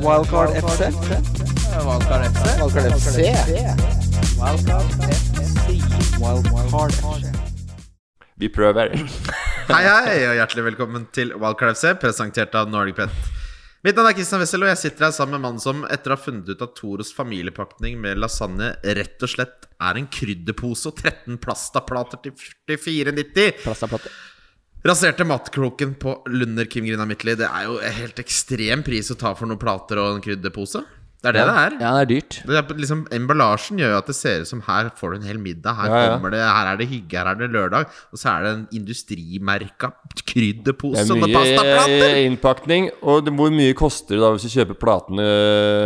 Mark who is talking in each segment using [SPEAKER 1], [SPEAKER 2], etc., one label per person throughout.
[SPEAKER 1] Wildcard FC.
[SPEAKER 2] Valgkar FC.
[SPEAKER 1] Wildcard FC. Wildcard FC.
[SPEAKER 3] Vi prøver.
[SPEAKER 4] Hei, hei, og hjertelig velkommen til Wildcard FC, presentert av Nordic Pet. Mitt navn er Christian Wessel, og jeg sitter her sammen med mannen som etter å ha funnet ut at Toros familiepakning med lasagne rett og slett er en krydderpose og 13 plastaplater til 44,90,
[SPEAKER 1] Plastaplate.
[SPEAKER 4] raserte matkroken på Lunder Kim Grina Midtly. Det er jo en helt ekstrem pris å ta for noen plater og en krydderpose. Det er det det er.
[SPEAKER 1] Ja, det er dyrt.
[SPEAKER 4] Det er liksom, emballasjen gjør jo at det ser ut som her får du en hel middag. Her
[SPEAKER 3] Ja, ja.
[SPEAKER 4] kommer det, her er det hygge, her er det lørdag. Og så er det en industrimerka
[SPEAKER 3] Det
[SPEAKER 4] krydderpose
[SPEAKER 3] er
[SPEAKER 4] med
[SPEAKER 3] mye
[SPEAKER 4] pastaplater!
[SPEAKER 3] innpakning. Og det, hvor mye koster det da hvis du kjøper platene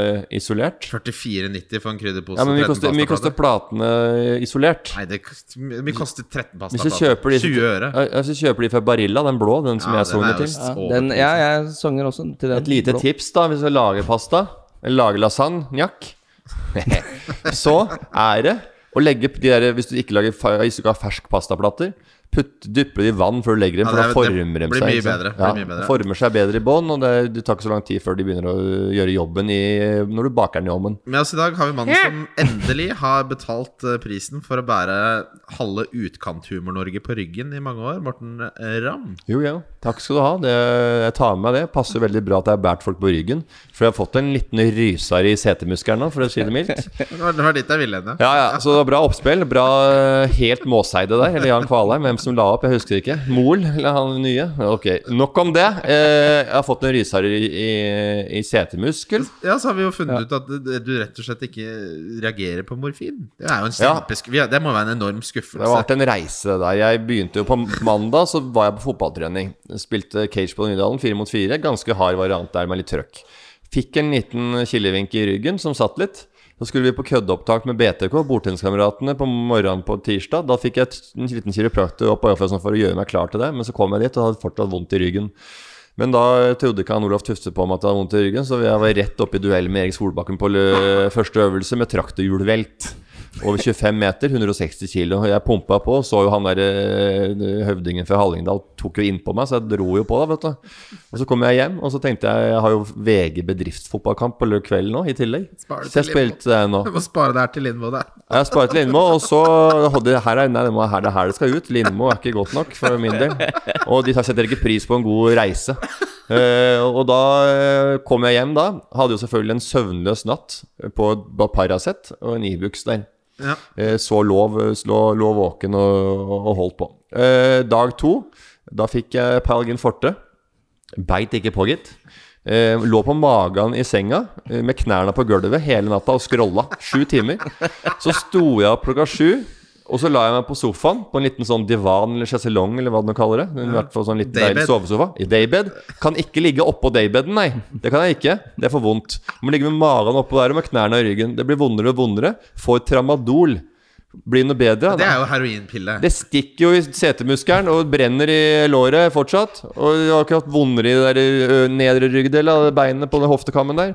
[SPEAKER 3] øh, isolert?
[SPEAKER 4] 44,90 for en krydderpose.
[SPEAKER 3] Ja, men
[SPEAKER 4] 13
[SPEAKER 3] Mye koster, mye koster
[SPEAKER 4] pastaplater.
[SPEAKER 3] platene eh, isolert.
[SPEAKER 4] Nei, det kost- mye koster 13
[SPEAKER 3] Hvis du
[SPEAKER 4] pastaplater.
[SPEAKER 3] kjøper de,
[SPEAKER 4] 20 øre.
[SPEAKER 3] Ja, Hvis du kjøper de fra Barilla, den blå, den som
[SPEAKER 4] Ja,
[SPEAKER 3] jeg
[SPEAKER 4] den
[SPEAKER 3] sogner
[SPEAKER 4] er jo
[SPEAKER 3] til.
[SPEAKER 4] s-
[SPEAKER 1] Ja, den, ja, jeg sogner også til den.
[SPEAKER 3] Et lite
[SPEAKER 1] blå.
[SPEAKER 3] tips da, hvis du lager pasta, eller lager lasagnac, så er det å legge de der, hvis du ikke lager fa- hvis du ikke har fersk pastaplater, putt, dyppe det i vann før du legger dem,
[SPEAKER 4] Ja,
[SPEAKER 3] for da
[SPEAKER 4] det er- det
[SPEAKER 3] former de
[SPEAKER 4] blir
[SPEAKER 3] seg.
[SPEAKER 4] mye
[SPEAKER 3] ikke sant?
[SPEAKER 4] bedre, blir
[SPEAKER 3] Ja,
[SPEAKER 4] mye bedre.
[SPEAKER 3] Former seg bedre i bånn, og det, det tar ikke så lang tid før de begynner å gjøre jobben i, når du baker den i ovnen.
[SPEAKER 4] Med oss i dag har vi mannen som endelig har betalt eh, prisen for å bære halve Utkant-Humor-Norge på ryggen i mange år. Morten eh, Ramm.
[SPEAKER 3] Jo, ja. Takk skal du ha. Det, jeg tar med meg det. Passer veldig bra at jeg har båret folk på ryggen. For jeg har fått en liten ryser i setemuskelen nå, for å si det mildt.
[SPEAKER 4] Det var det var dit jeg ville henne.
[SPEAKER 3] Ja, ja, så det var bra oppspill. Bra eh, helt Måseide der, eller Jan Kvalheim. Hvem som la opp, jeg husker ikke. Mol, eller han nye. Ok, nok om det. Eh, jeg har fått en ryser i, i, i setemuskel.
[SPEAKER 4] Ja, så har vi jo funnet ut at du- du rett og slett ikke reagerer på morfin. Det er jo en
[SPEAKER 3] Ja.
[SPEAKER 4] kjempeskuff... Ja. Det må være en enorm skuffelse.
[SPEAKER 3] Det har vært en reise det der. Jeg begynte jo på mandag, så var jeg på fotballtrening. Spilte cage på Nydalen, fire mot fire. Ganske hard variant der med litt trøkk. Fikk en liten kilevink i ryggen som satt litt. Så skulle vi på køddeopptak med BTK, bordtenniskameratene, på morgenen på tirsdag. Da fikk jeg t- en liten kiropraktor opp på øyefløysen for å gjøre meg klar til det, men så kom jeg dit og hadde fortsatt vondt i ryggen. Men da trodde ikke han Olaf Tufte på meg at jeg hadde vondt i ryggen, så jeg var rett oppe i duell med Erik Solbakken på lø- første øvelse med traktorhjulvelt. Over 25 meter, 160 kilo. Jeg pumpa på, så jo han der eh, høvdingen fra Hallingdal tok jo innpå meg, så jeg dro jo på da, vet du. Og så kom jeg hjem, og så tenkte jeg jeg har jo VG bedriftsfotballkamp på lø- kvelden nå, i tillegg.
[SPEAKER 4] Spar det
[SPEAKER 3] Så jeg
[SPEAKER 4] til litt.
[SPEAKER 3] spilte det nå.
[SPEAKER 4] Du må spare det her til Lindmo, det.
[SPEAKER 3] Jeg har sparet Lindmo, og så det her er, nei, det må- her, det er her det skal ut. Lindmo er ikke godt nok for min del. Og de setter ikke pris på en god reise. Eh, og da eh, kom jeg hjem da. Hadde jo selvfølgelig en søvnløs natt på et Paracet og en Ibux der.
[SPEAKER 4] Ja.
[SPEAKER 3] Eh, så lå, lå, lå våken og, og holdt på. Eh, dag to, da fikk jeg Palgin Forte. Beit ikke på, gitt. Eh, lå på magen i senga eh, med knærne på gulvet hele natta og scrolla. Sju timer. Så sto jeg opp klokka sju, og så la jeg meg på sofaen på en liten sånn divan eller sjeselong eller hva du nå kaller det. I hvert fall sånn liten
[SPEAKER 4] Daybed.
[SPEAKER 3] deilig sovesofa. I daybed. Kan ikke ligge oppå daybeden, nei. Det kan jeg ikke. Det er for vondt. Må ligge med magen oppå der og med knærne i ryggen. Det blir vondere og vondere. Får tramadol. Blir det noe bedre?
[SPEAKER 4] Det er jo heroinpille.
[SPEAKER 3] Det stikker jo i setemuskelen og brenner i låret fortsatt. Og jeg har ikke hatt vondere i det der ø, nedre ryggdel av beinet på den hoftekammen der.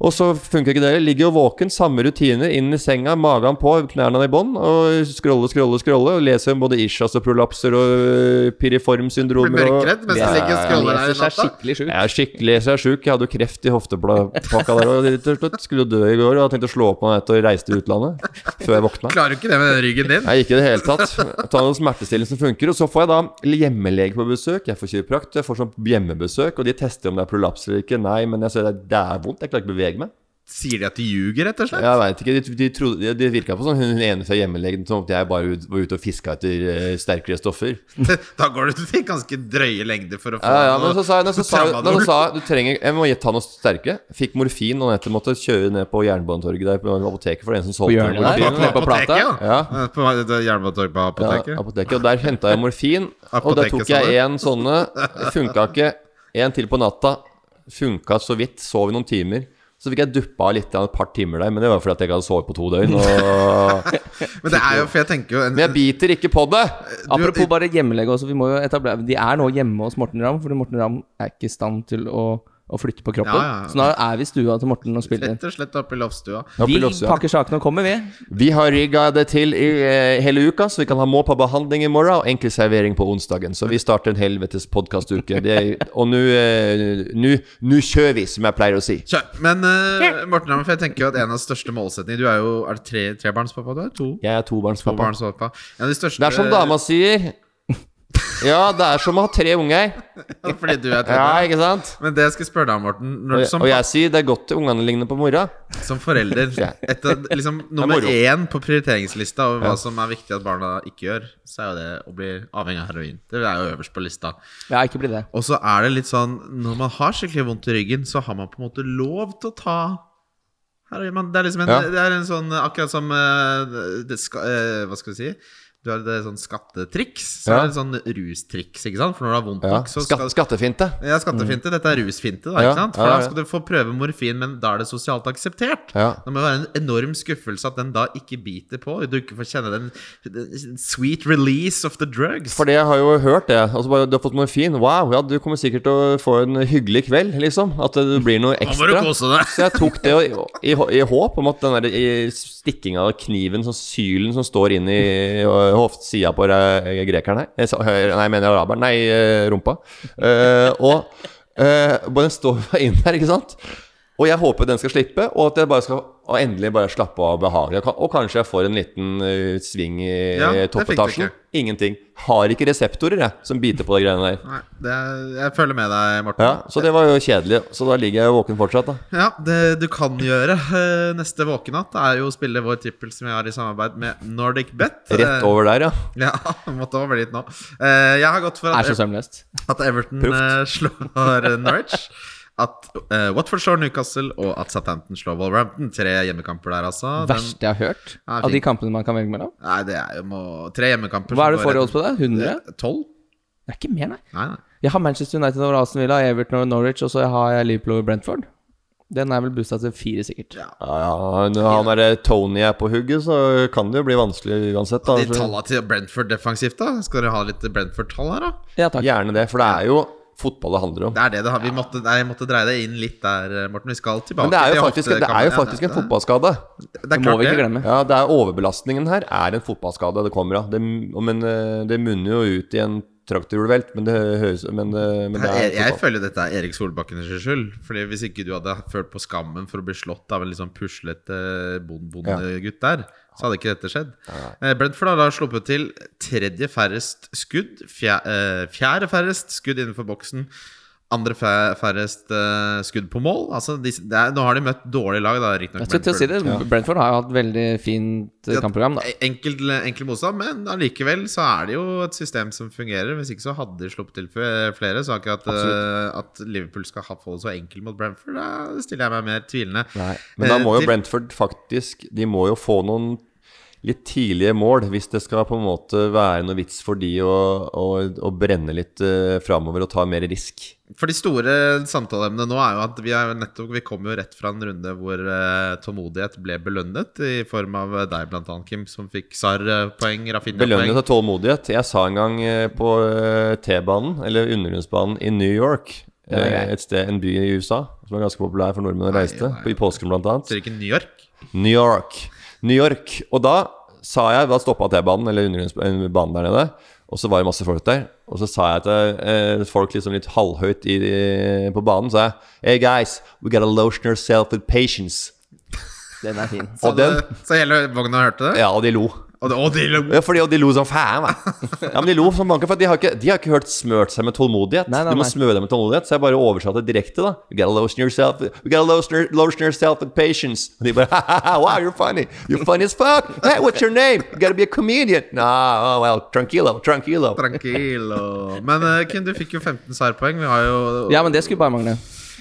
[SPEAKER 3] Og så funker ikke det. Jeg Ligger jo våken, samme rutiner, inn i senga, magen på, knærne i bånn. Og scrolle, scrolle, scrolle. Og leser om både ischias og prolapser og ø,
[SPEAKER 4] Blir
[SPEAKER 3] piriformsyndromer og
[SPEAKER 4] mørkredd mens du ligger og
[SPEAKER 1] Han
[SPEAKER 4] scroller her i
[SPEAKER 1] leser seg
[SPEAKER 4] natta.
[SPEAKER 1] skikkelig sjuk.
[SPEAKER 3] jeg er skikkelig så jeg er sjuk. Jeg hadde jo kreft i hoftepakka der. Og rett og slett skulle jo dø i går. Og hadde tenkt å slå opp meg etter å reise til utlandet før jeg våkna.
[SPEAKER 4] Klarer du ikke det med den ryggen din?
[SPEAKER 3] Nei, ikke i det hele tatt. Ta noen smertestillende som funker. Og så får jeg da hjemmelege på besøk. Jeg får kiroprakt, jeg får sånn hjemmebesøk, og de tester om det er prolaps eller ikke. Nei, men jeg ser det, det er vondt. Jeg klarer ikke å bevege meg.
[SPEAKER 4] Sier de at du ljuger, rett og slett?
[SPEAKER 3] Jeg vet ikke, De, de, trodde- de, de virka på sånn hun hun ene fra hjemmelegen som om jeg bare ut, var ute og fiska etter eh, sterkere stoffer.
[SPEAKER 4] Da går du til ganske drøye lengder for å få
[SPEAKER 3] Ja, ja,
[SPEAKER 4] noe
[SPEAKER 3] men så sa jeg, men så sa, jeg- men
[SPEAKER 4] tramadol.
[SPEAKER 3] så sa jeg, du trenger, jeg må ta noe sterkere. Fikk morfin og etter måtte kjøre ned på Jernbanetorget der på apoteket for det er en som solgte
[SPEAKER 1] hjørnet der?
[SPEAKER 3] morfin.
[SPEAKER 1] På plata?
[SPEAKER 3] Ja.
[SPEAKER 4] Ja. På Jernbanetorget på apoteket.
[SPEAKER 3] Ja, apoteket. Og der henta jeg morfin. og der
[SPEAKER 4] Apoteket,
[SPEAKER 3] tok
[SPEAKER 4] sa du?
[SPEAKER 3] jeg én sånne. Funka ikke. En til på natta. Funka så vidt. Sov i noen timer. Så fikk jeg duppa av litt et par timer der, men det var fordi at jeg ikke hadde sovet på to døgn. Og...
[SPEAKER 4] men det er jo, for jeg tenker jo en,
[SPEAKER 3] Men jeg biter ikke på det!
[SPEAKER 1] Apropos bare hjemmelege også, vi må jo etablere De er nå hjemme hos Morten Ramm, fordi Morten Ramm er ikke i stand til å og flytte på kroppen.
[SPEAKER 4] Ja, ja, ja.
[SPEAKER 1] Så nå er vi i stua til Morten og spiller.
[SPEAKER 4] Rett og slett oppe i loftstua.
[SPEAKER 3] Oppe
[SPEAKER 1] Vi
[SPEAKER 3] i Lofsøya.
[SPEAKER 1] pakker sakene og kommer, vi.
[SPEAKER 3] Vi har rigga det til i eh, hele uka, så vi kan ha må på behandling i morgen og enkel servering på onsdagen. Så vi starter en helvetes podkastuke. Og nå eh, nå- Nå kjører vi, som jeg pleier å si.
[SPEAKER 4] Kjør. Men eh, Morten Hammer, for jeg tenker jo at en av de største målsetningene Du er jo er det tre, trebarnspappa? Du er to?
[SPEAKER 3] Jeg er tobarnspappa.
[SPEAKER 4] Tobarnspappa. En av de største
[SPEAKER 3] Det er som dama sier. Ja, det er som å ha tre unger.
[SPEAKER 4] Fordi du er
[SPEAKER 3] Ja,
[SPEAKER 4] tredje.
[SPEAKER 3] ikke sant?
[SPEAKER 4] Men det jeg skal spørre deg om, Morten
[SPEAKER 3] Og
[SPEAKER 4] når,
[SPEAKER 3] jeg,
[SPEAKER 4] som,
[SPEAKER 3] og jeg sier det er godt til ungene ligner på mora.
[SPEAKER 4] som forelder
[SPEAKER 3] Ja.
[SPEAKER 4] et av- liksom, Nummer
[SPEAKER 3] moro.
[SPEAKER 4] én på prioriteringslista over hva som er viktig at barna ikke gjør, så er jo det å bli avhengig av heroin. Det er jo øverst på lista.
[SPEAKER 1] Ja, ikke bli det.
[SPEAKER 4] Og så er det litt sånn Når man har skikkelig vondt i ryggen, så har man på en måte lov til å ta Herregud, man, Det er liksom en,
[SPEAKER 3] Ja.
[SPEAKER 4] det er en sånn Akkurat som eh, det ska, eh, Hva skal vi si? Du har et sånn skattetriks. Så
[SPEAKER 3] Ja.
[SPEAKER 4] er det sånn rustriks, ikke sant? For når du har vondt
[SPEAKER 3] Ja.
[SPEAKER 4] nok, så
[SPEAKER 3] Skatt,
[SPEAKER 4] skal
[SPEAKER 3] skattefinte.
[SPEAKER 4] ja, skattefinte. Dette er rusfinte, da.
[SPEAKER 3] Mm. Ja,
[SPEAKER 4] ikke sant?
[SPEAKER 3] ja,
[SPEAKER 4] For
[SPEAKER 3] ja,
[SPEAKER 4] da
[SPEAKER 3] ja.
[SPEAKER 4] skal du få prøve morfin, men da er det sosialt akseptert.
[SPEAKER 3] Ja.
[SPEAKER 4] Det må være en enorm skuffelse at den da ikke biter på. Du ikke får kjenne den, den sweet release of the drugs.
[SPEAKER 3] For det har jeg jo hørt, det. Altså, bare, du har fått morfin. Wow, ja, du kommer sikkert til å få en hyggelig kveld, liksom. At det blir noe
[SPEAKER 4] Nå må du
[SPEAKER 3] ekstra.
[SPEAKER 4] kose deg!
[SPEAKER 3] Så jeg tok det og, i, i håp om at den der i stikkinga av kniven, sånn sylen som står inn i øh, hoftsida på øh, grekeren her Eh, så- høyre- Nei, jeg mener araberen. Nei, øh, rumpa. Eh, og eh, bare den står inn der, ikke sant? Og jeg håper den skal slippe, og at jeg bare skal og endelig bare slappe av behagelig. Og kan- Og kanskje jeg får en liten øh, sving i
[SPEAKER 4] Ja, det fikk du
[SPEAKER 3] toppetasjen.
[SPEAKER 4] ikke.
[SPEAKER 3] Ingenting. Har ikke reseptorer, jeg, som biter på de greiene der.
[SPEAKER 4] Nei, det er, jeg føler med deg, Morten.
[SPEAKER 3] Ja, Så det var jo kjedelig. Så da ligger jeg jo våken fortsatt, da.
[SPEAKER 4] Ja, det du kan gjøre eh, neste våkenatt, er jo å spille vår trippel som vi har i samarbeid med Nordic Bet.
[SPEAKER 3] Rett over der, ja.
[SPEAKER 4] Eh, Ja, måtte over dit nå. Eh, Jeg har gått for
[SPEAKER 1] Er så
[SPEAKER 4] at,
[SPEAKER 1] søvnløst.
[SPEAKER 4] at Everton
[SPEAKER 3] Proft.
[SPEAKER 4] eh, slår eh, Norwich. At eh, Watford slår Newcastle, og at Southampton slår Wolverhampton. Tre hjemmekamper der, altså. Den,
[SPEAKER 1] Verste jeg har hørt
[SPEAKER 4] Ja,
[SPEAKER 1] av de
[SPEAKER 4] fint.
[SPEAKER 1] kampene man kan velge mellom.
[SPEAKER 4] nei, det er jo må, tre hjemmekamper.
[SPEAKER 1] Hva er det for odds på det? 100?
[SPEAKER 4] Eh, Tolv?
[SPEAKER 1] Det er ikke mer, nei.
[SPEAKER 4] Nei, nei.
[SPEAKER 1] Jeg har Manchester United over Aston Villa, Everton over Norwich, og så har jeg Liverpool over Brentford. Den er vel boosta til fire, sikkert.
[SPEAKER 3] Ja, ja, når han der Tony er på hugget, så kan det jo bli vanskelig uansett. Da.
[SPEAKER 4] De
[SPEAKER 3] Så
[SPEAKER 4] tallene til Brentford defensivt, da? Skal dere ha litt Brentford-tall her, da?
[SPEAKER 1] Ja, takk.
[SPEAKER 3] Gjerne det, for det er jo fotball det handler om.
[SPEAKER 4] Det er det det har. Vi måtte, nei, jeg måtte dreie det inn litt der, eh, Morten. Vi skal tilbake
[SPEAKER 3] Men det er jo
[SPEAKER 4] til
[SPEAKER 3] faktisk, det er jo
[SPEAKER 4] hoftekampen.
[SPEAKER 3] faktisk
[SPEAKER 4] Ja,
[SPEAKER 3] en fotballskade.
[SPEAKER 4] Det, det
[SPEAKER 1] Det
[SPEAKER 4] er
[SPEAKER 1] må
[SPEAKER 4] klart
[SPEAKER 1] vi ikke
[SPEAKER 4] det.
[SPEAKER 1] glemme.
[SPEAKER 3] Ja, det er Overbelastningen her er en fotballskade det kommer av. Det, men eh, det munner jo ut i en traktorhjulvelt, men det høres Men, eh, men det er
[SPEAKER 4] Jeg, jeg
[SPEAKER 3] fotball.
[SPEAKER 4] føler dette er Erik Solbakkens skyld. Fordi Hvis ikke du hadde følt på skammen for å bli slått av en litt sånn puslete bondegutt der, så hadde ikke dette skjedd. Eh, Brentford har da sluppet til tredje færrest skudd. Fjerde, fjerde færrest skudd innenfor boksen. Andre fæ- færrest eh, skudd på mål. Altså, de, det er, nå har de møtt dårlige lag, da, riktignok.
[SPEAKER 1] Jeg skulle til å si det. Brentford har jo hatt veldig fint eh,
[SPEAKER 4] Ja,
[SPEAKER 1] kampprogram, da.
[SPEAKER 4] E-, Enkel, enkel motstand, men allikevel så er det jo et system som fungerer. Hvis ikke så hadde de sluppet til f- flere. Så akkurat eh, at Liverpool skal ha få det så enkel mot Brentford, da stiller jeg meg mer tvilende.
[SPEAKER 3] Nei. Men da må
[SPEAKER 4] Eh,
[SPEAKER 3] jo
[SPEAKER 4] til-
[SPEAKER 3] Brentford faktisk De må jo få noen litt tidlige mål, hvis det skal på en måte være noe vits for de å, å, å brenne litt uh, framover og ta mer risk.
[SPEAKER 4] For de store samtaleemnene nå er jo at vi, er jo nettopp, vi kom jo rett fra en runde hvor eh, tålmodighet ble belønnet, i form av eh, deg blant annet, Kim, som fikk eh, SAR-poeng,
[SPEAKER 3] Belønnet
[SPEAKER 4] Rafinha-poeng.
[SPEAKER 3] av tålmodighet. Jeg sa en gang eh, på eh, T-banen, eller undergrunnsbanen i New York,
[SPEAKER 1] er
[SPEAKER 3] eh,
[SPEAKER 1] greit.
[SPEAKER 3] et sted, en by i USA som er ganske populær for nordmenn å reise til,
[SPEAKER 4] nei,
[SPEAKER 3] på- i påsken blant annet.
[SPEAKER 4] Ser ikke New York?
[SPEAKER 3] New York. New York. Og da sa jeg Da stoppa T-banen, eller undergrunnsbanen der nede. Og så var det masse folk der. Og så sa jeg til eh, folk liksom litt halvhøyt i, på banen, sa jeg Hey guys, we gotta lotion ourselves with patience.
[SPEAKER 1] Den er fin.
[SPEAKER 4] Så,
[SPEAKER 3] Og den
[SPEAKER 4] det- så hele vogna hørte det?
[SPEAKER 3] Ja, og de lo.
[SPEAKER 4] Og, det- og de lo!
[SPEAKER 3] Ja, fordi og de lo som faen, da. Ja, men de lo som banker, for de har ikke, de har ikke hørt smørt seg med tålmodighet.
[SPEAKER 1] Nei, nei,
[SPEAKER 3] du må
[SPEAKER 1] nei.
[SPEAKER 3] smøre deg med tålmodighet, så jeg bare oversatte direkte, da. You gotta lotion yourself, you gotta lotion, your- lotion yourself with patience. Og de bare ha-ha-ha, wow, you're funny. You're funny as fuck. Hey, what's your name? You gotta be a comedian. No, oh, well, tranquilo, tranquilo.
[SPEAKER 4] Tranquilo. Men eh, Kim, du fikk jo 15 SAR-poeng. Vi har jo
[SPEAKER 1] Ja, men det skulle bare mangle.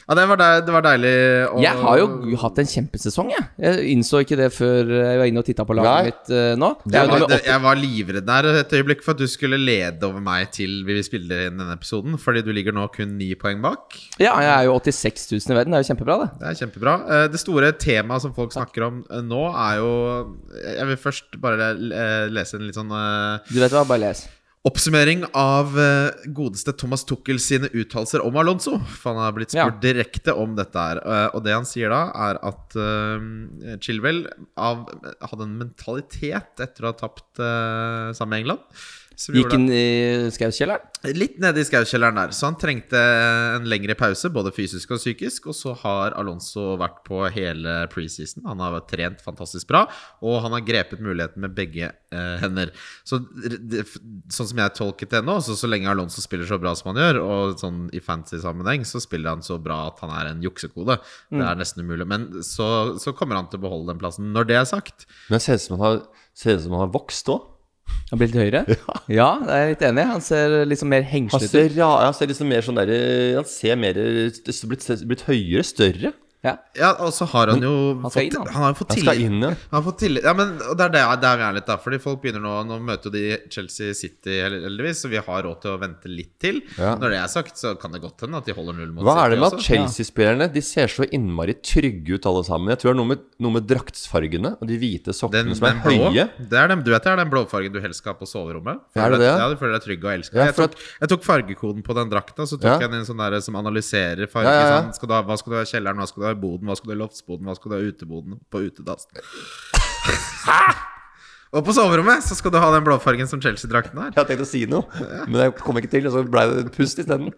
[SPEAKER 4] Ja, det var, deil, det var deilig å
[SPEAKER 1] Jeg har jo hatt en kjempesesong, jeg. Jeg innså ikke det før eh, jeg var inne og titta på laget
[SPEAKER 3] Nei.
[SPEAKER 1] mitt eh, nå. Det
[SPEAKER 4] jeg
[SPEAKER 1] er jo
[SPEAKER 4] var,
[SPEAKER 1] nummer åtte.
[SPEAKER 4] jeg var livredd der et øyeblikk for at du skulle lede over meg til vi spiller inn denne episoden, fordi du ligger nå kun ni poeng bak.
[SPEAKER 1] Ja, jeg er jo 86 000 i verden. Det er jo kjempebra, det.
[SPEAKER 4] Det er kjempebra. Eh, Det store temaet som folk snakker om eh, nå, er jo Jeg vil først bare eh, lese en litt sånn eh,
[SPEAKER 1] Du vet hva, bare les.
[SPEAKER 4] Oppsummering av eh, godeste Thomas Tuchel sine uttalelser om Alonso. For han har blitt spurt direkte om dette her. Eh, og det han sier da, er at eh, Chilwell av, hadde en mentalitet etter å ha tapt eh, sammen med England. som gjorde
[SPEAKER 1] Gikk inn i skauskjelleren.
[SPEAKER 4] Litt nede i skaukjelleren der, så han trengte en lengre pause, både fysisk og psykisk. Og så har Alonso vært på hele preseason. Han har trent fantastisk bra, og han har grepet muligheten med begge eh, hender. Så r- det, f- sånn som jeg tolket det nå, så, så lenge Alonso spiller så bra som han gjør, og sånn i fantasy-sammenheng, så spiller han så bra at han er en juksekode. Det
[SPEAKER 1] Mm.
[SPEAKER 4] er nesten umulig. Men så, så kommer han til å beholde den plassen. Når det er sagt,
[SPEAKER 3] Men det ser ut som han har, ser ut som han har vokst òg.
[SPEAKER 1] Han blir litt høyere? Ja. jeg er litt enig. Han ser liksom mer
[SPEAKER 3] Han
[SPEAKER 1] hengslete ut.
[SPEAKER 3] ser, ra- han ser liksom mer sånn der Han ser mer eh, blitt, blitt høyere, større.
[SPEAKER 1] Ja.
[SPEAKER 4] ja, og så har han jo
[SPEAKER 1] han skal
[SPEAKER 4] fått,
[SPEAKER 1] inn, han.
[SPEAKER 4] han har jo fått
[SPEAKER 3] Han
[SPEAKER 4] tillit.
[SPEAKER 3] skal inn igjen.
[SPEAKER 4] Han får tillit Ja, men og det er der, der vi er litt, da. Fordi folk begynner nå Nå møter jo de Chelsea City, hel- heldigvis, så vi har råd til å vente litt til.
[SPEAKER 3] Ja.
[SPEAKER 4] Når det er sagt, så kan det godt hende at de holder null mot
[SPEAKER 3] Hva er det med at
[SPEAKER 4] også.
[SPEAKER 3] Chelsea-spillerne De ser så innmari trygge ut, alle sammen? Jeg tror det er noe med, noe med draktfargene og de hvite
[SPEAKER 4] Den,
[SPEAKER 3] sokkene som
[SPEAKER 4] den
[SPEAKER 3] er
[SPEAKER 4] blå,
[SPEAKER 3] høye.
[SPEAKER 4] det er den, du vet det er den blåfargen du helst skal ha på soverommet?
[SPEAKER 3] Er det det?
[SPEAKER 4] Ja, du føler deg trygg og elska.
[SPEAKER 3] Ja,
[SPEAKER 4] jeg,
[SPEAKER 3] for
[SPEAKER 4] tok- jeg tok fargekoden på den drakta, så tok
[SPEAKER 3] Ja.
[SPEAKER 4] jeg den sånn der som analyserer farger.
[SPEAKER 3] Ja, ja, ja.
[SPEAKER 4] Sånn, skal du ha, hva skal du ha i kjelleren, hva skal du ha i boden, hva skal du ha i loftsboden, hva skal du ha i uteboden, på utedassen? og på soverommet så skal du ha den blåfargen som Chelsea-drakten har.
[SPEAKER 3] Jeg hadde tenkt å si noe, men jeg kom ikke til, og så ble det pust isteden.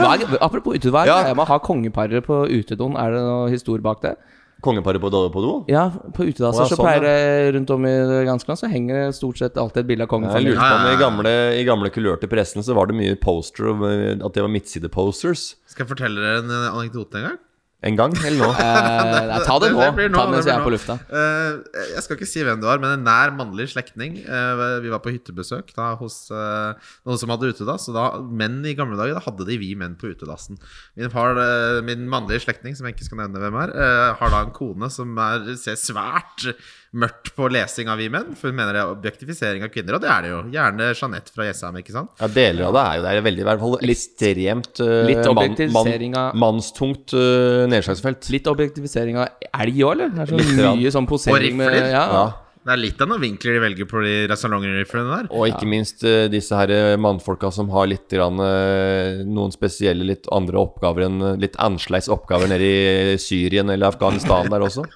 [SPEAKER 1] Hva er, apropos utedo, hva er
[SPEAKER 3] Ja.
[SPEAKER 1] greia med å ha kongeparer på utedoen? Er det noe historie bak det?
[SPEAKER 3] Kongeparet på, do- på do?
[SPEAKER 1] Ja, på utedasser
[SPEAKER 3] Å,
[SPEAKER 1] så
[SPEAKER 3] ja, sånn,
[SPEAKER 1] pleier det rundt om i det ganske land, så henger det stort sett alltid et bilde av
[SPEAKER 3] Jeg
[SPEAKER 1] kongefamilien.
[SPEAKER 3] lurte på om I gamle, i gamle kulørte pressen så var det mye poster om eh, at det var midtsideposters.
[SPEAKER 4] Skal jeg fortelle dere en eh, anekdote en gang?
[SPEAKER 3] En gang eller nå?
[SPEAKER 1] Eh, nei, ta det nå.
[SPEAKER 4] blir
[SPEAKER 1] Ta det mens jeg
[SPEAKER 4] blir
[SPEAKER 1] er
[SPEAKER 4] nå.
[SPEAKER 1] på lufta.
[SPEAKER 4] Eh, jeg skal ikke si hvem det var, men en nær mannlig slektning. eh, vi var på hyttebesøk da, hos eh, noen som hadde utedass. Og da, menn i gamle dager, da hadde de vi menn på utedassen. Min, far, eh, min mannlige slektning, som jeg ikke skal nevne hvem er, eh, har da en kone som er, ser svært mørkt på lesing av vi menn. For hun mener det er objektifisering av kvinner, og det er det jo. Gjerne Jeanette fra Jessheim, ikke sant?
[SPEAKER 3] Ja, Deler av det er jo det er veldig, i hvert fall ekstremt eh,
[SPEAKER 1] litt
[SPEAKER 3] mann-
[SPEAKER 1] objektivisering av-
[SPEAKER 3] mannstungt eh, nedslagsfelt.
[SPEAKER 1] Litt objektivisering av elg òg, eller? Det er så
[SPEAKER 3] Litt, ja.
[SPEAKER 1] mye sånn posering
[SPEAKER 4] Og
[SPEAKER 1] med
[SPEAKER 4] rifler.
[SPEAKER 1] ja.
[SPEAKER 3] Ja.
[SPEAKER 4] Det er litt av noen vinkler de velger på de salongriflene der.
[SPEAKER 3] Og ikke minst eh, disse her eh, mannfolka som har litt grann, eh, noen spesielle, litt andre oppgaver enn eh, litt annerledes oppgaver nede i Syrien eller Afghanistan der også.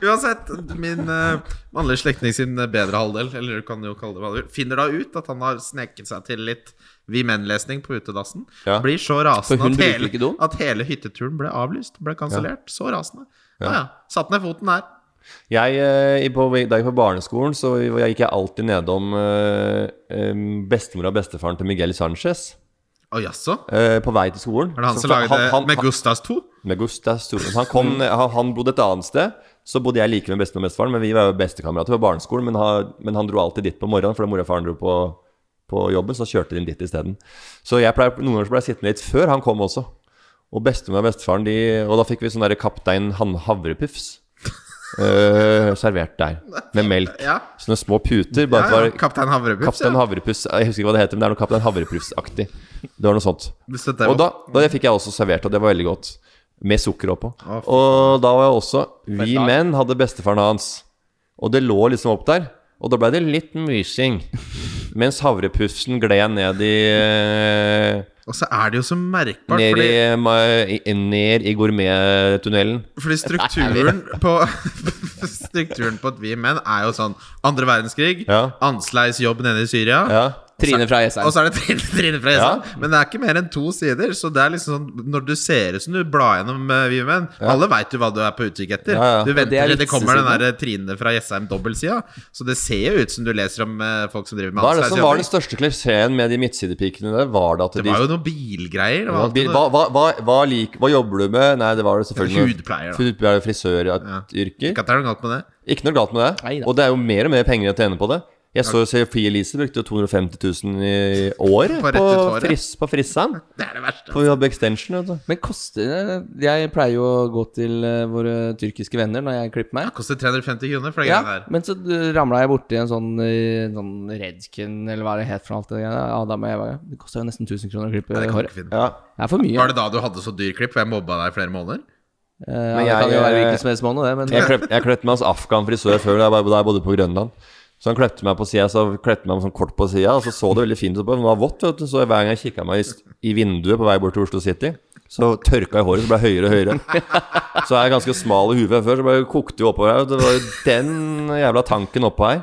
[SPEAKER 4] Uansett, min eh, mannlige slektning sin eh, bedre halvdel, eller du kan jo kalle det hva du vil, finner da ut at han har sneket seg til litt vi menn-lesning på utedassen.
[SPEAKER 3] Ja.
[SPEAKER 4] Blir så
[SPEAKER 1] For
[SPEAKER 4] rasende
[SPEAKER 1] hun
[SPEAKER 4] at
[SPEAKER 1] bruker
[SPEAKER 4] hele,
[SPEAKER 1] ikke do?
[SPEAKER 4] at hele hytteturen ble avlyst. Ble kansellert. Så rasende. Ja ja. Satt ned foten der.
[SPEAKER 3] Jeg, eh, i- på, da jeg gikk på barneskolen, så jeg gikk jeg alltid nedom eh, eh, bestemora og bestefaren til Miguel Sanchez
[SPEAKER 4] Å jaså?
[SPEAKER 3] eh, på vei til skolen.
[SPEAKER 4] Er det han
[SPEAKER 3] Så
[SPEAKER 4] som
[SPEAKER 3] fa-
[SPEAKER 4] lagde med
[SPEAKER 3] han,
[SPEAKER 4] Gustavs 2?
[SPEAKER 3] med Gustav Storlund. Han, kom,
[SPEAKER 4] Mm.
[SPEAKER 3] han, han bodde et annet sted. Så bodde jeg like med bestemor og bestefaren, men vi var jo bestekamerater på barneskolen. Men han, men han dro alltid dit på morgenen, fordi mora og faren dro på, på jobben. Så kjørte de inn dit isteden. Så jeg pleier, noen ganger så ble jeg sittende litt før han kom også. Og bestemor og bestefaren, de Og da fikk vi sånn derre Kaptein Han- Havrepufs. eh, servert der, med melk.
[SPEAKER 4] Ja.
[SPEAKER 3] Sånne små puter. Bare at
[SPEAKER 4] Ja,
[SPEAKER 3] det
[SPEAKER 4] ja.
[SPEAKER 3] var
[SPEAKER 4] Kaptein Havrepups,
[SPEAKER 3] Kaptein
[SPEAKER 4] ja.
[SPEAKER 3] Havrepufs Jeg husker ikke hva det heter, men det er noe Kaptein Havrepufs-aktig. Det var noe sånt.
[SPEAKER 4] Du støtter
[SPEAKER 3] Og
[SPEAKER 4] opp.
[SPEAKER 3] da, da fikk jeg også servert, og det var veldig godt. Med sukker oppå.
[SPEAKER 4] Å, fy
[SPEAKER 3] Og da var jeg også Vi menn hadde bestefaren hans, og det lå liksom opp der. Og da blei det litt mysing. Mens havrepufsen gled ned i eh,
[SPEAKER 4] Og så er det jo så merkbart,
[SPEAKER 3] Ned i,
[SPEAKER 4] fordi,
[SPEAKER 3] eh, ma- i- ned i gourmettunnelen.
[SPEAKER 4] fordi strukturen på Strukturen på et vi menn er jo sånn andre verdenskrig,
[SPEAKER 3] Ja.
[SPEAKER 4] Ansleis jobb nede i Syria.
[SPEAKER 3] Ja.
[SPEAKER 1] Trine fra
[SPEAKER 4] Og
[SPEAKER 1] Jessheim.
[SPEAKER 4] så er det Trine, Trine fra Esand. Men det er ikke mer enn to sider. Så det er liksom sånn Når du ser ut som du blar gjennom uh, Viven Alle veit jo hva du er på utkikk etter.
[SPEAKER 3] Ja, ja.
[SPEAKER 4] Du
[SPEAKER 1] det
[SPEAKER 4] venter
[SPEAKER 1] er
[SPEAKER 4] til det kommer den
[SPEAKER 1] vitsesiden.
[SPEAKER 4] der Trine fra Jessheim dobbeltsida. Så det ser jo ut som du leser om eh, folk som driver med
[SPEAKER 3] Hva er det som var den
[SPEAKER 4] ansvarsjobb.
[SPEAKER 3] største klisjeen med de midtsidepikene der? Var det at
[SPEAKER 4] Det
[SPEAKER 3] de
[SPEAKER 4] var jo noen bilgreier. Det var
[SPEAKER 3] hva,
[SPEAKER 4] alltid
[SPEAKER 3] hva, hva, hva, lik, hva jobber du med? Nei, det var det selvfølgelig noe-
[SPEAKER 4] Hudpleier, da.
[SPEAKER 3] Hudpleier, frisøryrker.
[SPEAKER 4] noe- Ikke at det er noe galt med det.
[SPEAKER 3] Ikke noe galt med det.
[SPEAKER 1] Neida.
[SPEAKER 3] Og det er jo mer og mer penger å tjene på det. Jeg så jo Sophie Elise brukte jo 250 000 i året
[SPEAKER 4] På
[SPEAKER 3] på,
[SPEAKER 4] rett ut håret.
[SPEAKER 3] fris, på frisseren.
[SPEAKER 4] Det er det verste. altså.
[SPEAKER 3] På jobb extension, altså. vet du.
[SPEAKER 1] Men koster det Jeg pleier jo å gå til eh, våre tyrkiske venner når jeg klipper meg.
[SPEAKER 4] Det koster 350 kroner for det
[SPEAKER 1] Ja,
[SPEAKER 4] greiene der.
[SPEAKER 1] men så ramla jeg borti en sånn, eh, sånn redskin, eller hva det het for alt det greiene. der. Adam og Eva. Det kosta jo nesten 1000 kroner å klippe
[SPEAKER 4] Det kan du
[SPEAKER 1] håret.
[SPEAKER 4] ikke finne.
[SPEAKER 3] Ja.
[SPEAKER 1] Det er for mye.
[SPEAKER 4] Var det da du hadde så dyr klipp, og jeg mobba deg i flere måneder?
[SPEAKER 1] Eh, ja,
[SPEAKER 3] Men
[SPEAKER 1] det kan
[SPEAKER 3] jeg-
[SPEAKER 1] jo være hvilken som helst måned, det, men
[SPEAKER 3] Jeg kløp- jeg kløpte meg hos afghan frisør før da jeg var- da jeg bodde på Grønland. Så han klepte meg på sida, så klepte meg sånn kort på sida, og så så det veldig fint ut. på meg. Det var vått, vet du. Så hver gang jeg kikka meg i, i vinduet på vei bort til Oslo City, så tørka jeg håret, så ble jeg høyere og høyere. Så er jeg ganske smal i huet fra før, så bare kokte jo oppover her. og Det var jo den jævla tanken oppå her.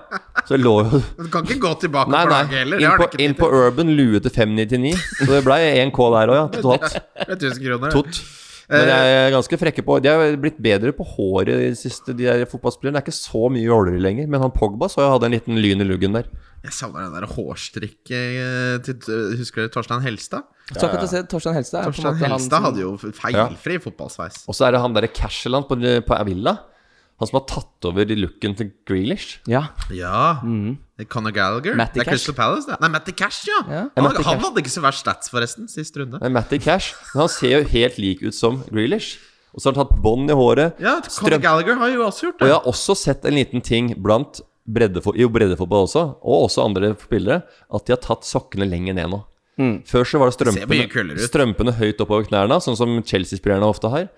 [SPEAKER 3] Så jeg lå jo
[SPEAKER 4] Du kan ikke gå tilbake
[SPEAKER 3] Nei,
[SPEAKER 4] på
[SPEAKER 3] nei.
[SPEAKER 4] laget heller. Det
[SPEAKER 3] Inn
[SPEAKER 4] har
[SPEAKER 3] på,
[SPEAKER 4] du ikke
[SPEAKER 3] inn
[SPEAKER 4] tid
[SPEAKER 3] på Urban lue til 599. Så det blei 1K der òg, ja. Totalt.
[SPEAKER 4] til. 1000 kroner.
[SPEAKER 3] Tot.
[SPEAKER 4] Eh,
[SPEAKER 3] Men jeg er ganske frekke på De er blitt bedre på håret i det siste, de der fotballspillerne. Det er ikke så mye jåleri lenger. Men han Pogba så jeg hadde en liten lyn i luggen der.
[SPEAKER 4] Jeg savner den der hårstrikket eh, til Husker dere Torstein Helstad?
[SPEAKER 1] Så akkurat å se Torstein Helstad er på en
[SPEAKER 4] Torstein
[SPEAKER 1] måte han som-
[SPEAKER 4] Helstad hadde jo feilfri fotballsveis.
[SPEAKER 3] Og så er det han derre Casheland på, på Avila. Han som har tatt over i looken til Grealish.
[SPEAKER 1] Ja.
[SPEAKER 4] Ja. Conor Gallagher.
[SPEAKER 1] Matty
[SPEAKER 4] det er
[SPEAKER 1] Cash.
[SPEAKER 4] Crystal Palace, det. Nei, Matty Cash, ja!
[SPEAKER 1] Ja.
[SPEAKER 4] Han,
[SPEAKER 3] Matty
[SPEAKER 4] han
[SPEAKER 3] Cash.
[SPEAKER 4] hadde ikke så verst stats, forresten, sist runde.
[SPEAKER 3] Det er Matty Cash. Men han ser jo helt lik ut som Grealish. Og så har han tatt bånd i håret.
[SPEAKER 4] Ja, Conor
[SPEAKER 3] strøm-
[SPEAKER 4] Gallagher har jo også gjort
[SPEAKER 3] Og
[SPEAKER 4] det.
[SPEAKER 3] jeg har også sett en liten ting blant breddefo jo, breddefotball også, og også andre spillere, at de har tatt sokkene lenger ned nå. Før så var det
[SPEAKER 4] Mm. ser mye
[SPEAKER 3] strømpene,
[SPEAKER 4] kulere ut.
[SPEAKER 3] strømpene høyt oppover knærne, sånn som Chelsea-spillerne ofte har.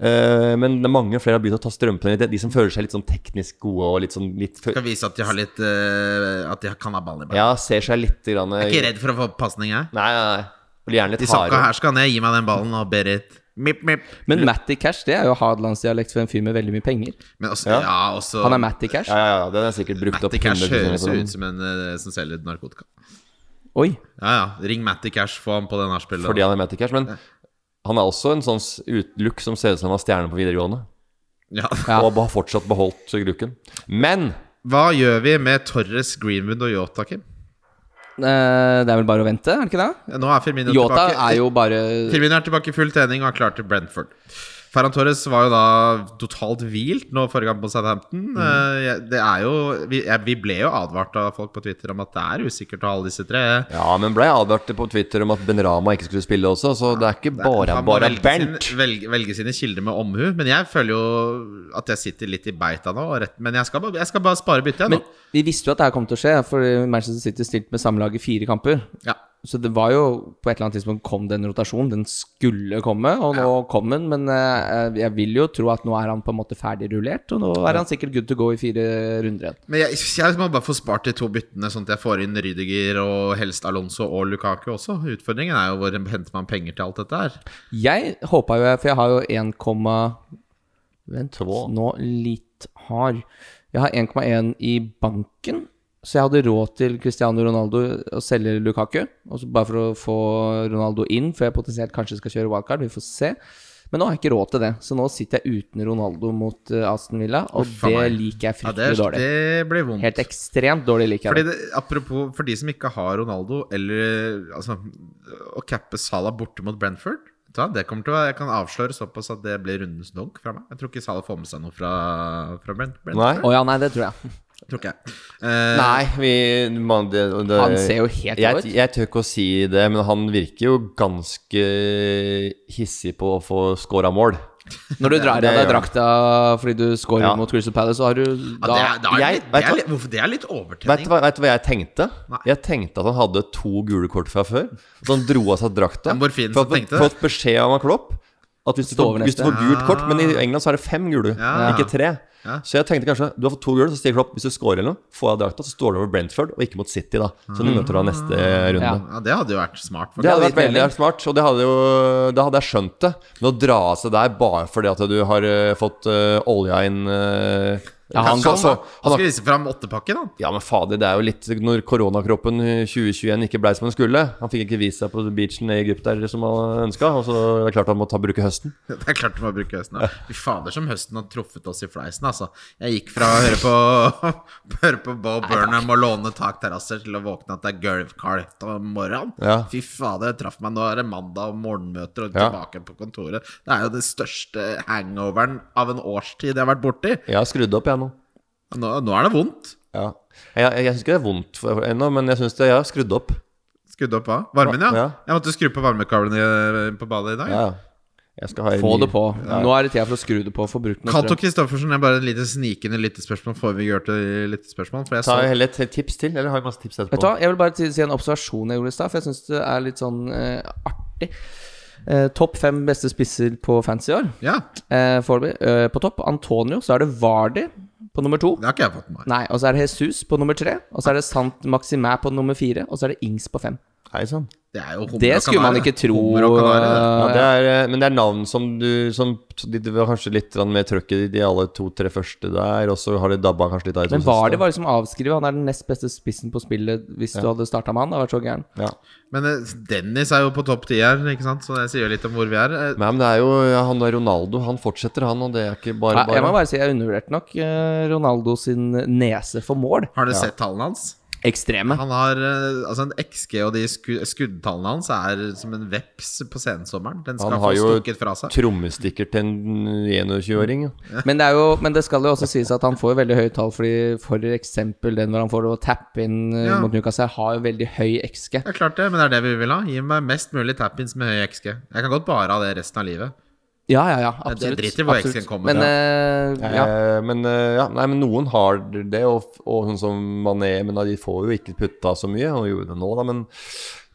[SPEAKER 3] Eh, men det er mange flere har begynt å ta strømpene ned. De som føler seg litt sånn teknisk gode og litt sånn litt fø-
[SPEAKER 4] Skal vise at de har litt eh, At de kan ha ball i ballen.
[SPEAKER 3] Ja, ser seg litt grann
[SPEAKER 4] Jeg er ikke redd for å få pasning, jeg.
[SPEAKER 3] Nei, nei, nei. Blir gjerne litt
[SPEAKER 4] De sakka
[SPEAKER 3] hardere.
[SPEAKER 4] her skal ned, gi meg den ballen og Berit. Mip, mip.
[SPEAKER 1] Men Matty Cash det er jo hardlandsdialekt for en fyr med veldig mye penger.
[SPEAKER 4] Men også, ja.
[SPEAKER 3] Ja.
[SPEAKER 4] også
[SPEAKER 1] Han er Matty Cash.
[SPEAKER 3] Ja, ja, ja. Den er sikkert brukt
[SPEAKER 4] Matty
[SPEAKER 3] opp.
[SPEAKER 4] Cash
[SPEAKER 3] 100 kroner
[SPEAKER 4] høres
[SPEAKER 3] for
[SPEAKER 1] liksom.
[SPEAKER 4] jo
[SPEAKER 3] den.
[SPEAKER 4] ut som en eh, som selger narkotika.
[SPEAKER 1] Oi.
[SPEAKER 4] Ja, ja. Ring Matty Cash, få han på det nachspielet.
[SPEAKER 3] Fordi han er Matty Cash. Men han er også en sånn s- ut- look som ser ut som han var stjerne på videregående.
[SPEAKER 4] Ja.
[SPEAKER 1] Ja.
[SPEAKER 3] Og har fortsatt beholdt looken. Men
[SPEAKER 4] Hva gjør vi med Torres, Greenwood og Yota, Kim?
[SPEAKER 1] Eh, Det er vel bare å vente, er det ikke det?
[SPEAKER 4] Nå er Firmino
[SPEAKER 1] Yota
[SPEAKER 4] tilbake.
[SPEAKER 1] er jo bare
[SPEAKER 4] Firmino er tilbake i full trening og er klar til Brentford. Ferran Torres var jo da totalt hvilt nå forrige gang på
[SPEAKER 1] Mm.
[SPEAKER 4] Southampton. Eh, jeg- Det er jo vi, jeg- vi ble jo advart av folk på Twitter om at det er usikkert å ha alle disse tre.
[SPEAKER 3] Ja, men ble advart på Twitter om at Ben Rama ikke skulle spille også, så det er ikke bare
[SPEAKER 4] Han må
[SPEAKER 3] bare
[SPEAKER 4] velge
[SPEAKER 3] Bernt.
[SPEAKER 4] sin- velge, velge sine kilder med omhu. Men jeg føler jo at jeg sitter litt i beita nå. og Rett, men jeg skal, bare- jeg skal bare spare byttet, jeg, nå.
[SPEAKER 1] Men vi visste jo at det her kom til å skje, for Manchester City stilte med samme lag i fire kamper.
[SPEAKER 4] Ja.
[SPEAKER 1] Så det var jo på et eller annet tidspunkt kom den rotasjonen. Den skulle komme, og nå kom den. Men eh, jeg vil jo tro at nå er han på en måte ferdig rullert, og nå er han sikkert good to go i fire runder igjen.
[SPEAKER 4] Men jeg, jeg må bare få spart de to byttene, sånn at jeg får inn Rydiger og helst Alonso og Lukaku også. Utfordringen er jo hvor henter man penger til alt dette her.
[SPEAKER 1] Jeg håpa jo, for jeg har jo 1, vent
[SPEAKER 3] Två.
[SPEAKER 1] nå litt hard. Jeg har 1,1 i banken, så jeg hadde råd til Cristiano Ronaldo å selge Lukaku. Og så bare for å få Ronaldo inn, før jeg potensielt kanskje skal kjøre wildcard. Vi får se. Men nå har jeg ikke råd til det, så nå sitter jeg uten Ronaldo mot eh, Aston Villa, og
[SPEAKER 4] Uff, a
[SPEAKER 1] det
[SPEAKER 4] meg.
[SPEAKER 1] liker jeg
[SPEAKER 4] Ja,
[SPEAKER 1] fryktelig
[SPEAKER 4] det, er-
[SPEAKER 1] dårlig.
[SPEAKER 4] det blir vondt.
[SPEAKER 1] Helt ekstremt dårlig liker
[SPEAKER 4] Fordi
[SPEAKER 1] jeg det.
[SPEAKER 4] det, apropos for de som ikke har Ronaldo, eller altså Å cappe Salah borte mot Brentford vet du hva, det kommer til å være, Jeg kan avsløre såpass at det blir rundens dunk fra meg. Jeg tror ikke Salah får med seg noe fra, fra Brent,
[SPEAKER 3] Nei.
[SPEAKER 4] Brentford.
[SPEAKER 1] Å ja, nei, det tror jeg.
[SPEAKER 4] Tror ikke jeg. Eh,
[SPEAKER 3] Nei, vi man, det, det,
[SPEAKER 1] Han ser jo helt rå
[SPEAKER 3] jeg,
[SPEAKER 1] ut.
[SPEAKER 3] jeg tør ikke å si det, men han virker jo ganske hissig på å få scora mål.
[SPEAKER 1] Når du drar
[SPEAKER 3] det
[SPEAKER 1] av deg
[SPEAKER 3] gjør han.
[SPEAKER 1] drakta fordi du scorer
[SPEAKER 3] Ja.
[SPEAKER 1] mot Crystal Palace, så har du
[SPEAKER 4] ja, det, er,
[SPEAKER 1] da
[SPEAKER 4] da er,
[SPEAKER 3] jeg-
[SPEAKER 4] litt,
[SPEAKER 3] vet
[SPEAKER 4] det,
[SPEAKER 3] du hva-
[SPEAKER 4] er litt, hvorfor, det er litt
[SPEAKER 3] Vet du
[SPEAKER 4] overtenning.
[SPEAKER 3] hva, vet du hva jeg tenkte?
[SPEAKER 4] Nei.
[SPEAKER 3] Jeg tenkte at han hadde to gule kort fra før. Så han dro av seg drakta.
[SPEAKER 4] Det er morfinen
[SPEAKER 3] for at-
[SPEAKER 4] som tenkte det.
[SPEAKER 3] Fått beskjed av han Klopp at hvis du,
[SPEAKER 1] Stå
[SPEAKER 3] får,
[SPEAKER 1] over
[SPEAKER 3] hvis du
[SPEAKER 1] neste.
[SPEAKER 3] får gult kort Men i England så er det fem gule,
[SPEAKER 4] Ja.
[SPEAKER 3] ikke tre.
[SPEAKER 4] Ja.
[SPEAKER 3] Så jeg tenkte kanskje du har fått to gule, så sier Klopp hvis du scorer eller noe, får jeg av drakta, så står du over Brentford og ikke mot City, da. Så du møter da neste runde.
[SPEAKER 1] Ja.
[SPEAKER 4] Ja, det hadde jo vært smart.
[SPEAKER 3] Det hadde
[SPEAKER 1] Det
[SPEAKER 3] vært
[SPEAKER 1] er litt
[SPEAKER 3] veldig smart, og det hadde jo, da hadde jeg skjønt det. Men å dra av seg der bare fordi at du har eh, fått eh, olja inn eh,
[SPEAKER 1] Ja, han-
[SPEAKER 3] så- så-
[SPEAKER 4] Han
[SPEAKER 3] han har-
[SPEAKER 4] skulle vise fram åttepakken, han.
[SPEAKER 3] ja, men fader, det er jo litt når koronakroppen 2021 ikke blei som den skulle. Han fikk ikke vist seg på beachen i Egypt der som han ønska, og så er det klart han må ta bruke høsten.
[SPEAKER 4] Det er klart du må bruke høsten. da. Fy fader, som høsten har truffet oss i fleisen, altså. Jeg gikk fra å høre på, høre på Bo Burnham og låne takterrasser til å våkne at det er gulvkaldt om morgenen.
[SPEAKER 3] Ja.
[SPEAKER 4] Fy fader, jeg traff meg nå er det mandag og morgenmøter og
[SPEAKER 3] Ja.
[SPEAKER 4] tilbake på kontoret. Det er jo den største hangoveren av en årstid jeg har vært borti.
[SPEAKER 3] Jeg har skrudd opp, jeg nå.
[SPEAKER 4] Nå, nå er det vondt.
[SPEAKER 3] Ja. Jeg, jeg, jeg syns ikke det er vondt for- ennå, men jeg syns jeg har skrudd opp.
[SPEAKER 4] Skrudd opp hva? Varmen, ja.
[SPEAKER 3] Ja.
[SPEAKER 4] Jeg måtte skru på varmekablene på badet i dag.
[SPEAKER 3] Ja. Jeg skal ha en
[SPEAKER 1] Få
[SPEAKER 3] ny-
[SPEAKER 1] det på. Nå er det tida for å skru det på. Få brukt noe
[SPEAKER 4] Cato
[SPEAKER 1] strøm.
[SPEAKER 4] Kristoffersen er bare et lite snikende lyttespørsmål. Får vi gjøre til lyttespørsmål? For jeg
[SPEAKER 3] Ta
[SPEAKER 4] så
[SPEAKER 3] heller et tips til, eller har jeg masse tips
[SPEAKER 1] Vet du
[SPEAKER 3] etterpå?
[SPEAKER 1] hva, Jeg vil bare si si en observasjon jeg gjorde i stad, for jeg syns det er litt sånn eh, artig. Eh, topp fem beste spisser på fancy i år.
[SPEAKER 4] Ja,
[SPEAKER 1] Eh, Foreløpig. Eh, på topp Antonio. Så er det Vardi på nummer to.
[SPEAKER 4] det har ikke jeg fått med meg.
[SPEAKER 1] Nei, og så er det Jesus på nummer tre. Og så er det Sant Maximæ på nummer fire. Og så er det Ings på fem.
[SPEAKER 3] Hei sann.
[SPEAKER 4] Det er jo hummer
[SPEAKER 1] Det
[SPEAKER 4] og
[SPEAKER 1] skulle man
[SPEAKER 4] kanari,
[SPEAKER 1] ikke
[SPEAKER 4] det.
[SPEAKER 1] tro.
[SPEAKER 4] Hummer og kanari, det.
[SPEAKER 3] Ja, det er, eh, men det er navn som du som, de, det var Kanskje litt grann mer trøkk i de alle to-tre første der, og så har det dabba kanskje litt av i to
[SPEAKER 1] Men Vardi
[SPEAKER 3] siste.
[SPEAKER 1] var liksom avskrevet. Han er den nest beste spissen på spillet hvis du hadde starta med han. Det hadde vært så gæren.
[SPEAKER 3] Ja.
[SPEAKER 4] Men eh, Dennis er jo på topp ti her, ikke sant? så det sier jo litt om hvor vi er. Eh,
[SPEAKER 3] Nei, men det er jo ja, han der Ronaldo, han fortsetter, han, og det er ikke bare
[SPEAKER 1] Nei, jeg må bare
[SPEAKER 3] bare.
[SPEAKER 1] si jeg undervurderte nok eh, Ronaldo sin nese for mål.
[SPEAKER 4] Har dere sett tallene hans?
[SPEAKER 1] Ekstreme.
[SPEAKER 4] Han har eh, altså en XG og de sku skuddtallene hans er som en veps på sensommeren. Den skal
[SPEAKER 3] Han har
[SPEAKER 4] få
[SPEAKER 3] jo
[SPEAKER 4] stukket fra seg.
[SPEAKER 3] trommestikker til en 21-åring. ja.
[SPEAKER 1] Men det, er jo, men det skal jo også sies at han får jo veldig høye tall, fordi for eksempel den hvor han får å tappe inn eh,
[SPEAKER 4] Ja.
[SPEAKER 1] mot Newcastle, har jo veldig høy XG.
[SPEAKER 4] Det er klart det, men det er det vi vil ha. Gi meg mest mulig tap-ins med høy XG. Jeg kan godt bare ha det resten av livet.
[SPEAKER 1] Ja, ja, ja.
[SPEAKER 4] Ja, det
[SPEAKER 1] Absolutt.
[SPEAKER 4] driter i hvor
[SPEAKER 1] absolutt.
[SPEAKER 4] XG-en kommer
[SPEAKER 1] Men eh, ja.
[SPEAKER 3] Eh, Men, eh, ja, nei, men noen har det, og, og sånn som Mané Men da, de får jo ikke putta så mye, og gjorde det nå, da, men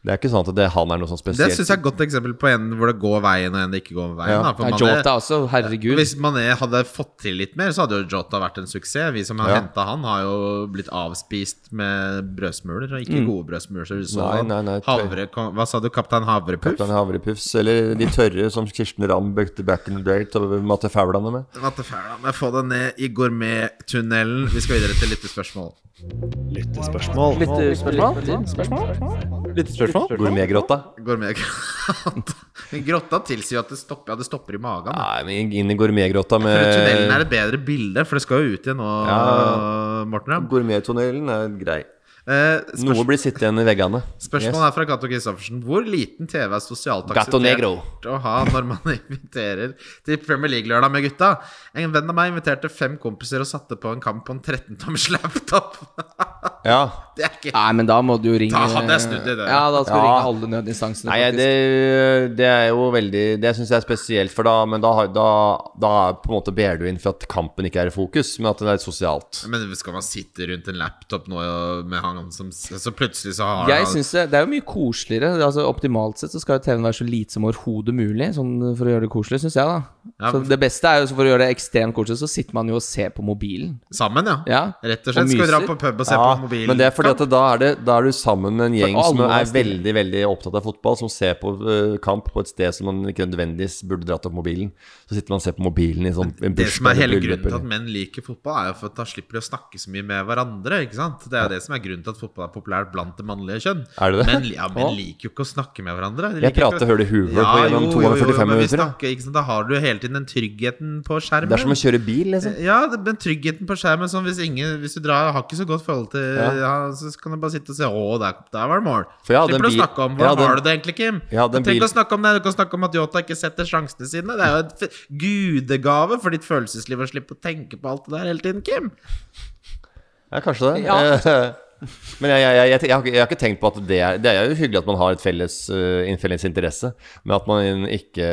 [SPEAKER 3] det er ikke sånn at det, han er noe sånn
[SPEAKER 4] Det
[SPEAKER 3] spesielt.
[SPEAKER 4] syns jeg er et godt eksempel på en hvor det går veien, og en det ikke går veien.
[SPEAKER 3] Ja.
[SPEAKER 4] Da, for
[SPEAKER 1] Nei,
[SPEAKER 4] Mané-
[SPEAKER 1] Jota også, herregud.
[SPEAKER 4] Hvis Mané hadde fått til litt mer, så hadde jo Jota vært en suksess. Vi som har
[SPEAKER 3] Ja.
[SPEAKER 4] hentet henta han, har jo blitt avspist med brødsmuler, og ikke gode brødsmuler. Så vi så
[SPEAKER 3] Nei,
[SPEAKER 4] han.
[SPEAKER 3] Mm. nei, nei,
[SPEAKER 4] Havre, hva sa du, kaptein Havrepuff?
[SPEAKER 3] Kaptein Havrepuffs, eller de tørre som Kirsten Ramm bøkte back in the day til å matte faulene med.
[SPEAKER 4] Matte Fæla, må jeg få det ned i gourmettunnelen. Vi skal videre til lyttespørsmål.
[SPEAKER 5] Lyttespørsmål.
[SPEAKER 1] Lyttespørsmål?
[SPEAKER 3] Gourmetgrotta.
[SPEAKER 4] Gourmet Men grotta tilsier jo at det stopper, ja, det stopper i magen. da.
[SPEAKER 3] Nei, men inn i gourmetgrotta
[SPEAKER 4] For tunnelen er
[SPEAKER 3] med
[SPEAKER 4] et bedre bilde, for det skal jo ut igjen nå,
[SPEAKER 3] Eh. Ja.
[SPEAKER 4] Morten. Ja.
[SPEAKER 3] Gourmettunnelen er grei.
[SPEAKER 4] Eh, spørs-
[SPEAKER 3] Noe blir sittende igjen i veggene.
[SPEAKER 4] spørsmålet er fra Cato Christoffersen. Hvor liten TV er sosialt
[SPEAKER 3] Gato Negro.
[SPEAKER 4] akseptert å ha når man inviterer til Premier League-lørdag med gutta? En venn av meg inviterte fem kompiser og satte på en kamp på en 13-tommers laptop.
[SPEAKER 3] Yes. Ja.
[SPEAKER 4] det er
[SPEAKER 3] Ah.
[SPEAKER 4] ikke
[SPEAKER 1] Nei, men da må du jo ringe
[SPEAKER 4] Da hadde jeg snudd i det.
[SPEAKER 1] Ja, da skal du
[SPEAKER 3] Ja.
[SPEAKER 1] ringe alle nødinstansene.
[SPEAKER 3] Nei,
[SPEAKER 1] faktisk.
[SPEAKER 3] det, det er jo veldig Det syns jeg er spesielt, for da Men da, har- da, da er på en måte ber du inn for at kampen ikke er i fokus, men at det er sosialt.
[SPEAKER 4] Men skal man sitte rundt en laptop nå og- med han som Så plutselig så har
[SPEAKER 1] Jeg
[SPEAKER 4] han
[SPEAKER 1] synes det, det er jo mye koseligere. Altså Optimalt sett så skal jo TV-en være så lite som overhodet mulig, sånn for å gjøre det koselig, syns jeg, da.
[SPEAKER 4] Ja,
[SPEAKER 1] så
[SPEAKER 4] men-
[SPEAKER 1] det beste er jo så for å gjøre det ekstremt koselig, så sitter man jo og ser på mobilen.
[SPEAKER 4] Sammen, ja.
[SPEAKER 1] Ja.
[SPEAKER 4] Rett og
[SPEAKER 1] Og
[SPEAKER 4] slett. Skal vi dra
[SPEAKER 1] myser.
[SPEAKER 4] på pub og se
[SPEAKER 3] Ja,
[SPEAKER 4] på mobilen?
[SPEAKER 3] men det er fordi at da er, det, da er du sammen med en gjeng
[SPEAKER 1] alle
[SPEAKER 3] som
[SPEAKER 1] er
[SPEAKER 3] er
[SPEAKER 1] stille.
[SPEAKER 3] veldig veldig opptatt av fotball, som ser på eh, kamp på et sted som man ikke nødvendigvis burde dratt opp mobilen. Så sitter man og ser på mobilen i sånn en
[SPEAKER 4] Det som er
[SPEAKER 3] bursdag eller
[SPEAKER 4] hele
[SPEAKER 3] bryllup,
[SPEAKER 4] grunnen til at
[SPEAKER 3] eller-
[SPEAKER 4] menn liker fotball, er jo for at da slipper de å snakke så mye med hverandre. ikke sant? Det er jo det som er grunnen til at fotball er populært blant det mannlige kjønn.
[SPEAKER 3] Er det det?
[SPEAKER 4] Men, ja, men liker jo ikke å snakke med hverandre. De
[SPEAKER 3] Jeg
[SPEAKER 4] liker
[SPEAKER 3] prater høl i huet på gjennom to
[SPEAKER 4] jo,
[SPEAKER 3] ganger
[SPEAKER 4] jo, jo,
[SPEAKER 3] 45
[SPEAKER 4] men vi
[SPEAKER 3] minutter. da.
[SPEAKER 4] snakker, ikke sant? Da har du jo hele tiden den tryggheten på skjermen.
[SPEAKER 3] Det er som å kjøre bil, liksom.
[SPEAKER 4] Ja, det- men tryggheten på skjermen sånn hvis, ingen, hvis du drar, har ikke så godt forhold til ja. Så kan du bare sitte og se Å, der, der var det mål.
[SPEAKER 3] For jeg hadde en
[SPEAKER 4] Slipper du å
[SPEAKER 3] bil-
[SPEAKER 4] snakke om
[SPEAKER 3] jeg
[SPEAKER 4] Hva
[SPEAKER 3] hadde en-
[SPEAKER 4] har du det egentlig, Kim?
[SPEAKER 3] jeg hadde en
[SPEAKER 4] Du trenger
[SPEAKER 3] bil-
[SPEAKER 4] ikke å snakke om det, du kan snakke om at Yota ikke setter sjansene sine. Det er jo en f gudegave for ditt følelsesliv å slippe å tenke på alt det der hele tiden, Kim.
[SPEAKER 3] Ja, kanskje det.
[SPEAKER 1] Ja.
[SPEAKER 3] Eh, Men jeg, jeg, jeg, jeg, har ikke- jeg har ikke tenkt på at det er Det er jo hyggelig at man har et felles, eh, en felles interesse, men at, man ikke,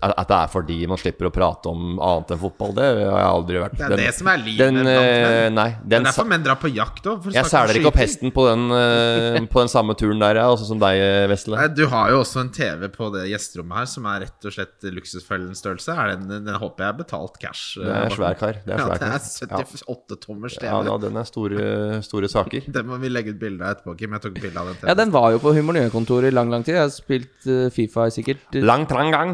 [SPEAKER 3] at det er fordi man slipper å prate om annet enn fotball, det har jeg aldri vært.
[SPEAKER 4] Det er det som er livet
[SPEAKER 3] Den,
[SPEAKER 4] blant
[SPEAKER 3] eh,
[SPEAKER 4] menn.
[SPEAKER 3] nei,
[SPEAKER 4] Det
[SPEAKER 3] den,
[SPEAKER 4] er
[SPEAKER 3] sa-
[SPEAKER 4] derfor menn drar på jakt òg.
[SPEAKER 3] jeg seler ikke opp hesten på den, eh, på den samme turen der, jeg, også som deg, eh, Vesle.
[SPEAKER 4] Du har jo også en TV på det gjesterommet her som er rett og slett luksusfellens størrelse. Er den, den håper jeg er betalt cash. eh,
[SPEAKER 3] Det er svær kar. Det er
[SPEAKER 4] Ja,
[SPEAKER 3] svær
[SPEAKER 4] det
[SPEAKER 3] kar.
[SPEAKER 4] er 78 tommers TV.
[SPEAKER 3] Ja, ja, den er store, store saker.
[SPEAKER 4] Det må vi legge ut bilde av etterpå, Kim. Jeg tok bilde av den.
[SPEAKER 1] Ja,
[SPEAKER 4] TV-en.
[SPEAKER 1] den var jo på Humor Nye-kontoret i lang, lang tid. Jeg har spilt eh, Fifa i sikkert eh,
[SPEAKER 3] Lang, trang gang.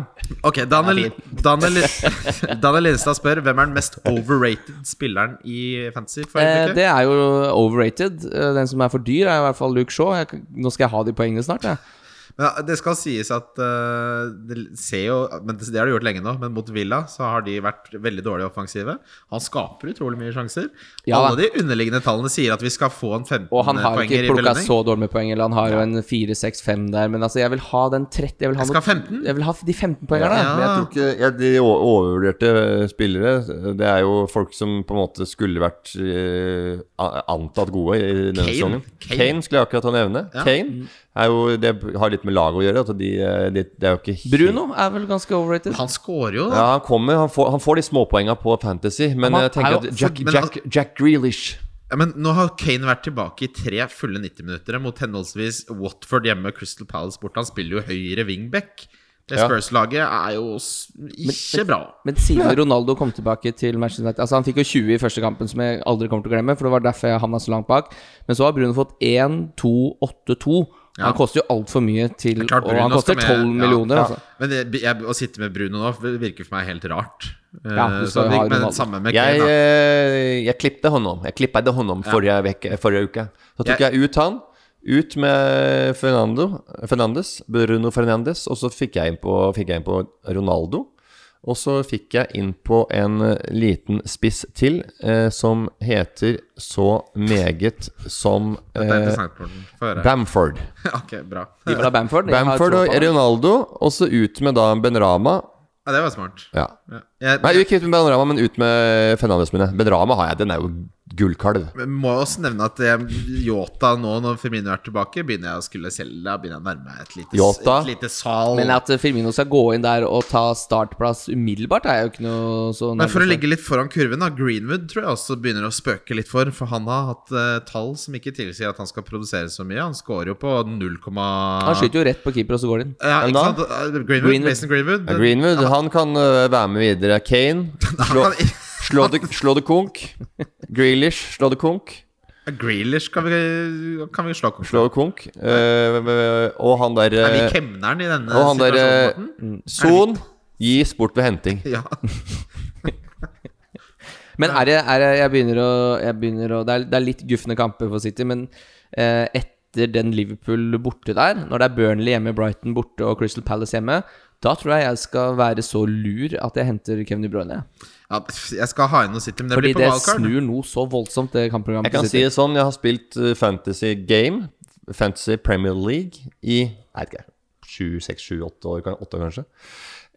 [SPEAKER 4] Ok, Daniel, Daniel, Daniel Lindstad spør hvem er den mest overrated spilleren i fantasy for
[SPEAKER 1] eh,
[SPEAKER 4] øyeblikket?
[SPEAKER 1] Det er jo overrated. Eh, Den som er for dyr, er i hvert fall Luke Shaw. Jeg, kan- nå skal jeg ha de poengene snart, jeg.
[SPEAKER 4] Men ja, det skal sies at eh, det ser jo Men det, det har de gjort lenge nå, men mot Villa så har de vært veldig dårlige offensive. Han skaper utrolig mye sjanser.
[SPEAKER 1] Ja,
[SPEAKER 4] Alle de underliggende tallene sier at vi skal få en 15
[SPEAKER 1] Og han har jo
[SPEAKER 4] poenger
[SPEAKER 1] ikke
[SPEAKER 4] i
[SPEAKER 1] plukka
[SPEAKER 4] belønning.
[SPEAKER 1] så dårlig med poeng, eller han har jo en 4-6-5 der, men altså, jeg vil ha den 30 Jeg vil ha,
[SPEAKER 4] Jeg skal
[SPEAKER 1] noe-
[SPEAKER 4] ha 15.
[SPEAKER 1] jeg vil ha de 15 poengerne.
[SPEAKER 4] Ja.
[SPEAKER 3] Men jeg tror ikke ja, De o- overvurderte eh, spillere, det er jo folk som på en måte skulle vært eh, a- antatt gode i denne
[SPEAKER 4] Kane.
[SPEAKER 3] sesongen.
[SPEAKER 4] Kane.
[SPEAKER 3] Kane. skulle jeg akkurat ha nevne.
[SPEAKER 4] Ja.
[SPEAKER 3] Kane er jo, det har litt med laget å gjøre. At de, eh, de, det er jo ikke helt-
[SPEAKER 1] Bruno er vel ganske overrated.
[SPEAKER 4] Han scorer jo, da.
[SPEAKER 3] Ja, han kommer. Han får, han får de småpoengene på Fantasy, men
[SPEAKER 1] Han
[SPEAKER 3] jeg tenker
[SPEAKER 1] er
[SPEAKER 3] at
[SPEAKER 1] jo-
[SPEAKER 3] Jack,
[SPEAKER 4] men
[SPEAKER 3] Jack, Jack Grealish
[SPEAKER 4] Ja, Men nå har Kane vært tilbake i tre fulle 90 minutter mot henholdsvis Watford hjemme og Crystal Palace borte. Han spiller jo høyre wingback. Det
[SPEAKER 3] Ja.
[SPEAKER 4] Spurs-laget er jo s- ikke bra.
[SPEAKER 1] Men siden Ronaldo kom tilbake til Manchester United Altså Han fikk jo 20 i første kampen, som jeg aldri kommer til å glemme. For det var derfor jeg havna så langt bak. Men så har Bruno fått 1, 2, 8, 2. Han koster jo altfor mye til
[SPEAKER 4] klart
[SPEAKER 1] Og han
[SPEAKER 4] Bruno skal
[SPEAKER 1] koster 12
[SPEAKER 4] med- ja,
[SPEAKER 1] millioner,
[SPEAKER 4] ja.
[SPEAKER 1] altså.
[SPEAKER 4] Men det, jeg, å sitte med Bruno nå virker for meg helt rart.
[SPEAKER 1] Ja,
[SPEAKER 4] Eh,
[SPEAKER 1] du skal
[SPEAKER 4] så
[SPEAKER 1] jo ha
[SPEAKER 4] det- men
[SPEAKER 1] Ronaldo.
[SPEAKER 4] samme med
[SPEAKER 3] Jeg,
[SPEAKER 4] Kane. da.
[SPEAKER 3] eh, jeg klippte håndom. Jeg klippet håndom forrige, veke, forrige uke. Så tok
[SPEAKER 4] Jeg-
[SPEAKER 3] jeg ut han. Ut med Fernando, Fernandes, Bruno Fernandes, og så fikk jeg inn på, fikk jeg inn på Ronaldo. Og så fikk jeg inn på en eh, liten spiss til eh, som heter så meget som
[SPEAKER 4] Det er
[SPEAKER 3] eh,
[SPEAKER 4] interessant Morten. Få høre.
[SPEAKER 3] Bamford.
[SPEAKER 4] Ok, bra.
[SPEAKER 1] De vil ha Bamford. Jeg har
[SPEAKER 3] Bamford
[SPEAKER 1] tro
[SPEAKER 3] og
[SPEAKER 1] på han.
[SPEAKER 3] Ronaldo, og så ut med da Benrama.
[SPEAKER 4] Ja, det var smart.
[SPEAKER 3] Ja.
[SPEAKER 4] Ja. Jeg,
[SPEAKER 3] Nei, ikke ut med Benrama, men ut med Fernandes mine. Benrama har jeg, den er jo gullkalv.
[SPEAKER 4] Men må jeg også nevne at jeg- Yota nå, når Firmino er tilbake, begynner jeg å skulle selge. Da begynner jeg å nærme meg et lite,
[SPEAKER 3] Jota?
[SPEAKER 4] et lite sal.
[SPEAKER 1] Men
[SPEAKER 4] Men,
[SPEAKER 1] at Firmino skal gå inn der og ta startplass umiddelbart, er jo ikke noe så
[SPEAKER 4] for å
[SPEAKER 1] nærmest.
[SPEAKER 4] ligge litt foran kurven, da Greenwood tror jeg også begynner å spøke litt for. For han har hatt eh, tall som ikke tilsier at han skal produsere så mye. Han scorer jo på 0,
[SPEAKER 1] Han skyter jo rett på keeper, og så går det inn.
[SPEAKER 4] ja,
[SPEAKER 3] Hvem
[SPEAKER 4] ikke
[SPEAKER 3] da?
[SPEAKER 4] sant? Eh, Greenwood,
[SPEAKER 1] Greenwood.
[SPEAKER 4] Mason Greenwood.
[SPEAKER 3] Ja, Greenwood han kan ø, være med videre. Kane slå,
[SPEAKER 4] Han-
[SPEAKER 3] slå, det, slå det konk. Grealish slå det konk.
[SPEAKER 4] Eh, Grealish kan vi, kan vi slå
[SPEAKER 3] Slå det konk. Eh, og han der
[SPEAKER 4] Er vi
[SPEAKER 3] eh,
[SPEAKER 4] kemneren i denne
[SPEAKER 3] Og han der
[SPEAKER 4] situasjonen? Morten?
[SPEAKER 3] eh, Son gis bort ved henting.
[SPEAKER 4] Ja.
[SPEAKER 1] Men er det, er det, jeg begynner å, jeg begynner å det, er, det er litt gufne kamper for City, men eh, etter den Liverpool borte der, når det er Burnley hjemme, Brighton borte og Crystal Palace hjemme, da tror jeg jeg skal være så lur at jeg henter Kevin De Bruyne.
[SPEAKER 4] ja. Jeg skal ha inn noe City, men det
[SPEAKER 1] Fordi
[SPEAKER 4] blir på
[SPEAKER 1] det
[SPEAKER 4] wildcard.
[SPEAKER 1] snur noe så voldsomt, det kampprogrammet
[SPEAKER 3] Jeg kan
[SPEAKER 1] til
[SPEAKER 3] si
[SPEAKER 1] City.
[SPEAKER 3] det sånn, jeg har spilt ø, Fantasy Game, Fantasy Premier League, i jeg vet ikke, sju, seks, sju, åtte år, kan- åtte år kanskje.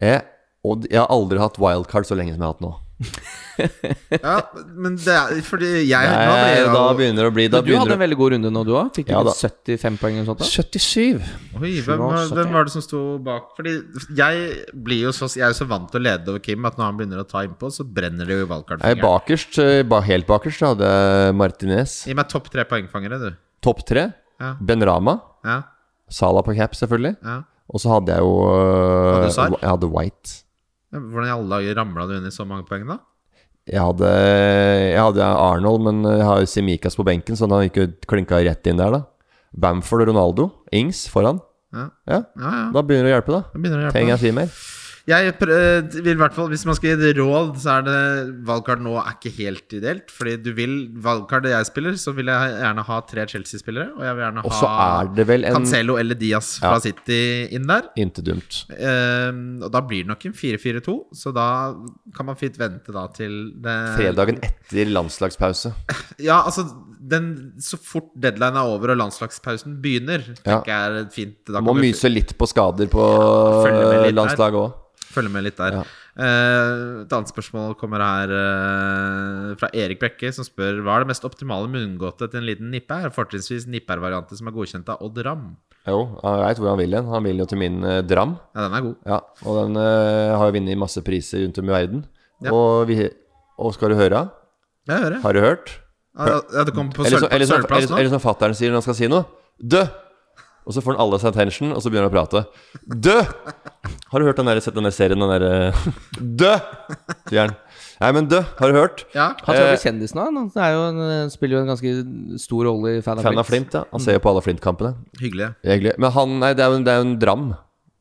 [SPEAKER 3] Eh, og jeg har aldri hatt wildcard så lenge som jeg har hatt nå.
[SPEAKER 4] Ja, men det er fordi jeg nå
[SPEAKER 3] Nei,
[SPEAKER 4] Eh, blir jeg
[SPEAKER 3] Eh, da
[SPEAKER 4] jo-
[SPEAKER 3] begynner det å bli da
[SPEAKER 1] Men du hadde
[SPEAKER 3] begynner
[SPEAKER 1] en veldig god runde nå, du òg. Fikk du
[SPEAKER 3] Ja, da.
[SPEAKER 1] 75 poeng eller noe sånt? da?
[SPEAKER 3] 77.
[SPEAKER 4] Oi, hvem, var- hvem var det som sto bak? Fordi jeg blir jo så Jeg er jo så vant til å lede over Kim at når han begynner å ta innpå, så brenner det jo i
[SPEAKER 3] Nei,
[SPEAKER 4] valgkartfingeren.
[SPEAKER 3] bakerst, eh, ba, helt bakerst så hadde jeg Martinez.
[SPEAKER 4] Gi meg topp tre poengfangere, du.
[SPEAKER 3] Topp tre.
[SPEAKER 4] Ja.
[SPEAKER 3] Benrama.
[SPEAKER 4] Ja,
[SPEAKER 3] Salah på cap, selvfølgelig.
[SPEAKER 4] ja.
[SPEAKER 3] Og så hadde jeg jo eh,
[SPEAKER 4] Hadde du Sar?
[SPEAKER 3] Jeg hadde White.
[SPEAKER 4] Hvordan i alle dager ramla du inn i så mange poeng, da?
[SPEAKER 3] Jeg hadde, jeg hadde Arnold, men eh, jeg har jo Simikaz på benken, så han gikk jo klinka rett inn der, da. Bamford og Ronaldo. Ings foran.
[SPEAKER 4] Ja.
[SPEAKER 3] Ja,
[SPEAKER 4] Ja, ja.
[SPEAKER 3] Da begynner det å hjelpe,
[SPEAKER 4] Da
[SPEAKER 3] da.
[SPEAKER 4] begynner det å
[SPEAKER 3] Trenger jeg
[SPEAKER 4] hjelpe.
[SPEAKER 3] si mer?
[SPEAKER 4] Jeg pr eh, vil i hvert fall, Hvis man skal gi et råd, så er det valgkart nå er ikke helt ideelt. Fordi du vil valgkart jeg spiller, så vil jeg gjerne ha tre Chelsea-spillere. Og jeg vil gjerne
[SPEAKER 3] Og så
[SPEAKER 4] ha
[SPEAKER 3] er det vel en
[SPEAKER 4] Cancelo eller Diaz fra
[SPEAKER 3] Ja.
[SPEAKER 4] City inn der.
[SPEAKER 3] Intet dumt.
[SPEAKER 4] Ehm, og da blir det nok en 4-4-2, så da kan man fint vente da til det
[SPEAKER 3] Fredagen etter landslagspause.
[SPEAKER 4] Ja, altså den, Så fort deadline er over og landslagspausen begynner,
[SPEAKER 3] Ja.
[SPEAKER 4] tenker jeg er fint. Da
[SPEAKER 3] Må
[SPEAKER 4] kan vi
[SPEAKER 3] myse litt på skader på
[SPEAKER 4] følge med litt der.
[SPEAKER 3] landslaget òg.
[SPEAKER 4] følge med litt der.
[SPEAKER 3] Ja.
[SPEAKER 4] Eh, et annet spørsmål kommer her eh, fra Erik Brekke, som spør hva er det mest optimale munngåte til en liten nippe her? Fortrinnsvis nippervarianter som er godkjent av Odd Ram.
[SPEAKER 3] Jo, han veit hvor han vil hen. Han vil jo til min eh, Dram.
[SPEAKER 4] Ja, den er god.
[SPEAKER 3] Ja, og den eh, har jo vunnet masse priser rundt om i verden.
[SPEAKER 4] Ja.
[SPEAKER 3] Og, vi, og skal du høre?
[SPEAKER 4] Jeg hører.
[SPEAKER 3] Har du hørt?
[SPEAKER 4] Ja, ja, du kom på
[SPEAKER 3] Eller så-
[SPEAKER 4] sølv-
[SPEAKER 3] eller så-
[SPEAKER 4] sølvplass
[SPEAKER 3] eller- eller
[SPEAKER 4] nå?
[SPEAKER 3] som fattern sier når han skal si noe. Dø! Og så får han alles attention, og så begynner han å prate. Dø! Har du hørt den der, sett den der serien, den derre Dø! sier han. Nei, men dø, har du hørt?
[SPEAKER 4] Ja.
[SPEAKER 1] Han
[SPEAKER 3] Eh,
[SPEAKER 1] tror jeg blir kjendis nå. Han er jo en, spiller jo en ganske stor rolle i Fan
[SPEAKER 3] Fan av Flint, ja. Han ser jo på alle Flint-kampene.
[SPEAKER 4] Hyggelig.
[SPEAKER 3] Det er Hyggelig. Men han, nei, det er jo, det er jo en dram.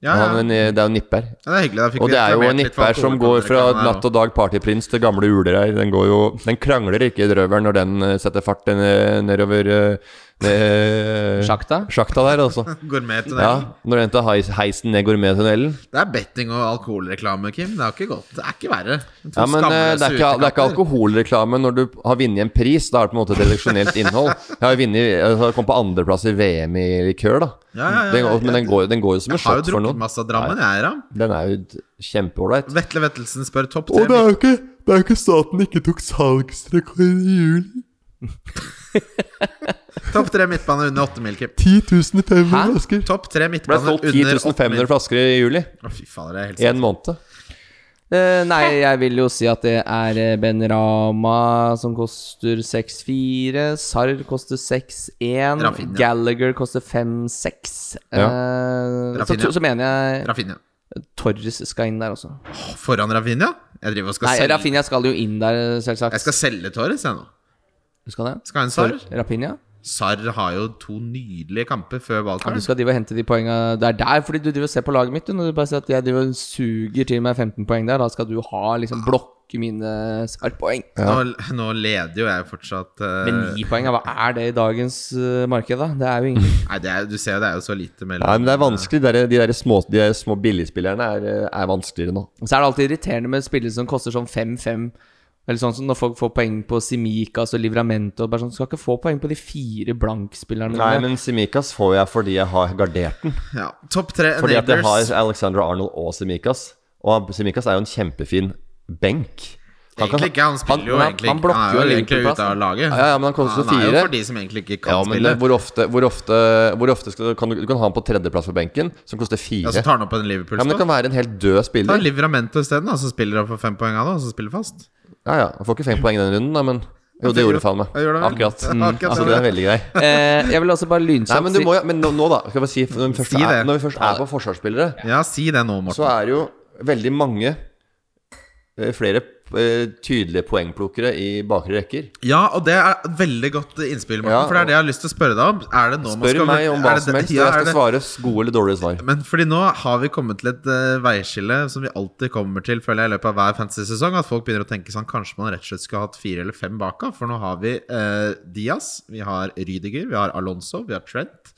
[SPEAKER 4] Ja, ja.
[SPEAKER 3] Han, er en- eh, det er jo en nipper.
[SPEAKER 4] Ja, det er hyggelig. Da fikk
[SPEAKER 3] Og
[SPEAKER 4] vi
[SPEAKER 3] det er jo
[SPEAKER 4] reklamert
[SPEAKER 3] en
[SPEAKER 4] litt for
[SPEAKER 3] nipper som
[SPEAKER 4] alkohol på
[SPEAKER 3] går
[SPEAKER 4] den
[SPEAKER 3] fra
[SPEAKER 4] reklamen her
[SPEAKER 3] natt
[SPEAKER 4] også.
[SPEAKER 3] og dag partyprins til gamle uler her. Den, går jo, den krangler ikke i drøvelen når den eh, setter fart ned- nedover eh, ned- eh,
[SPEAKER 1] Sjakta?
[SPEAKER 3] sjakta der, altså.
[SPEAKER 4] Gourmettunnel.
[SPEAKER 3] Ja, når den tar heis- heisen ned gourmettunnelen.
[SPEAKER 4] Det er betting og alkoholreklame, Kim. Det er jo ikke godt. Det er ikke verre. sånn To
[SPEAKER 3] Ja, men eh,
[SPEAKER 4] skamløse
[SPEAKER 3] det er, ikke, det er ikke
[SPEAKER 4] utekatter.
[SPEAKER 3] alkoholreklame når du har vunnet en pris. Da er det på en måte et redaksjonelt innhold. Jeg har vunnet Jeg har kommet på andreplass i VM i likør, da.
[SPEAKER 4] Ja, ja, ja,
[SPEAKER 3] Den,
[SPEAKER 4] ja,
[SPEAKER 3] men den går, den går jo som en
[SPEAKER 4] Jeg har jo
[SPEAKER 3] shot for
[SPEAKER 4] drukket
[SPEAKER 3] noen.
[SPEAKER 4] masse av Drammen, jeg, Ram.
[SPEAKER 3] Den er jo d- kjempeålreit.
[SPEAKER 4] Vetle Vettelsen spør topp tre.
[SPEAKER 3] er jo ikke, staten ikke tok salgsrekord i juli.
[SPEAKER 4] Topp tre midtbane under åtte mil, Kim.
[SPEAKER 3] 10.500
[SPEAKER 1] Hæ?
[SPEAKER 3] flasker.
[SPEAKER 4] Topp tre
[SPEAKER 3] Ble
[SPEAKER 4] midtbane
[SPEAKER 3] solgt
[SPEAKER 4] Altså, under åtte
[SPEAKER 3] 10.500
[SPEAKER 4] mil.
[SPEAKER 3] flasker i juli.
[SPEAKER 4] Å, fy fader, det er helt
[SPEAKER 3] En
[SPEAKER 4] sant.
[SPEAKER 3] måned.
[SPEAKER 1] Eh, nei, jeg vil jo si at det er eh, Ben Rama som koster 6-4. Sar koster 6-1.
[SPEAKER 4] Rafinha.
[SPEAKER 1] Gallagher koster 5-6. Eh, så,
[SPEAKER 4] Rafinha.
[SPEAKER 1] så mener jeg
[SPEAKER 4] Rafinha.
[SPEAKER 1] Torres skal inn der også.
[SPEAKER 4] Foran Rafinha? Jeg driver og skal
[SPEAKER 1] Nei,
[SPEAKER 4] selge
[SPEAKER 1] Rafinha skal jo inn der, eh, selvsagt.
[SPEAKER 4] Jeg skal selge Torres, jeg nå.
[SPEAKER 1] Skal det?
[SPEAKER 4] Skal ha en Sar.
[SPEAKER 1] Rapinha?
[SPEAKER 4] Sar har jo to nydelige kamper før
[SPEAKER 1] Ja,
[SPEAKER 4] valgkamp.
[SPEAKER 1] du skal drive og hente de poengene Det er der, fordi du driver og ser på laget mitt. du, Når du bare sier at jeg driver og suger til meg 15 poeng der, da skal du ha liksom blokke mine Sar-poeng.
[SPEAKER 4] nå, nå leder jo jeg fortsatt eh,
[SPEAKER 1] Men 9 poeng, hva er det i dagens eh, marked, da? Det er jo ingenting.
[SPEAKER 4] Nei, det er, du ser jo det er jo så lite mellom
[SPEAKER 3] Nei, men det er vanskelig. De der, de der små, de der små billigspillerne er, eh, er vanskeligere nå.
[SPEAKER 1] Og Så er det alltid irriterende med spillere som koster sånn 5-5. Eller sånn som Når folk får poeng på Simicas og Livramento. og Bare sånn, du skal ikke få poeng på de fire blankspillerne.
[SPEAKER 3] Nei,
[SPEAKER 1] dine.
[SPEAKER 3] men Simikaz får jeg fordi jeg har gardert den.
[SPEAKER 4] Ja. Topp tre
[SPEAKER 3] Fordi at jeg
[SPEAKER 4] enablers.
[SPEAKER 3] har Alexander Arnold og Simikaz. Og Simikaz er jo en kjempefin benk. Han kan-
[SPEAKER 4] Egentlig ikke, han spiller jo
[SPEAKER 1] han-
[SPEAKER 4] egentlig
[SPEAKER 1] han blokker
[SPEAKER 4] Han er jo
[SPEAKER 1] jo
[SPEAKER 4] egentlig
[SPEAKER 1] Liverpool-plassen.
[SPEAKER 4] ute av laget.
[SPEAKER 3] Ja, ja, men han koster
[SPEAKER 4] Han er jo
[SPEAKER 3] fire.
[SPEAKER 4] for de som egentlig ikke kan
[SPEAKER 3] Ja, men
[SPEAKER 4] spille.
[SPEAKER 3] det, hvor ofte, hvor ofte, hvor ofte skal, du- kan du, du kan ha han på tredjeplass på benken, som koster fire.
[SPEAKER 4] Ja, så tar han opp en liverpool
[SPEAKER 3] Ja, men Det kan være en helt død
[SPEAKER 4] Ta
[SPEAKER 3] spiller.
[SPEAKER 4] Livramento isteden, da, som spiller opp for fem poeng av det, og så spiller fast.
[SPEAKER 3] Ja, ja, Han får ikke fem poeng i den runden, da, men jo, det gjorde faen meg.
[SPEAKER 4] Ja, gjorde det vel?
[SPEAKER 3] Akkurat.
[SPEAKER 4] Ja, akkurat,
[SPEAKER 3] Altså,
[SPEAKER 4] det
[SPEAKER 3] det
[SPEAKER 4] var
[SPEAKER 3] er veldig grei.
[SPEAKER 1] eh, jeg vil også bare lynkjapt
[SPEAKER 3] Nei, men, du må, jo- men nå, nå, da. Skal jeg bare si, når vi først,
[SPEAKER 4] Si det.
[SPEAKER 3] er, når vi først er på forsvarsspillere,
[SPEAKER 4] Ja, si det nå,
[SPEAKER 3] så
[SPEAKER 4] Morten.
[SPEAKER 3] er det jo veldig mange eh, flere eh, tydelige poengplukkere i bakre rekker.
[SPEAKER 4] Ja, og det er et veldig godt innspill, Morten,
[SPEAKER 3] Ja,
[SPEAKER 4] for det er det jeg har lyst til å spørre deg om. Er det nå man
[SPEAKER 3] Spør
[SPEAKER 4] skal
[SPEAKER 3] meg om hva
[SPEAKER 4] er det-
[SPEAKER 3] som helst,
[SPEAKER 4] ja,
[SPEAKER 3] og jeg
[SPEAKER 4] er det-
[SPEAKER 3] skal svare gode eller dårlige svar.
[SPEAKER 4] Men fordi nå har vi kommet til et eh, veiskille som vi alltid kommer til føler jeg, i løpet av hver fantasy-sesong. At folk begynner å tenke sånn Kanskje man rett og slett skulle hatt fire eller fem baka. For nå har vi eh, Diaz, vi har Rydiger, vi har Alonso, vi har Trent.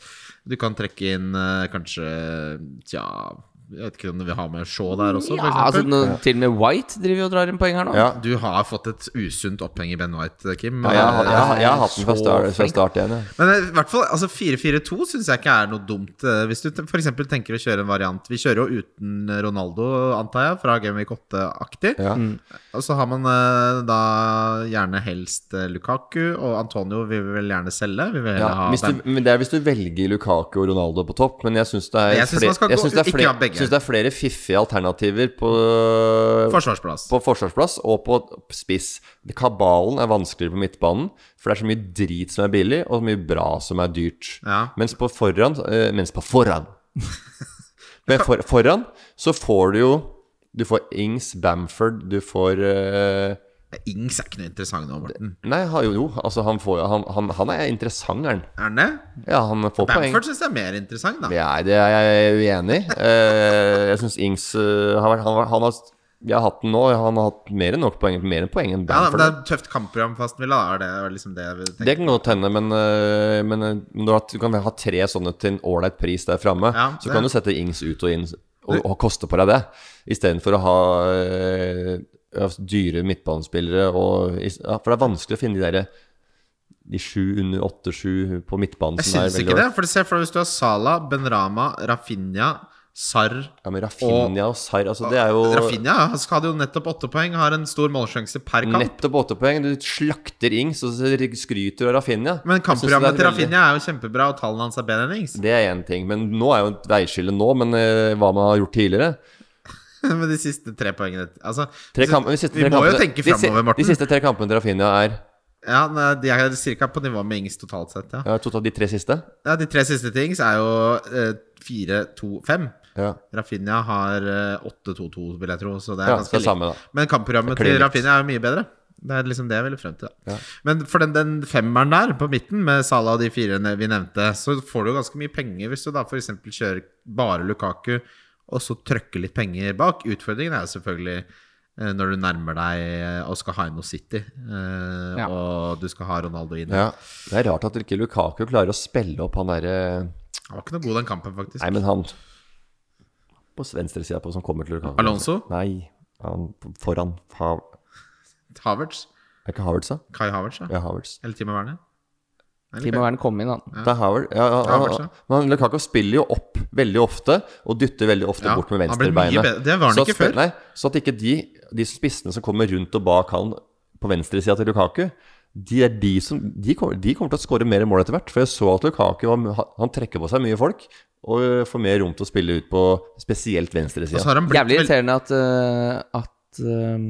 [SPEAKER 4] Du kan trekke inn eh, kanskje Tja Jeg vet ikke om vi har med Shaw der også,
[SPEAKER 1] ja, altså,
[SPEAKER 4] f.eks.
[SPEAKER 1] nå, Til og med White driver jo og drar inn poeng her nå.
[SPEAKER 3] Ja.
[SPEAKER 4] Du har fått et usunt oppheng i Ben White, eh, Kim.
[SPEAKER 3] Ja, jeg, har- jeg, har- jeg har hatt den fra
[SPEAKER 1] Så
[SPEAKER 3] start, fra
[SPEAKER 1] flink.
[SPEAKER 3] start igjen. jeg.
[SPEAKER 4] Men eh, i hvert fall, altså 4-4-2 syns jeg ikke er noe dumt. eh, Hvis du te- for eksempel tenker å kjøre en variant Vi kjører jo uten Ronaldo, antar jeg, fra Gameweek 8-aktig.
[SPEAKER 3] Ja.
[SPEAKER 4] Og så har man eh, da gjerne helst eh, Lukaku, og Antonio vi vil vel gjerne selge. Vi vil
[SPEAKER 3] Ja,
[SPEAKER 4] gjerne ha
[SPEAKER 3] hvis du,
[SPEAKER 4] Ben-
[SPEAKER 3] men det er hvis du velger Lukaku og Ronaldo på topp, men jeg syns det, er
[SPEAKER 4] Jeg synes
[SPEAKER 3] fler-
[SPEAKER 4] man skal
[SPEAKER 3] jeg
[SPEAKER 4] gå-
[SPEAKER 3] synes det, er
[SPEAKER 4] ikke
[SPEAKER 3] fler-
[SPEAKER 4] ha begge.
[SPEAKER 3] synes det er flere fiffige alternativer på,
[SPEAKER 4] Forsvarsplass.
[SPEAKER 3] på forsvarsplass og på spiss. Kabalen er vanskeligere på midtbanen, for det er så mye drit som er billig, og så mye bra som er dyrt.
[SPEAKER 4] Ja.
[SPEAKER 3] Mens på foran eh, Mens på foran Men for, Foran så får du jo Du får Ings, Bamford, du får eh,
[SPEAKER 4] Ings er ikke noe interessant nå, Morten.
[SPEAKER 3] Nei, han- jo, jo, altså han, får, han, han, han er interessant, er han.
[SPEAKER 4] Er den det?
[SPEAKER 3] Ja, han får poeng.
[SPEAKER 4] Bamford syns jeg er mer interessant, da.
[SPEAKER 3] Nei, det er jeg uenig i. Eh, jeg syns Ings eh, har vært han, har- han har, Jeg har hatt den nå, og han har hatt mer enn nok poeng, mer enn poeng enn
[SPEAKER 4] Ja, da, men
[SPEAKER 3] Bamford.
[SPEAKER 4] det er et tøft kampprogram for Aston Villa, da. Er det er liksom det jeg vil tenke?
[SPEAKER 3] det kan godt hende, men, eh, men eh, men du, har, du kan ha tre sånne til en ålreit pris der framme.
[SPEAKER 4] Ja,
[SPEAKER 3] så
[SPEAKER 4] det-
[SPEAKER 3] kan du sette Ings ut og inn og, og koste på deg det, istedenfor å ha eh, altså, dyre midtbanespillere og ja, For det er vanskelig å finne de derre de sju under åtte, sju på midtbanen
[SPEAKER 4] Jeg
[SPEAKER 3] som er
[SPEAKER 4] syns ikke det. For, se, for Hvis du har Sala, Benrama, Rafinha, Sarr
[SPEAKER 3] Ja, men Rafinha og Sarr, altså det er jo
[SPEAKER 4] Rafinha han skal- hadde jo nettopp åtte poeng, har en stor målsjanse per kamp.
[SPEAKER 3] Nettopp åtte poeng. Du slakter Ings og så skryter du av Rafinha.
[SPEAKER 4] Men
[SPEAKER 3] Jeg synes det
[SPEAKER 4] kampprogrammet
[SPEAKER 3] er
[SPEAKER 4] til
[SPEAKER 3] veldig-
[SPEAKER 4] Rafinha er jo kjempebra, og tallene hans er bedre enn Ings.
[SPEAKER 3] Det er én ting, men nå er jo et veiskille nå, men eh, hva man har gjort tidligere
[SPEAKER 4] Med de siste tre poengene altså,
[SPEAKER 3] tre
[SPEAKER 4] så-
[SPEAKER 3] kamp, de siste
[SPEAKER 4] Vi
[SPEAKER 3] tre
[SPEAKER 4] må jo
[SPEAKER 3] kampene-
[SPEAKER 4] tenke
[SPEAKER 3] de si-
[SPEAKER 4] framover, Morten.
[SPEAKER 3] De siste tre kampene til Rafinha er
[SPEAKER 4] Ja, nei, de er cirka på nivå med Ings totalt sett, ja.
[SPEAKER 3] ja, totalt de tre siste.
[SPEAKER 4] ja de tre siste til Ings er jo eh, fire, to, fem.
[SPEAKER 3] Ja.
[SPEAKER 4] Rafinha har eh, åtte, to, to, vil jeg tro. Så det er
[SPEAKER 3] Ja, så
[SPEAKER 4] ganske
[SPEAKER 3] det er
[SPEAKER 4] likt.
[SPEAKER 3] samme, da.
[SPEAKER 4] Men kampprogrammet
[SPEAKER 3] Det er klin
[SPEAKER 4] til
[SPEAKER 3] likt.
[SPEAKER 4] Rafinha er jo mye bedre. Det er liksom det jeg ville frem til. da. Men for den, den femmeren der på midten, med Salah og de fire ne- vi nevnte, så får du jo ganske mye penger hvis du da f.eks. kjører bare Lukaku og så trøkker litt penger bak. Utfordringen er jo selvfølgelig eh, når du nærmer deg eh, og skal ha inn noe City, eh,
[SPEAKER 1] Ja.
[SPEAKER 4] og du skal ha Ronaldo inn.
[SPEAKER 3] Ja. Det er rart at ikke Lukaku klarer å spille opp han derre
[SPEAKER 4] Han var ikke noe god den kampen, faktisk.
[SPEAKER 3] Nei, men han på venstresida som kommer til Lukaku.
[SPEAKER 4] Alonso?
[SPEAKER 3] Nei, han foran. Ha-
[SPEAKER 4] Havertz.
[SPEAKER 3] Er ikke Havertz, da?
[SPEAKER 4] Kai Havertz, ja.
[SPEAKER 3] Ja, Havertz.
[SPEAKER 4] Eller Timo Werner. Eller
[SPEAKER 1] Timo Werner kom inn, han.
[SPEAKER 3] Det er Howard. Ja, ja, ja,
[SPEAKER 4] Havertz,
[SPEAKER 3] ja.
[SPEAKER 4] ja.
[SPEAKER 3] Men Lukaku spiller jo opp veldig ofte, og dytter veldig ofte
[SPEAKER 4] Ja,
[SPEAKER 3] bort med
[SPEAKER 4] han blir mye
[SPEAKER 3] venstrebeinet.
[SPEAKER 4] bedre. Det var han
[SPEAKER 3] Så at
[SPEAKER 4] ikke
[SPEAKER 3] spe-
[SPEAKER 4] før.
[SPEAKER 3] Nei, så at ikke de, de spissene som kommer rundt og bak han på venstresida til Lukaku, de er de som De kommer, de kommer til å skåre mer mål etter hvert. For jeg så at Lukaku han, han trekker på seg mye folk og øh, får mer rom til å spille ut på spesielt
[SPEAKER 4] Og så
[SPEAKER 3] venstresida.
[SPEAKER 4] har han blitt
[SPEAKER 1] Jævlig
[SPEAKER 4] veldig-
[SPEAKER 1] irriterende at, eh, at eh,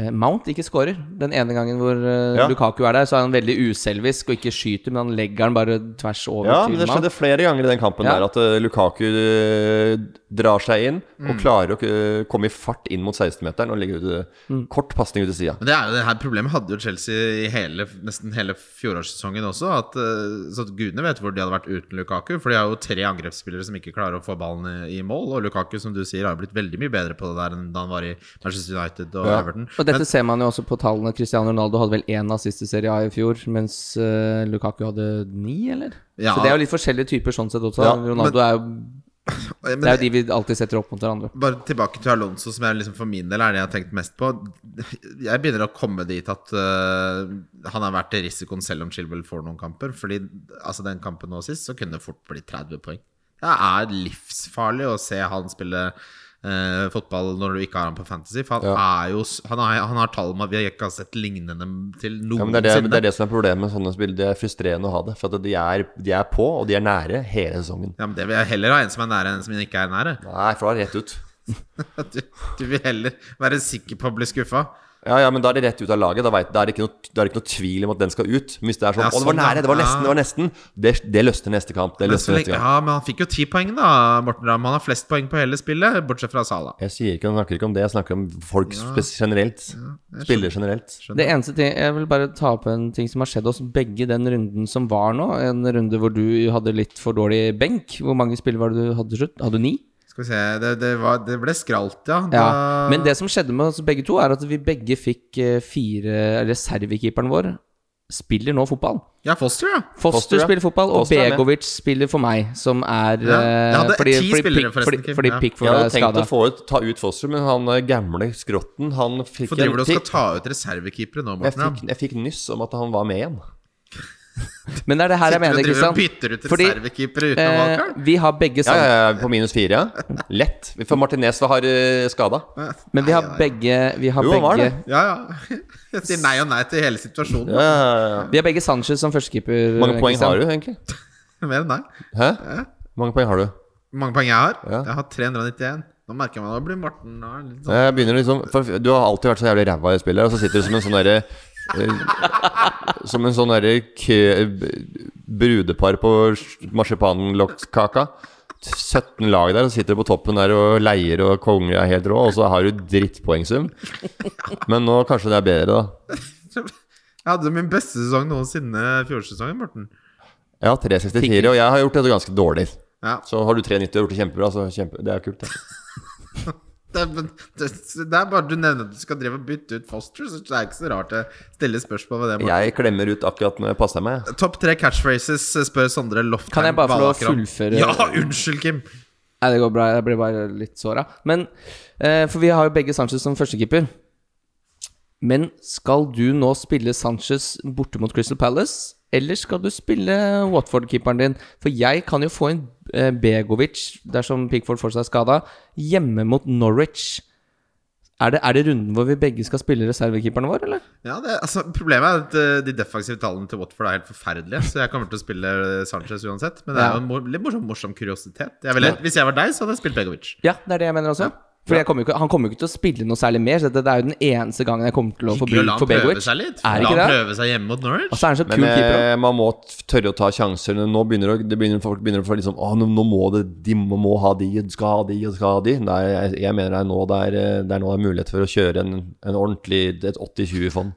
[SPEAKER 1] eh, Mount ikke scorer. Den ene gangen hvor eh,
[SPEAKER 3] Ja.
[SPEAKER 1] Lukaku er der, så er han veldig uselvisk og ikke skyter, men han legger den bare tvers over
[SPEAKER 3] Ja,
[SPEAKER 1] til
[SPEAKER 3] men det
[SPEAKER 1] Mount.
[SPEAKER 3] skjedde flere ganger i den kampen
[SPEAKER 1] Ja.
[SPEAKER 3] der at eh, Lukaku eh, drar seg inn og
[SPEAKER 4] Mm.
[SPEAKER 3] klarer å eh, komme i fart inn mot 16-meteren og legge ut eh,
[SPEAKER 4] Mm.
[SPEAKER 3] kort pasning ut til sida.
[SPEAKER 4] Men det er jo det her problemet hadde jo Chelsea i hele, nesten hele fjorårssesongen også. At, eh, så at gudene vet hvor de hadde vært uten Lukaku. For de har jo tre angrepsspillere som ikke klarer å få ballen i, i mål. Og Lukaku som du sier har jo blitt veldig mye bedre på det der enn da han var i Manchester United og Everton.
[SPEAKER 1] Og dette ser man jo også på tallene. Cristiano Ronaldo hadde vel én assist i Serie A i fjor, mens eh, Lukaku hadde ni, eller?
[SPEAKER 4] Ja.
[SPEAKER 1] Så det er jo litt forskjellige typer sånn sett også.
[SPEAKER 3] Ja,
[SPEAKER 1] Ronaldo er jo
[SPEAKER 4] Eh, men-
[SPEAKER 1] Det er jo de vi alltid setter opp mot hverandre.
[SPEAKER 4] Bare tilbake til Alonso, som jeg liksom for min del er det jeg har tenkt mest på. Jeg begynner å komme dit at øh, han er verdt risikoen selv om Chilwell får noen kamper. Fordi altså den kampen nå sist, så kunne det fort bli 30 poeng. Det er livsfarlig å se han spille øh, fotball når du ikke har han på Fantasy. For han er jo s- Han, er, han har tall man- vi ikke har sett lignende til
[SPEAKER 3] Ja,
[SPEAKER 4] noensinne.
[SPEAKER 3] men det, er det, det er det som er problemet med sånne spill. Det er frustrerende å ha det. For at de er, de er på, og de er nære hele sesongen.
[SPEAKER 4] vil jeg heller ha en som er nære, enn en som ikke er nære.
[SPEAKER 3] Nei, for da er det rett ut.
[SPEAKER 4] Du, du vil heller være sikker på å bli skuffa.
[SPEAKER 3] Ja, ja, men da er det rett ut av laget. Da, vet, da, er det ikke noe, da er det ikke noe tvil om at den skal ut. Men hvis det er sånn
[SPEAKER 4] Ja,
[SPEAKER 3] 'Å, det var
[SPEAKER 4] sånn, ja.
[SPEAKER 3] nære! Det var nesten!'
[SPEAKER 4] Ja.
[SPEAKER 3] Det var nesten Det, det løsner neste kamp. Det
[SPEAKER 4] Men så
[SPEAKER 3] løsner
[SPEAKER 4] lenge,
[SPEAKER 3] neste kamp.
[SPEAKER 4] ja, men han fikk jo ti poeng, da, Morten Ramm. Han har flest poeng på hele spillet, bortsett fra Sala.
[SPEAKER 3] Jeg sier ikke, jeg snakker ikke om det. Jeg snakker om folk spes- generelt. Spillere generelt.
[SPEAKER 1] Det eneste ting, Jeg vil bare ta opp en ting som har skjedd oss begge den runden som var nå. En runde hvor du hadde litt for dårlig benk. Hvor mange spillere var det du hadde til slutt? Hadde du ni?
[SPEAKER 4] Skal vi se Det, det, var, det ble skralt, ja. Da,
[SPEAKER 1] Ja. Men det som skjedde med oss begge to, er at vi begge fikk eh, fire Reservekeeperen vår spiller nå fotball.
[SPEAKER 4] ja, Foster, ja.
[SPEAKER 1] Foster,
[SPEAKER 3] Foster, ja.
[SPEAKER 1] spiller fotball, og
[SPEAKER 3] Foster er med.
[SPEAKER 1] Begovic spiller for meg, som er
[SPEAKER 4] Ja, jeg
[SPEAKER 1] eh,
[SPEAKER 4] hadde ti spillere,
[SPEAKER 1] Pick-
[SPEAKER 4] forresten,
[SPEAKER 1] fordi,
[SPEAKER 4] Kim.
[SPEAKER 1] fordi
[SPEAKER 4] Ja.
[SPEAKER 1] Pickford
[SPEAKER 3] Jeg
[SPEAKER 1] er
[SPEAKER 3] hadde tenkt
[SPEAKER 1] skada.
[SPEAKER 3] å få ut, ta ut Foster, men han eh, gamle skrotten Han fikk
[SPEAKER 4] Hvorfor driver
[SPEAKER 3] en
[SPEAKER 4] du og skal
[SPEAKER 3] ti-
[SPEAKER 4] ta ut reservekeepere nå,
[SPEAKER 3] jeg
[SPEAKER 4] Morten Ramm?
[SPEAKER 3] fikk, jeg fikk nyss om at han var med igjen.
[SPEAKER 1] Men det er det her jeg
[SPEAKER 4] Sitter du
[SPEAKER 1] mener,
[SPEAKER 4] og driver og
[SPEAKER 1] Kristian.
[SPEAKER 4] bytter ut
[SPEAKER 1] Fordi,
[SPEAKER 4] reservekeepere uten
[SPEAKER 1] Eh,
[SPEAKER 4] valgkart?
[SPEAKER 1] vi har begge
[SPEAKER 3] Ja,
[SPEAKER 1] samme
[SPEAKER 3] ja, ja, på minus fire, ja. Lett. For Martinez har eh, skada.
[SPEAKER 1] Men vi har begge Vi har
[SPEAKER 3] Jo, han var
[SPEAKER 1] begge
[SPEAKER 3] det.
[SPEAKER 4] Ja, ja. Jeg sier nei og nei til hele situasjonen.
[SPEAKER 3] Ja, ja, ja.
[SPEAKER 1] Vi har begge Sanchez som førstekeeper.
[SPEAKER 3] Hvor mange poeng
[SPEAKER 1] Christian.
[SPEAKER 3] har du, egentlig?
[SPEAKER 4] Mer enn nei.
[SPEAKER 3] Hæ? Hvor mange poeng har du?
[SPEAKER 4] Hvor mange poeng jeg har?
[SPEAKER 3] Ja.
[SPEAKER 4] Jeg har 391. Nå merker man at blir Morten nå er det litt sånn.
[SPEAKER 3] Jeg begynner liksom For du har alltid vært så jævlig ræva i spillet, og så sitter du som en sånn derre eh, Som en sånn derre kø- brudepar på marsipanlokkaka. 17 lag der, og sitter du på toppen der og leier og konge er helt rå, og så har du drittpoengsum. Men nå kanskje det er bedre, da.
[SPEAKER 4] sånn- Jeg hadde min beste sesong noensinne fjorårssesongen, Morten.
[SPEAKER 3] Jeg har 364, og jeg har gjort det ganske dårlig.
[SPEAKER 4] Ja.
[SPEAKER 3] Så har du 390 og gjort det kjempebra, så kjempe, det er kult. Det.
[SPEAKER 4] Det, er- men det, det er bare du nevner at du skal drive og bytte ut Foster, så det er ikke så rart jeg stiller spørsmål ved det. Morten.
[SPEAKER 3] Jeg klemmer ut akkurat når jeg passer meg. jeg.
[SPEAKER 4] Topp tre catchphrases, eh, spør Sondre Loftheim.
[SPEAKER 1] Kan jeg bare få lov å
[SPEAKER 4] Valaker om.
[SPEAKER 1] fullføre-
[SPEAKER 4] Ja, unnskyld, Kim!
[SPEAKER 1] Nei, det går bra. Jeg blir bare litt såra. Men eh, For vi har jo begge Sanchez som førstekeeper. Men skal du nå spille Sanchez borte mot Crystal Palace, eller skal du spille Watford-keeperen din? For jeg kan jo få inn eh, Begovic, dersom Pickford fortsatt er skada, hjemme mot Norwich. Er det, er det runden hvor vi begge skal spille reservekeeperne våre, eller?
[SPEAKER 4] Ja, det, altså, problemet er at eh, de defensive tallene til Watford er helt forferdelige, så jeg kommer til å spille eh, Sanchez uansett. Men det er jo en mor litt morsom, morsom kuriositet. Jeg ville, hvis jeg var deg, så hadde jeg spilt Begovic.
[SPEAKER 1] Ja, det er det jeg mener også. For jeg kommer jo ikke, Han kommer jo ikke til å spille noe særlig mer. Så det, det er jo den eneste gangen jeg kommer til å få
[SPEAKER 4] Hyggelig å la
[SPEAKER 1] bruk
[SPEAKER 4] han
[SPEAKER 1] for
[SPEAKER 4] prøve
[SPEAKER 1] Begovic.
[SPEAKER 4] seg litt.
[SPEAKER 1] Er
[SPEAKER 4] la
[SPEAKER 1] ikke
[SPEAKER 4] han
[SPEAKER 1] det?
[SPEAKER 4] prøve seg hjemme mot Norwich.
[SPEAKER 1] Og så er han så
[SPEAKER 3] Men
[SPEAKER 1] kul keeper. også.
[SPEAKER 3] eh, man må t- tørre å ta sjanser. Nå begynner, det å- det begynner folk begynner å få litt sånn Å, nå, nå må det De må, må ha de, og skal ha de, og skal ha de. Nei, jeg, jeg mener det er nå det er, eh, det er nå det er mulighet for å kjøre en, en ordentlig et 80-20-fond.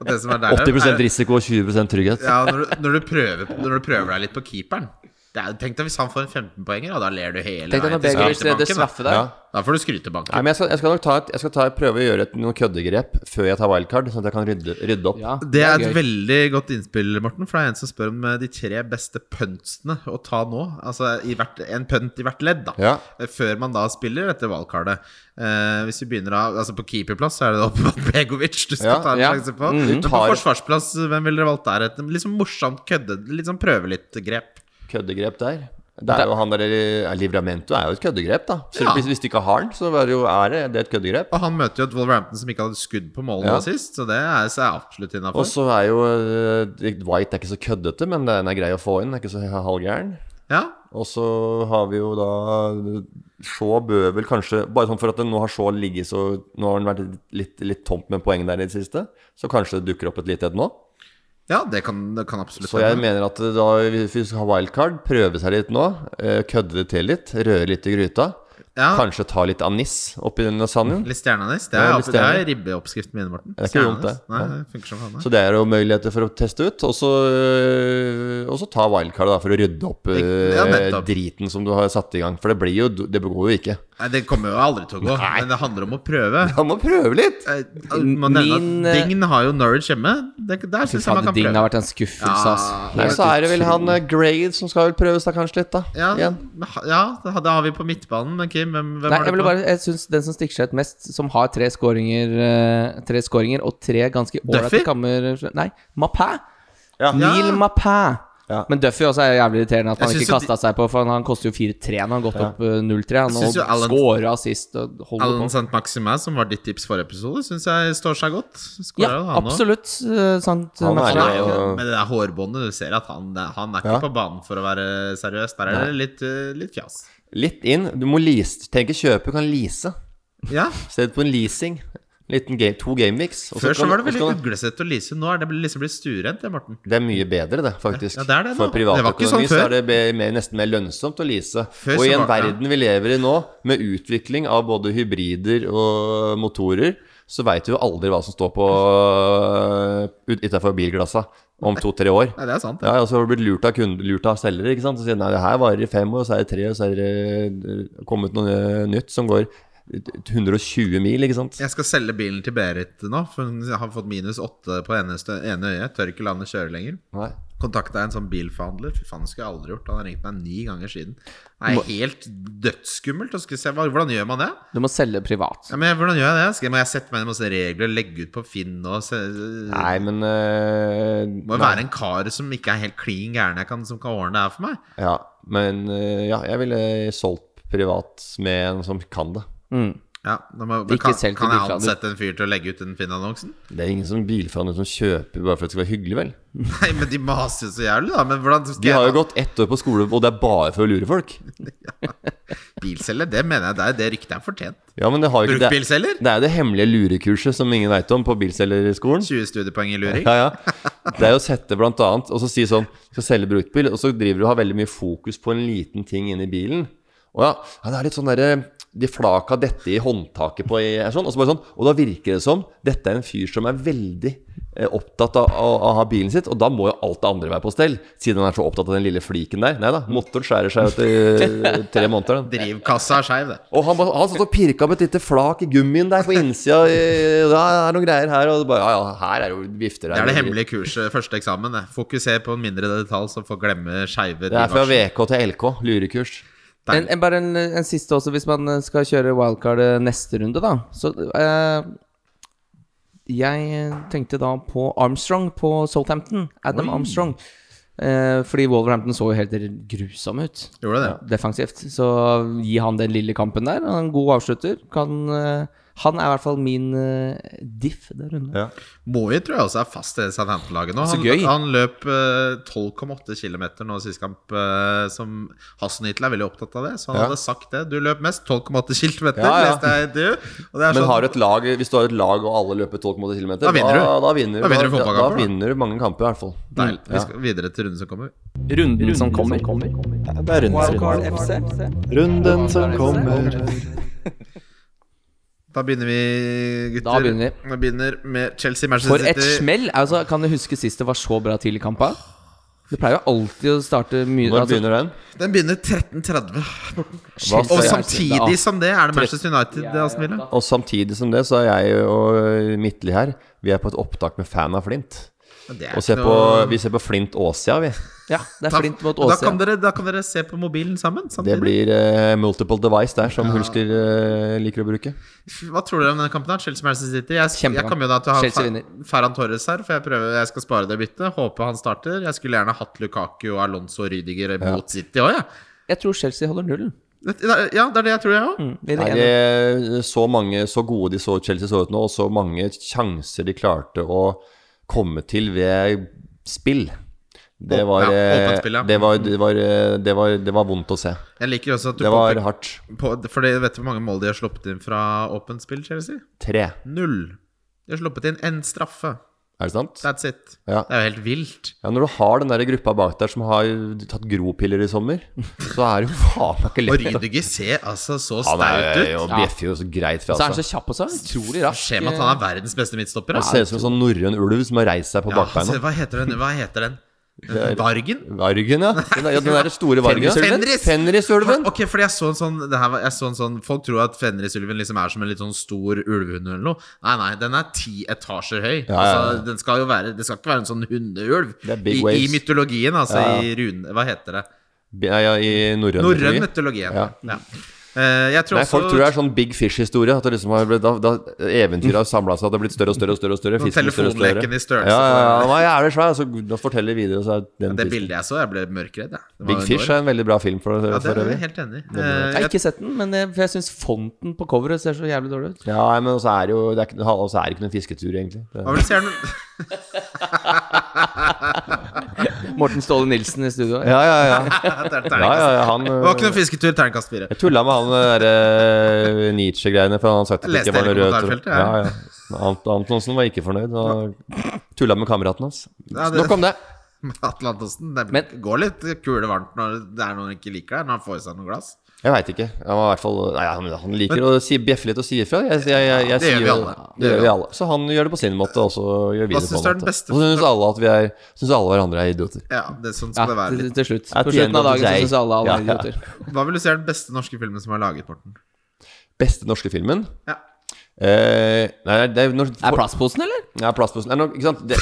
[SPEAKER 4] Og det som er der,
[SPEAKER 3] 80
[SPEAKER 4] er-
[SPEAKER 3] risiko og 20 trygghet.
[SPEAKER 4] Ja, når du, når, du prøver, når du prøver deg litt på keeperen det er, Tenk deg hvis han får en 15-poenger, og da ler du hele
[SPEAKER 1] Tenk deg når
[SPEAKER 4] veien til
[SPEAKER 1] Begovic redder
[SPEAKER 4] skrytebanken.
[SPEAKER 1] straffe der.
[SPEAKER 3] Ja.
[SPEAKER 4] Da. da får du skrytebanken.
[SPEAKER 3] Nei, men jeg skal, jeg skal nok ta et, jeg skal ta, prøve å gjøre et, noen køddegrep før jeg tar wildcard, sånn at jeg kan rydde, rydde opp.
[SPEAKER 1] Ja,
[SPEAKER 4] Det er et
[SPEAKER 1] gøy.
[SPEAKER 4] veldig godt innspill, Morten. For det er en som spør om eh, de tre beste puntsene å ta nå. Altså i hvert, en punt i hvert ledd, da.
[SPEAKER 3] Ja.
[SPEAKER 4] Eh, Før man da spiller etter valgkartet. Eh, hvis vi begynner av, altså På keeperplass så er det da åpenbart Begovic du skal
[SPEAKER 3] Ja,
[SPEAKER 4] ta en
[SPEAKER 1] ja.
[SPEAKER 4] sjanse på.
[SPEAKER 1] Mm.
[SPEAKER 4] Men På
[SPEAKER 3] Tar-
[SPEAKER 4] forsvarsplass, hvem ville dere valgt der? Et litt sånn morsomt kødde, litt sånn prøve litt-grep.
[SPEAKER 3] Køddegrep der. Det er jo han der eh, Livramento er jo et køddegrep, da. Så
[SPEAKER 4] Ja.
[SPEAKER 3] hvis, hvis du ikke har den, så er det jo er det, det er et køddegrep.
[SPEAKER 4] Og han møter jo et Wolverhampton som ikke hadde skudd på mål nå
[SPEAKER 3] Ja.
[SPEAKER 4] sist, så det er, så er absolutt
[SPEAKER 3] Og
[SPEAKER 4] innafor.
[SPEAKER 3] så er jo eh, White er ikke så køddete, men den er grei å få inn. Den er ikke så halvgæren.
[SPEAKER 4] Ja.
[SPEAKER 3] Og så har vi jo da Shaw bør vel kanskje Bare sånn for at det nå har Shaw ligget så Nå har han vært litt, litt tomt med poeng der i det siste, så kanskje det dukker opp et lite et nå.
[SPEAKER 4] Ja, det kan, det kan absolutt
[SPEAKER 3] Så jeg
[SPEAKER 4] hende.
[SPEAKER 3] mener at eh, da, hvis vi skal ha wildcard, prøve seg litt nå, eh, kødde det til litt, røre litt i gryta,
[SPEAKER 4] Ja.
[SPEAKER 3] kanskje ta litt anis oppi den lasagnen.
[SPEAKER 4] Litt stjerneanis. Det
[SPEAKER 3] Ja, litt
[SPEAKER 4] er, opp- det er
[SPEAKER 3] stjerne.
[SPEAKER 4] ribbeoppskriften min, Morten.
[SPEAKER 3] Det er ikke dumt, det.
[SPEAKER 4] Stjerneanis. Nei,
[SPEAKER 3] Ja.
[SPEAKER 4] det funker som faen. det.
[SPEAKER 3] Så det er jo muligheter for å teste ut. Og så, øh, og så ta wildcard da, for å rydde opp øh,
[SPEAKER 4] Ja, nettopp.
[SPEAKER 3] driten som du har satt i gang. For det blir jo Det går jo ikke.
[SPEAKER 4] Nei, det kommer jo aldri til å gå, men det handler om å prøve.
[SPEAKER 3] Han må prøve litt!
[SPEAKER 4] Eh, Man nevner at
[SPEAKER 1] Min, eh,
[SPEAKER 4] Dign har jo Norwich hjemme. Det, der syns jeg man
[SPEAKER 1] Fader,
[SPEAKER 4] kan
[SPEAKER 1] Ding
[SPEAKER 4] prøve.
[SPEAKER 1] har vært en skuffelse, ass.
[SPEAKER 4] Ja,
[SPEAKER 3] Nei, så er det vel han eh, Grade som skal vel prøves da kanskje litt, da.
[SPEAKER 4] Ja,
[SPEAKER 3] Igjen.
[SPEAKER 4] men ha- ja, det har- det har vi på midtbanen, men Kim, hvem, hvem
[SPEAKER 1] Nei,
[SPEAKER 4] har
[SPEAKER 1] jeg
[SPEAKER 4] du
[SPEAKER 1] vil
[SPEAKER 4] på?
[SPEAKER 1] bare, jeg synes Den som stikker seg ut mest, som har tre skåringer eh, Tre skåringer og tre ganske
[SPEAKER 4] Duffy?
[SPEAKER 1] ålreite kammer Nei, Mapæ!
[SPEAKER 3] Ja.
[SPEAKER 1] Neil Mapæ!
[SPEAKER 3] Ja.
[SPEAKER 1] Men Duffy også er jævlig irriterende at
[SPEAKER 4] Jeg
[SPEAKER 1] han
[SPEAKER 4] synes
[SPEAKER 1] ikke
[SPEAKER 4] jo
[SPEAKER 1] kasta seg på, for han, han koster jo 4-3 når han har gått opp eh, 0-3. Han
[SPEAKER 4] synes jo
[SPEAKER 1] og
[SPEAKER 4] Alan-
[SPEAKER 1] scora sist og holder
[SPEAKER 4] Alan
[SPEAKER 1] på.
[SPEAKER 4] St. Maximin, som var ditt tips forrige episode, syns jeg står seg godt. Skårer
[SPEAKER 1] Ja,
[SPEAKER 4] jo han også.
[SPEAKER 1] absolutt. eh, sant,
[SPEAKER 3] Han er
[SPEAKER 1] Mapæ.
[SPEAKER 4] Ja,
[SPEAKER 3] jo-
[SPEAKER 4] Men det der hårbåndet, du ser at han, han er ikke
[SPEAKER 3] Ja.
[SPEAKER 4] på banen for å være seriøs. Der er det litt, eh, litt fjas.
[SPEAKER 3] Litt inn. Du må lease. Tenk ikke kjøpe, du kan lease.
[SPEAKER 4] Ja,
[SPEAKER 3] Sett på en leasing. Liten game, to gameweeks. og
[SPEAKER 4] Før så
[SPEAKER 3] kan-
[SPEAKER 4] var det
[SPEAKER 3] og så
[SPEAKER 4] veldig
[SPEAKER 3] kan-
[SPEAKER 4] uglesett å lyse. Nå er det liksom blitt stuerent, det, Morten.
[SPEAKER 3] Det er mye bedre, det, faktisk.
[SPEAKER 4] Ja, det er det nå.
[SPEAKER 3] For
[SPEAKER 4] Det var ikke
[SPEAKER 3] privatøkonomi
[SPEAKER 4] sånn
[SPEAKER 3] så
[SPEAKER 4] før.
[SPEAKER 3] er det be- mer, nesten mer lønnsomt å lease.
[SPEAKER 4] Før
[SPEAKER 3] Og i
[SPEAKER 4] så
[SPEAKER 3] en
[SPEAKER 4] var det-
[SPEAKER 3] verden vi lever i nå, med utvikling av både hybrider og motorer, så veit du jo aldri hva som står på eh, utafor bilglassa om to-tre år.
[SPEAKER 4] Nei, det er sant. det.
[SPEAKER 3] Ja, og så har du blitt lurt av, kunde, lurt av selgere, ikke sant? Så sier de, nei, det her varer i fem år, så er det tre, og så er det eh, kommet noe eh, nytt som går 120 mil, ikke sant?
[SPEAKER 4] Jeg skal selge bilen til Berit nå, for hun har fått minus åtte på ene, stø- ene øyet. Tør ikke la henne kjøre lenger.
[SPEAKER 3] Nei.
[SPEAKER 4] Kontakta en sånn bilforhandler. Fy faen, det skulle jeg aldri gjort. Han har ringt meg ni ganger siden. Det er helt dødsskummelt. Og skulle se, hva- hvordan gjør man det?
[SPEAKER 1] Du må selge privat.
[SPEAKER 4] Ja, men hvordan gjør jeg det? Skal, må jeg sette meg ned i masse regler, legge ut på Finn og se,
[SPEAKER 3] Nei, men eh,
[SPEAKER 4] Må
[SPEAKER 3] nei.
[SPEAKER 4] jo være en kar som ikke er helt klin gæren jeg kan, som kan ordne det her for meg.
[SPEAKER 3] Ja, men eh, ja, jeg ville solgt privat med en som kan det.
[SPEAKER 4] Ja, da må,
[SPEAKER 1] Ikke
[SPEAKER 4] kan,
[SPEAKER 1] selv til
[SPEAKER 4] kan jeg
[SPEAKER 1] Bilforhandler.
[SPEAKER 4] ansette en fyr til å legge ut den Finn-annonsen?
[SPEAKER 3] Det er ingen som bilforhandler som kjøper bare for at det skal være hyggelig, vel?
[SPEAKER 4] Nei, men de maser jo så jævlig, da. Men hvordan skal
[SPEAKER 3] De har
[SPEAKER 4] jeg
[SPEAKER 3] jo gått ett år på skole, og det er bare for å lure folk.
[SPEAKER 4] Bilselger, det mener jeg det er det ryktet er fortjent.
[SPEAKER 3] Ja, men det har jo ikke det,
[SPEAKER 4] Bruktbilselger?
[SPEAKER 3] det er jo det hemmelige lurekurset som ingen veit om på bilselgerskolen.
[SPEAKER 4] 20 studiepoeng i luring.
[SPEAKER 3] Ja, ja. Det er jo å sette blant annet Og så si sånn Skal selge bruktbil Og så driver du og har veldig mye fokus på en liten ting inni bilen Og ja, ja det er litt sånn der De flaka dette i håndtaket på i, er sånn, Og så bare sånn Og da virker det som Dette er en fyr som er veldig eh, opptatt av, av, av å ha bilen sitt Og da må jo alt det andre være på stell Siden han er så opptatt av den lille fliken der Neida, motoren skjærer seg ut i tre måneder den.
[SPEAKER 4] Drivkassa er skeiv, det.
[SPEAKER 3] Og han, bare- han satt og pirka med et lite flak i gummien der på innsida eh, og Det er noen greier her Og bare, ja, ja, her er jo vifter
[SPEAKER 4] Det er det hemmelige kurset, første eksamen. det. Fokuser på en mindre detalj, så får glemme skeive
[SPEAKER 3] Det er fra
[SPEAKER 4] drivvarsler.
[SPEAKER 3] VK til LK, lurekurs.
[SPEAKER 4] Deilig.
[SPEAKER 1] En, en, bare en, en siste også, hvis man eh, skal kjøre wildcard eh, neste runde, da. Så eh, Jeg tenkte da på Armstrong på Southampton. Adam Armstrong. Eh, fordi Wolverhampton så jo helt grusom ut
[SPEAKER 4] Gjorde det?
[SPEAKER 1] defensivt. Så gi han den lille kampen der. Han er en god avslutter. Kan, eh, han er i hvert fall min eh, diff der runde.
[SPEAKER 4] Moi tror jeg også er fast i Southampton-laget nå.
[SPEAKER 1] Så
[SPEAKER 4] Han,
[SPEAKER 1] gøy.
[SPEAKER 4] han løp eh, 12,8 km nå sist kamp, eh, som Hassenhyttel er veldig opptatt av det. Så han
[SPEAKER 3] Ja.
[SPEAKER 4] hadde sagt det. Du løp mest 12,8
[SPEAKER 3] Ja,
[SPEAKER 4] km,
[SPEAKER 3] ja.
[SPEAKER 4] leste jeg i intervju. Og det er
[SPEAKER 3] Men
[SPEAKER 4] sånn,
[SPEAKER 3] har du et lag, hvis du har et lag og alle løper 12,8 km,
[SPEAKER 4] Da vinner du.
[SPEAKER 3] Da, da vinner
[SPEAKER 4] Da vinner du
[SPEAKER 3] da, da,
[SPEAKER 4] fotballkamper, da.
[SPEAKER 3] vinner du mange kamper, i hvert fall.
[SPEAKER 4] Deilig.
[SPEAKER 3] Ja.
[SPEAKER 4] Vi skal videre til runden som kommer.
[SPEAKER 1] Runden som kommer.
[SPEAKER 5] Det er runden, runden som kommer.
[SPEAKER 4] Da begynner vi, gutter.
[SPEAKER 1] Da begynner
[SPEAKER 4] vi. begynner med Chelsea
[SPEAKER 1] For
[SPEAKER 4] Manchester
[SPEAKER 1] et
[SPEAKER 4] City.
[SPEAKER 1] smell! Altså, kan du huske sist det var så bra tidlig kamp? da? Det pleier jo alltid å starte mye
[SPEAKER 3] Når
[SPEAKER 1] altså,
[SPEAKER 3] begynner den?
[SPEAKER 4] Den begynner 13.30.
[SPEAKER 1] Chelsea
[SPEAKER 4] Og
[SPEAKER 1] er-
[SPEAKER 4] samtidig som det er det Manchester United det Aston Villa.
[SPEAKER 3] Og samtidig som det, så er jeg og Midtli her Vi er på et opptak med fan av Flint.
[SPEAKER 4] Men det er
[SPEAKER 3] Og ser
[SPEAKER 4] ikke
[SPEAKER 3] på,
[SPEAKER 4] noe-
[SPEAKER 3] vi ser på Flint Åsia, vi.
[SPEAKER 1] Ja, det er
[SPEAKER 4] Da-
[SPEAKER 1] flint mot
[SPEAKER 4] Da
[SPEAKER 1] Åse.
[SPEAKER 4] kan, dere, da kan dere se på mobilen sammen
[SPEAKER 3] Det
[SPEAKER 4] samtidig.
[SPEAKER 3] blir eh, multiple device der, som Hulsker eh, liker å bruke.
[SPEAKER 4] Hva tror dere om denne kampen? her? Chelsea Manchester City. Jeg,
[SPEAKER 1] Kjempekamp.
[SPEAKER 4] jeg kommer jo da til å ha
[SPEAKER 1] Chelsea
[SPEAKER 4] Fer
[SPEAKER 1] vinner.
[SPEAKER 4] Ferran Torres her, for jeg, prøver, jeg skal spare det byttet. Håper han starter. Jeg skulle gjerne hatt Lukaku og Alonso og Rydiger mot City òg, jeg.
[SPEAKER 1] Jeg tror Chelsea holder nullen.
[SPEAKER 4] Det- Ja, det er det jeg tror, jeg òg.
[SPEAKER 1] Mm, vinner
[SPEAKER 3] Er
[SPEAKER 1] 1-0.
[SPEAKER 3] det så mange så gode de så Chelsea så ut nå, og så mange sjanser de klarte å komme til ved spill? Det var,
[SPEAKER 4] Ja,
[SPEAKER 3] eh,
[SPEAKER 4] åpent spill, ja.
[SPEAKER 3] det, var, det, var, eh, det, var, det var vondt å se.
[SPEAKER 4] Jeg liker også at du
[SPEAKER 3] Det var
[SPEAKER 4] påpeker-
[SPEAKER 3] hardt.
[SPEAKER 4] på, For det vet du hvor mange mål de har sluppet inn fra åpent spill, Chelsea?
[SPEAKER 3] Tre.
[SPEAKER 4] Null. De har sluppet inn én straffe.
[SPEAKER 3] Er det sant?
[SPEAKER 4] That's it.
[SPEAKER 3] Ja.
[SPEAKER 4] Det er jo helt vilt.
[SPEAKER 3] Ja, Når du har den der gruppa bak der som har tatt gropiller i sommer, så er det jo faen meg ikke
[SPEAKER 4] Og
[SPEAKER 3] lett.
[SPEAKER 4] Rydiger ser altså så
[SPEAKER 3] Han
[SPEAKER 4] staut
[SPEAKER 3] er jo
[SPEAKER 4] ut.
[SPEAKER 3] bjeffer jo så greit fra altså.
[SPEAKER 1] Så er han
[SPEAKER 3] seg.
[SPEAKER 1] så kjapp også. Utrolig rask.
[SPEAKER 4] Skjer med at han er verdens beste midtstopper. da.
[SPEAKER 3] Han ser ut som en sånn norrøn ulv som har reist seg på
[SPEAKER 4] Ja, altså,
[SPEAKER 3] bakbeina.
[SPEAKER 4] hva heter den? Hva heter den?
[SPEAKER 3] er-
[SPEAKER 4] Vargen?
[SPEAKER 3] Vargen, ja. Den, der- ja, den der store vargen.
[SPEAKER 4] Fenris!
[SPEAKER 3] Fenrisulven.
[SPEAKER 4] Ok, fordi jeg så en sånn, det her var, jeg så en sånn Folk tror at Fenrisulven liksom er som en litt sånn stor ulvehund eller noe. Nei, nei, den er ti etasjer høy.
[SPEAKER 3] Ja, ja, ja.
[SPEAKER 4] Altså, den skal jo være, det skal ikke være en sånn hundeulv.
[SPEAKER 3] Det er big
[SPEAKER 4] I, I
[SPEAKER 3] waves.
[SPEAKER 4] mytologien, altså.
[SPEAKER 3] Ja, ja.
[SPEAKER 4] I rune... Hva heter det?
[SPEAKER 3] Ja, ja, I norrøn mytologi.
[SPEAKER 4] Norrøn mytologi.
[SPEAKER 3] Ja.
[SPEAKER 4] Ja. Eh, jeg tror
[SPEAKER 3] Nei,
[SPEAKER 4] også
[SPEAKER 3] folk tror det er sånn Big Fish-historie. At det liksom har blitt, da, da eventyret har samla seg, at det har blitt større og større. og større, og større
[SPEAKER 4] Sånn
[SPEAKER 3] fisken større og større.
[SPEAKER 4] telefonleken i størrelse.
[SPEAKER 3] Ja, ja, ja. Nei, jeg er det svær, så da forteller jeg videre, så er den
[SPEAKER 4] det
[SPEAKER 3] fisken.
[SPEAKER 4] bildet jeg så, jeg ble mørkredd. jeg. Det var
[SPEAKER 3] Big
[SPEAKER 4] en
[SPEAKER 3] Fish
[SPEAKER 4] år.
[SPEAKER 3] er en veldig bra film for,
[SPEAKER 4] Ja, det
[SPEAKER 3] for
[SPEAKER 4] er
[SPEAKER 3] øvrig.
[SPEAKER 4] jeg helt enig i.
[SPEAKER 3] er
[SPEAKER 1] Jeg har
[SPEAKER 4] Eh,
[SPEAKER 1] ikke sett den, men eh, for jeg syns fonten på coveret ser så jævlig dårlig ut.
[SPEAKER 3] Ja, nei, men også er det jo det er, ikke- og så er det ikke noen fisketur, egentlig. Det,
[SPEAKER 4] Hva vil du si er den-
[SPEAKER 1] Morten Ståle Nilsen i studio.
[SPEAKER 3] ja, ja, ja.
[SPEAKER 4] Det er
[SPEAKER 3] ja, ja,
[SPEAKER 4] terningkast.
[SPEAKER 3] ja han,
[SPEAKER 4] Det var ikke noen fisketur, terningkast fire.
[SPEAKER 3] Jeg tulla med han der eh, Nietzsche-greiene, for han sa at det
[SPEAKER 4] Leste
[SPEAKER 3] ikke var noe
[SPEAKER 4] hele
[SPEAKER 3] rød tråd.
[SPEAKER 4] kommentarfeltet,
[SPEAKER 3] Ja,
[SPEAKER 4] ja.
[SPEAKER 3] ja. Ant Antonsen var ikke fornøyd. Og tulla med kameraten hans.
[SPEAKER 4] Ja, det-
[SPEAKER 3] Nok om det.
[SPEAKER 4] Atle Antonsen. Det
[SPEAKER 1] Men-
[SPEAKER 4] går litt kule varmt når det er noen han ikke liker det, når han får i seg noen glass.
[SPEAKER 3] Jeg veit ikke. Han, var i hvert fall, nei, han, han liker å si, bjeffe litt og si ifra. Jeg, jeg, jeg, jeg,
[SPEAKER 4] Det gjør
[SPEAKER 3] sier
[SPEAKER 4] vi
[SPEAKER 3] jo-
[SPEAKER 4] alle.
[SPEAKER 3] Det gjør vi alle. Så han gjør det på sin måte, og så gjør vi
[SPEAKER 4] Hva
[SPEAKER 3] det på
[SPEAKER 4] synes
[SPEAKER 3] en
[SPEAKER 4] du er den
[SPEAKER 3] måte.
[SPEAKER 4] beste-
[SPEAKER 3] Og så syns alle at vi er Syns alle hverandre er idioter.
[SPEAKER 4] Ja, det er sånn
[SPEAKER 1] Ja,
[SPEAKER 4] skal det være
[SPEAKER 1] til,
[SPEAKER 4] litt.
[SPEAKER 1] til slutt.
[SPEAKER 3] At
[SPEAKER 1] På
[SPEAKER 3] the end
[SPEAKER 1] slutten av
[SPEAKER 3] of the
[SPEAKER 1] dagen så
[SPEAKER 3] day.
[SPEAKER 1] syns alle alle
[SPEAKER 3] Ja,
[SPEAKER 1] er
[SPEAKER 3] ja.
[SPEAKER 1] idioter.
[SPEAKER 4] Hva vil du si er den beste norske filmen som er laget, Morten?
[SPEAKER 3] Beste norske filmen?
[SPEAKER 4] Ja.
[SPEAKER 3] Eh, nei, det er når,
[SPEAKER 1] Er plastposen, eller?
[SPEAKER 3] Ja, plastposen. Er nok, ikke sant? Det,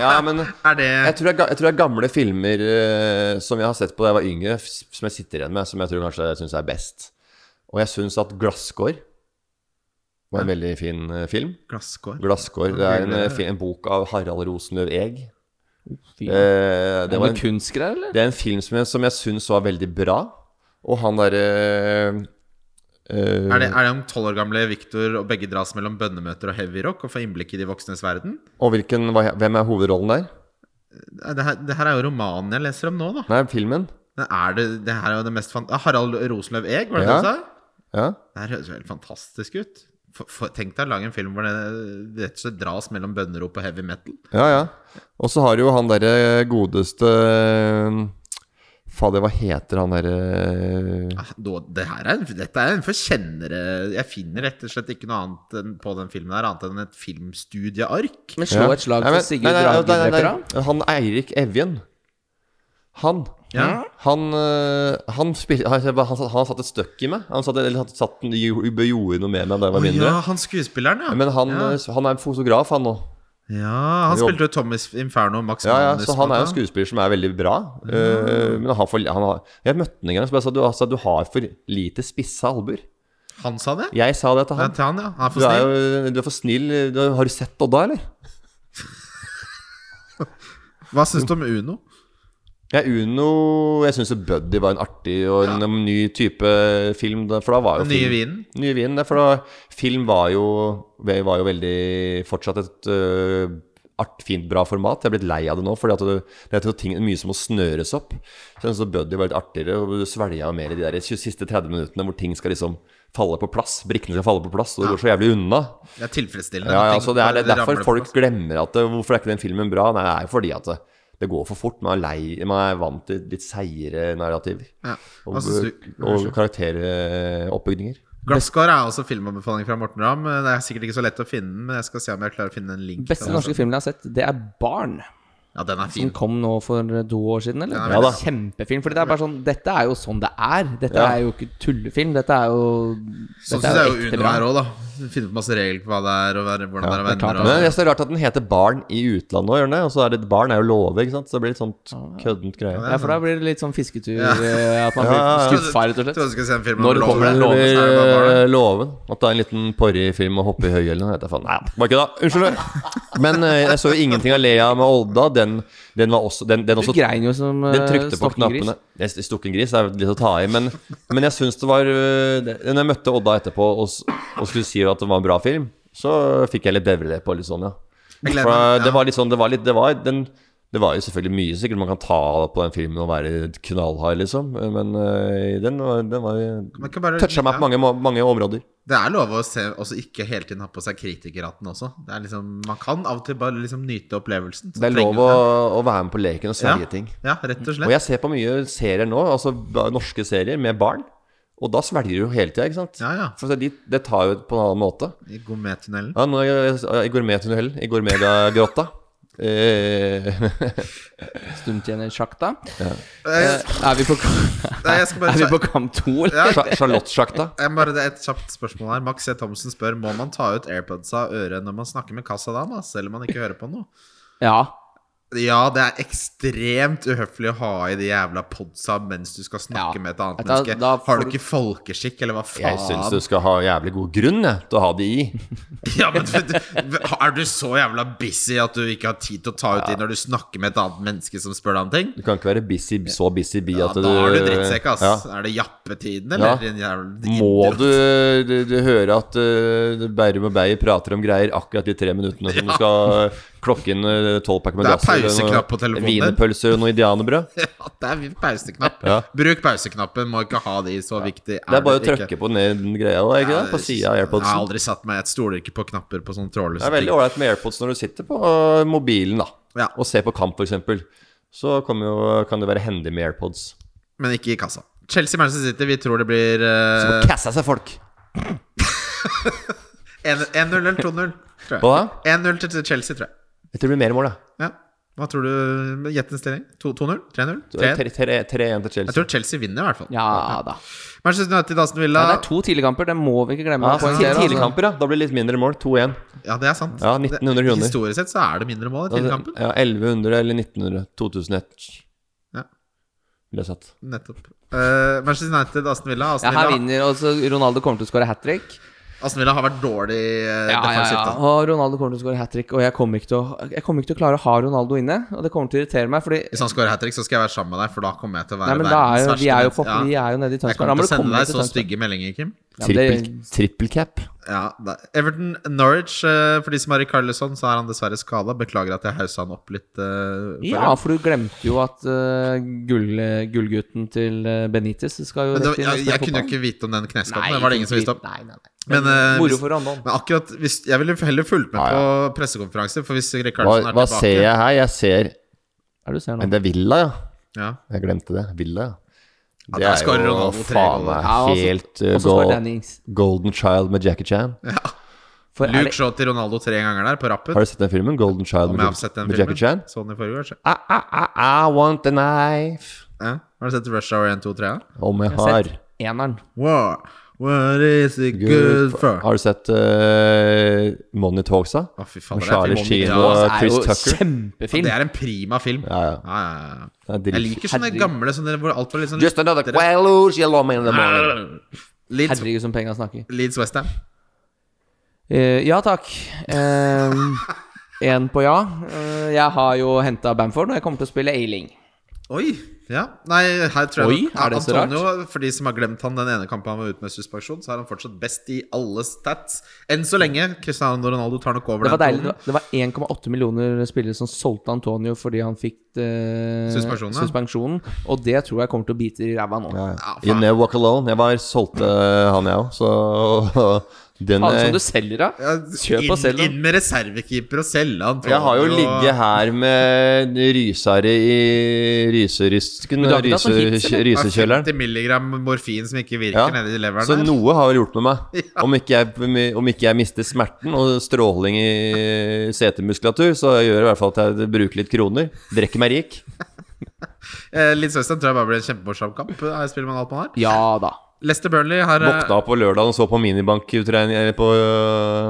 [SPEAKER 3] ja, men
[SPEAKER 4] Er det
[SPEAKER 3] jeg tror det er ga- jeg tror det er gamle filmer eh, som jeg har sett på da jeg var yngre, f- som jeg sitter igjen med, som jeg tror kanskje jeg syns er best. Og jeg syns at 'Glasskår' var en veldig fin eh, film.
[SPEAKER 4] glasskår?
[SPEAKER 3] 'Glasskår' det er en, eh, fi- en bok av Harald Rosenløv Eeg.
[SPEAKER 1] Fy,
[SPEAKER 3] Eh, det,
[SPEAKER 1] er
[SPEAKER 3] var
[SPEAKER 1] det
[SPEAKER 3] en,
[SPEAKER 1] kunstgreier, eller?
[SPEAKER 3] det er en film som jeg, som jeg syns var veldig bra. Og han derre eh,
[SPEAKER 4] Er det, er det om tolv år gamle Victor og begge dras mellom bønnemøter og heavyrock og får innblikk i de voksnes verden?
[SPEAKER 3] Og hvilken, hva- hvem er hovedrollen der?
[SPEAKER 4] Det her, det her er jo romanen jeg leser om nå, da.
[SPEAKER 3] Nei, filmen.
[SPEAKER 4] Men er det, det her er jo det mest fan... Ah, Harald Rosenløv Eeg, var det
[SPEAKER 3] Ja.
[SPEAKER 4] det du sa?
[SPEAKER 3] Ja.
[SPEAKER 4] Det her høres jo helt fantastisk ut. For, for, tenk deg å lage en film hvor det rett og slett dras mellom bønnerop og heavy metal.
[SPEAKER 3] Ja, ja. Og så har jo han derre godeste eh, Fader, hva heter han derre
[SPEAKER 4] Ah, da, det her er, en- dette er en forkjennere Jeg finner rett og slett ikke noe annet enn, på den filmen her annet enn et filmstudieark.
[SPEAKER 1] Men slå et slag
[SPEAKER 3] Nei, men-
[SPEAKER 1] for Sigurd
[SPEAKER 3] nei, nei, nei, nei,
[SPEAKER 1] Dragedreppera.
[SPEAKER 3] nei. Han Eirik Evjen. Han.
[SPEAKER 4] Ja.
[SPEAKER 3] Han, øh, han, spil, han, han, satt- han satt et støkk i meg. Han satt, eller, han satt, gjorde noe med meg da jeg var
[SPEAKER 4] Å
[SPEAKER 3] mindre.
[SPEAKER 4] ja, han skuespilleren, ja.
[SPEAKER 3] Men han,
[SPEAKER 4] Ja,
[SPEAKER 3] øh, han er en fotograf, han nå.
[SPEAKER 4] ja han
[SPEAKER 3] Jo.
[SPEAKER 4] spilte jo Thomas Inferno og Max
[SPEAKER 3] Ja, ja,
[SPEAKER 4] Manus
[SPEAKER 3] så han
[SPEAKER 4] på
[SPEAKER 3] er jo en
[SPEAKER 4] det.
[SPEAKER 3] skuespiller som er veldig bra. øh, men han, får- han har, jeg møtte han en gang og sa du, altså, du har for lite spisse albuer.
[SPEAKER 4] Han sa det?
[SPEAKER 3] Jeg sa det til
[SPEAKER 4] Ja,
[SPEAKER 3] han.
[SPEAKER 4] til han, ja. Han er for
[SPEAKER 3] Du er,
[SPEAKER 4] snill.
[SPEAKER 3] jo, du er for snill. Du, har- har du sett Odda, eller?
[SPEAKER 4] Hva syns du om Uno?
[SPEAKER 3] Ja, Uno Jeg syns Buddy var en artig og en um, ny type film. da- For da var jo
[SPEAKER 4] Den nye
[SPEAKER 3] film,
[SPEAKER 4] vinen?
[SPEAKER 3] Nye vinen, ja, for da, film var jo, var jo veldig fortsatt et øh, art, fint, bra format. Jeg er blitt lei av det nå, for det, det er jo ting, mye som må snøres opp. Så jeg synes Buddy var litt artigere, og du svelga jo mer i de der siste 30 minuttene hvor ting skal liksom falle på plass. Brikkene skal falle på plass, og det går så jævlig unna.
[SPEAKER 4] Det er
[SPEAKER 3] Ja,
[SPEAKER 4] tilfredsstillende.
[SPEAKER 3] ja,
[SPEAKER 4] Tenk
[SPEAKER 3] så det er, det er
[SPEAKER 4] bare ramler
[SPEAKER 3] derfor
[SPEAKER 4] på altså.
[SPEAKER 3] folk
[SPEAKER 4] plass.
[SPEAKER 3] glemmer at det, Hvorfor er ikke den filmen bra? Nei, det er jo fordi at det, det går for fort. Man er, lei, man er vant til litt seigere narrativer.
[SPEAKER 4] Ja.
[SPEAKER 3] Og,
[SPEAKER 4] Hva synes Altså, du?
[SPEAKER 3] og karakteroppbygninger.
[SPEAKER 4] Glasskår er også filmanbefaling fra Morten Ramm. Det er sikkert ikke så lett å finne den, men jeg skal se om jeg klarer å finne en link. til
[SPEAKER 1] Beste
[SPEAKER 3] altså-
[SPEAKER 4] den.
[SPEAKER 1] norske filmen jeg har sett, det er Barn.
[SPEAKER 4] Ja, den er
[SPEAKER 1] Som
[SPEAKER 4] fin.
[SPEAKER 1] kom nå for eh, to år siden, eller?
[SPEAKER 3] Ja, da.
[SPEAKER 1] Kjempefilm. For det er bare sånn Dette er jo sånn det er. Dette
[SPEAKER 3] Ja.
[SPEAKER 1] er jo ikke tullefilm. Dette er jo dette
[SPEAKER 4] Sånn syns jeg jo
[SPEAKER 1] ekte
[SPEAKER 4] Uno
[SPEAKER 1] bra.
[SPEAKER 4] er òg, da. Finne på masse regler på hva det er, og hva- hvordan det er å
[SPEAKER 1] det er klart
[SPEAKER 4] være
[SPEAKER 1] det.
[SPEAKER 3] Men
[SPEAKER 4] venner.
[SPEAKER 3] det
[SPEAKER 4] og-
[SPEAKER 3] er så rart at den heter Barn i utlandet òg, gjør den det? Og så er det Barn er jo love, ikke sant? Så det blir litt sånt køddent greie.
[SPEAKER 1] Ja, for da blir det litt sånn fisketur. eh, At man
[SPEAKER 3] Ja, ja, ja.
[SPEAKER 1] blir skuffa, rett og
[SPEAKER 4] Jeg
[SPEAKER 1] slett.
[SPEAKER 4] trodde du skulle se en film om
[SPEAKER 1] Når kommer
[SPEAKER 4] loven.
[SPEAKER 1] den loven?
[SPEAKER 4] Så er det bare barn.
[SPEAKER 3] Eh, Låven. At det er en liten porryfilm å hoppe i høyhælen. Nei, bare ikke da. Unnskyld. Men eh, jeg så jo ingenting av Lea med Odda. Den, den var også Den, den
[SPEAKER 1] Du
[SPEAKER 3] også
[SPEAKER 1] grein jo som eh,
[SPEAKER 3] Den trykte på
[SPEAKER 1] stokkengris.
[SPEAKER 3] knappene. Jeg st- Stukken gris er litt å ta i, men, men jeg syns det var øh, det- Når jeg møtte Odda etterpå og, s- og skulle si at det var en bra film, så fikk jeg litt bevre det på litt sånn, ja.
[SPEAKER 4] Jeg gleder
[SPEAKER 3] For eh,
[SPEAKER 4] meg, ja.
[SPEAKER 3] det var litt sånn, det var litt Det var den Det var jo selvfølgelig mye sikkert man kan ta av på den filmen og være knallhard, liksom. Men øh, den var, den var
[SPEAKER 4] Man kan bare-
[SPEAKER 3] Toucha meg på mange, må- mange områder.
[SPEAKER 4] Det er lov å se, også ikke hele tiden ha på seg kritikerhatten også. Det er liksom, man kan av og til bare liksom nyte opplevelsen. så
[SPEAKER 3] Det er
[SPEAKER 4] trenger
[SPEAKER 3] lov å, å være med på leken og
[SPEAKER 4] ja.
[SPEAKER 3] svelge ting.
[SPEAKER 4] Ja, rett og slett.
[SPEAKER 3] Og jeg ser på mye serier nå, altså ba- norske serier med barn. Og da svelger du jo hele tida, ikke sant?
[SPEAKER 4] Ja, ja.
[SPEAKER 3] For Altså, de, det tar jo på en annen måte.
[SPEAKER 4] I gourmettunnelen.
[SPEAKER 3] Ja, nå er jeg, jeg, I gourmettunnelen, i gourmegagrotta. Eh,
[SPEAKER 1] Stundtjenersjakta.
[SPEAKER 4] Eh,
[SPEAKER 1] Er vi på,
[SPEAKER 4] Nei, jeg skal bare
[SPEAKER 1] er vi
[SPEAKER 4] ta-
[SPEAKER 1] på kamp to, eller?
[SPEAKER 3] Sja- Charlottesjakta.
[SPEAKER 4] Jeg bare, det er Et kjapt spørsmål her. Max E. Thomsen spør Må man ta ut AirPods av øret når man snakker med kassadama, selv om man ikke hører på noe.
[SPEAKER 1] Ja.
[SPEAKER 4] Ja, det er ekstremt uhøflig å ha i de jævla podsa mens du skal snakke
[SPEAKER 1] Ja.
[SPEAKER 4] med et annet
[SPEAKER 1] Da-
[SPEAKER 4] menneske.
[SPEAKER 1] da får
[SPEAKER 4] Har du
[SPEAKER 1] du-
[SPEAKER 4] ikke folkeskikk, eller hva
[SPEAKER 3] Jeg
[SPEAKER 4] faen?
[SPEAKER 3] syns du skal ha jævlig god grunn jeg, til å ha de i.
[SPEAKER 4] Ja, men Er du så jævla busy at du ikke har tid til å ta ut de når du snakker med et annet menneske som spør deg om ting?
[SPEAKER 3] Du kan ikke være busy, så busy bi
[SPEAKER 4] Ja,
[SPEAKER 3] at
[SPEAKER 4] da
[SPEAKER 3] du
[SPEAKER 4] er du drittsekk, ass.
[SPEAKER 3] Ja.
[SPEAKER 4] Er det jappetiden,
[SPEAKER 3] Ja.
[SPEAKER 4] eller? Din jævla-
[SPEAKER 3] Må du, du, du høre at eh, Bærum og Beyer prater om greier akkurat de tre minuttene som du skal klokke inn eh, tolvpakke med
[SPEAKER 4] Det er
[SPEAKER 3] glass eller noe-
[SPEAKER 4] pauseknapp på telefonen din.
[SPEAKER 3] Wienerpølser og noe indianerbrød.
[SPEAKER 4] Ja, det er pauseknapp.
[SPEAKER 3] Ja.
[SPEAKER 4] Bruk pauseknappen, må ikke ha de så viktig.
[SPEAKER 3] Det er bare å
[SPEAKER 4] ikke?
[SPEAKER 3] trykke på ned den greia, da, ikke det? På sida av
[SPEAKER 4] Jeg har
[SPEAKER 3] airpodsen.
[SPEAKER 4] aldri satt meg Jeg stoler ikke på knapper på sånne
[SPEAKER 3] Det
[SPEAKER 4] trådløse
[SPEAKER 3] er veldig ålreit med airpods når du sitter på eh, mobilen da
[SPEAKER 4] Ja.
[SPEAKER 3] og ser på kamp, f.eks. Så kommer jo, kan det være hendig med airpods.
[SPEAKER 4] men ikke i kassa. Chelsea Manchester City, vi tror det blir
[SPEAKER 3] Så
[SPEAKER 4] eh,
[SPEAKER 3] får kassa seg folk.
[SPEAKER 4] 1 1-0 eller 2-0. tror jeg.
[SPEAKER 3] Hva da?
[SPEAKER 4] 1-0 til til Chelsea, tror jeg.
[SPEAKER 3] Jeg tror det blir mer mål, da.
[SPEAKER 4] Ja. Hva tror du? Gjett en stilling. 2-0? 3-0? 3-1?
[SPEAKER 3] 3-1 til
[SPEAKER 4] Jeg
[SPEAKER 3] Chelsea.
[SPEAKER 4] tror Chelsea vinner, i hvert fall.
[SPEAKER 1] Ja da.
[SPEAKER 4] Manchester United, Aston Villa.
[SPEAKER 1] Ja, det er to tidligkamper, det må vi ikke glemme.
[SPEAKER 3] Ja,
[SPEAKER 1] å poengtere, altså.
[SPEAKER 3] tidlig kamper, ja. Da blir det litt mindre mål. 2-1.
[SPEAKER 4] Ja, det er sant.
[SPEAKER 3] Ja, 1900 kroner.
[SPEAKER 4] Historisk sett så er det mindre mål i
[SPEAKER 3] Ja,
[SPEAKER 4] tidligkampen.
[SPEAKER 3] 1100 eller 1900. 2001.
[SPEAKER 4] Ja.
[SPEAKER 3] Ville jeg satt.
[SPEAKER 4] Nettopp. Eh, Manchester United, Aston Villa.
[SPEAKER 1] Ja,
[SPEAKER 4] Aston
[SPEAKER 1] her
[SPEAKER 4] Villa,
[SPEAKER 1] vinner også Ronaldo kommer til å skåre hat trick.
[SPEAKER 4] Aston Villa har vært dårlig
[SPEAKER 1] Ja,
[SPEAKER 4] eh,
[SPEAKER 1] ja, ja.
[SPEAKER 4] defensivt. da.
[SPEAKER 1] Og Ronaldo kommer til å skåre hat trick, og jeg kommer, ikke til å, jeg kommer ikke til å klare å ha Ronaldo inne. Og det kommer til å irritere meg, fordi
[SPEAKER 4] Hvis han scorer hat trick, så skal jeg være sammen med deg, for da kommer jeg til å være
[SPEAKER 1] Nei, men da er jo,
[SPEAKER 4] verdens
[SPEAKER 1] vi er jo,
[SPEAKER 4] verste
[SPEAKER 1] på,
[SPEAKER 4] menneske.
[SPEAKER 1] vi er jo nede i
[SPEAKER 4] Jeg
[SPEAKER 1] Tønsberg. Da
[SPEAKER 4] kommer
[SPEAKER 1] må du
[SPEAKER 4] til å sende
[SPEAKER 1] komme
[SPEAKER 4] deg
[SPEAKER 1] til
[SPEAKER 4] så
[SPEAKER 1] Tønsberg.
[SPEAKER 4] stygge meldinger, Kim.
[SPEAKER 1] Ja, det-
[SPEAKER 3] Trippel, trippel cap.
[SPEAKER 4] Ja, da. Everton Norwich. eh, For de som har Carlisson, så er han dessverre skada. Beklager at jeg haussa han opp litt. eh, forrige
[SPEAKER 1] Ja,
[SPEAKER 4] gang.
[SPEAKER 1] for du glemte jo at eh, gull, gullgutten til eh, Benitez skal jo
[SPEAKER 4] Men det,
[SPEAKER 1] rett inn og
[SPEAKER 4] jeg,
[SPEAKER 1] spille
[SPEAKER 4] jeg kunne jo
[SPEAKER 1] fotball.
[SPEAKER 4] ikke vite om den
[SPEAKER 1] Nei,
[SPEAKER 4] kneskaden. Det var det ingen som visste om.
[SPEAKER 1] Nei, nei, nei.
[SPEAKER 4] Men, eh,
[SPEAKER 1] Moro
[SPEAKER 4] hvis-
[SPEAKER 1] for Rondon.
[SPEAKER 4] Men akkurat hvis, Jeg ville heller fulgt med
[SPEAKER 3] Ja,
[SPEAKER 4] på pressekonferanser, for hvis
[SPEAKER 3] Hva,
[SPEAKER 4] Rikardsson er
[SPEAKER 3] hva
[SPEAKER 4] tilbake
[SPEAKER 3] ser jeg her? Jeg ser
[SPEAKER 1] Er du ser
[SPEAKER 3] Nei,
[SPEAKER 1] nå?
[SPEAKER 3] Det er Villa, ja.
[SPEAKER 4] Ja.
[SPEAKER 3] Jeg glemte det. Villa, ja.
[SPEAKER 4] Ja,
[SPEAKER 3] Det
[SPEAKER 4] der
[SPEAKER 3] er
[SPEAKER 4] skårer
[SPEAKER 3] jo
[SPEAKER 4] Ronaldo tre
[SPEAKER 3] faen
[SPEAKER 4] goller.
[SPEAKER 3] meg
[SPEAKER 1] Ja, og så-
[SPEAKER 3] helt uh,
[SPEAKER 1] Og så skårer
[SPEAKER 3] gold-
[SPEAKER 1] Danny Ings.
[SPEAKER 3] Golden Child med Jackie Chan.
[SPEAKER 1] For er
[SPEAKER 4] Luke
[SPEAKER 1] det,
[SPEAKER 4] Shaw til Ronaldo tre ganger der, på rappen.
[SPEAKER 3] Har du sett den filmen? Golden Child
[SPEAKER 4] Om
[SPEAKER 3] med,
[SPEAKER 4] jeg har sett den
[SPEAKER 3] med Jackie Chan? Ah.
[SPEAKER 4] filmen. Så den i forrige år, så.
[SPEAKER 3] I, I, I, I want a knife.
[SPEAKER 4] Ja. Har du sett Rush Hour 1, 2, 3? Ja?
[SPEAKER 3] Om jeg
[SPEAKER 1] jeg har
[SPEAKER 3] har.
[SPEAKER 1] sett eneren.
[SPEAKER 4] War. What is it
[SPEAKER 3] Good
[SPEAKER 4] good
[SPEAKER 3] for.
[SPEAKER 4] for?
[SPEAKER 3] Har du sett uh, Money Talks, da?
[SPEAKER 4] Å, fy faen,
[SPEAKER 3] Og
[SPEAKER 4] det er
[SPEAKER 3] Charlie
[SPEAKER 4] film om-
[SPEAKER 3] Sheen
[SPEAKER 4] Ja,
[SPEAKER 3] og
[SPEAKER 4] altså,
[SPEAKER 1] Det er
[SPEAKER 3] Chris
[SPEAKER 1] jo
[SPEAKER 3] Tucker.
[SPEAKER 1] kjempefilm.
[SPEAKER 4] Det er en prima film.
[SPEAKER 3] Ja, ja.
[SPEAKER 4] Ja, ja, ja.
[SPEAKER 3] Det er
[SPEAKER 4] Jeg
[SPEAKER 3] dritfint.
[SPEAKER 4] liker sånne
[SPEAKER 1] Herregud.
[SPEAKER 4] gamle sånne hvor alt var litt sånn
[SPEAKER 3] Just another quelloos you love me in the morning.
[SPEAKER 4] Leeds,
[SPEAKER 1] Herregud, som penga snakker.
[SPEAKER 4] Leeds Westham.
[SPEAKER 1] Eh, ja takk. Én på ja. Eh, jeg har jo henta Bamford, og jeg kommer til å spille Ailing.
[SPEAKER 4] Oi! Ja. Nei, her tror jeg
[SPEAKER 1] Oi, er det så
[SPEAKER 4] Antonio, for de som har glemt han den ene kampen han var ute med suspensjon, så er han fortsatt best i alle stats. Enn så lenge. Cristiano Ronaldo tar nok over
[SPEAKER 1] Det var
[SPEAKER 4] den
[SPEAKER 1] deilig.
[SPEAKER 4] tronen.
[SPEAKER 1] Det var 1,8 millioner spillere som solgte Antonio fordi han fikk eh,
[SPEAKER 4] Suspensjonen, ja.
[SPEAKER 1] suspensjonen. Og det tror jeg kommer til å bite i ræva nå.
[SPEAKER 3] Ja, ja.
[SPEAKER 4] Ja,
[SPEAKER 3] You
[SPEAKER 4] faen.
[SPEAKER 3] never walk alone. Jeg var solgte eh, han, jeg òg, så den eh,
[SPEAKER 1] Faen som
[SPEAKER 3] er-
[SPEAKER 1] du selger av.
[SPEAKER 4] Ja,
[SPEAKER 1] Kjøp og selg
[SPEAKER 4] inn,
[SPEAKER 1] den.
[SPEAKER 4] inn med reservekeeper og selge han.
[SPEAKER 3] Jeg har jo ligget her med rysere i ryserysken
[SPEAKER 1] Men du har ikke tatt noen hits, eller?
[SPEAKER 3] Rysekjøleren.
[SPEAKER 4] 50 milligram morfin som ikke virker
[SPEAKER 3] Ja.
[SPEAKER 4] nede i leveren.
[SPEAKER 3] Så
[SPEAKER 4] der.
[SPEAKER 3] noe har vel gjort med meg. Om ikke jeg, om ikke jeg mister smerten og stråling i setemuskulatur, så gjør det i hvert fall at jeg bruker litt kroner. Drikker meg rik.
[SPEAKER 4] Eh, Leeds Westham tror jeg bare blir en kjempemorsom kamp. eh, Her spiller man alt man har.
[SPEAKER 1] Ja da.
[SPEAKER 4] Leicester Burnley har eh,
[SPEAKER 3] Våkna opp på lørdag og så på minibankutregning eller på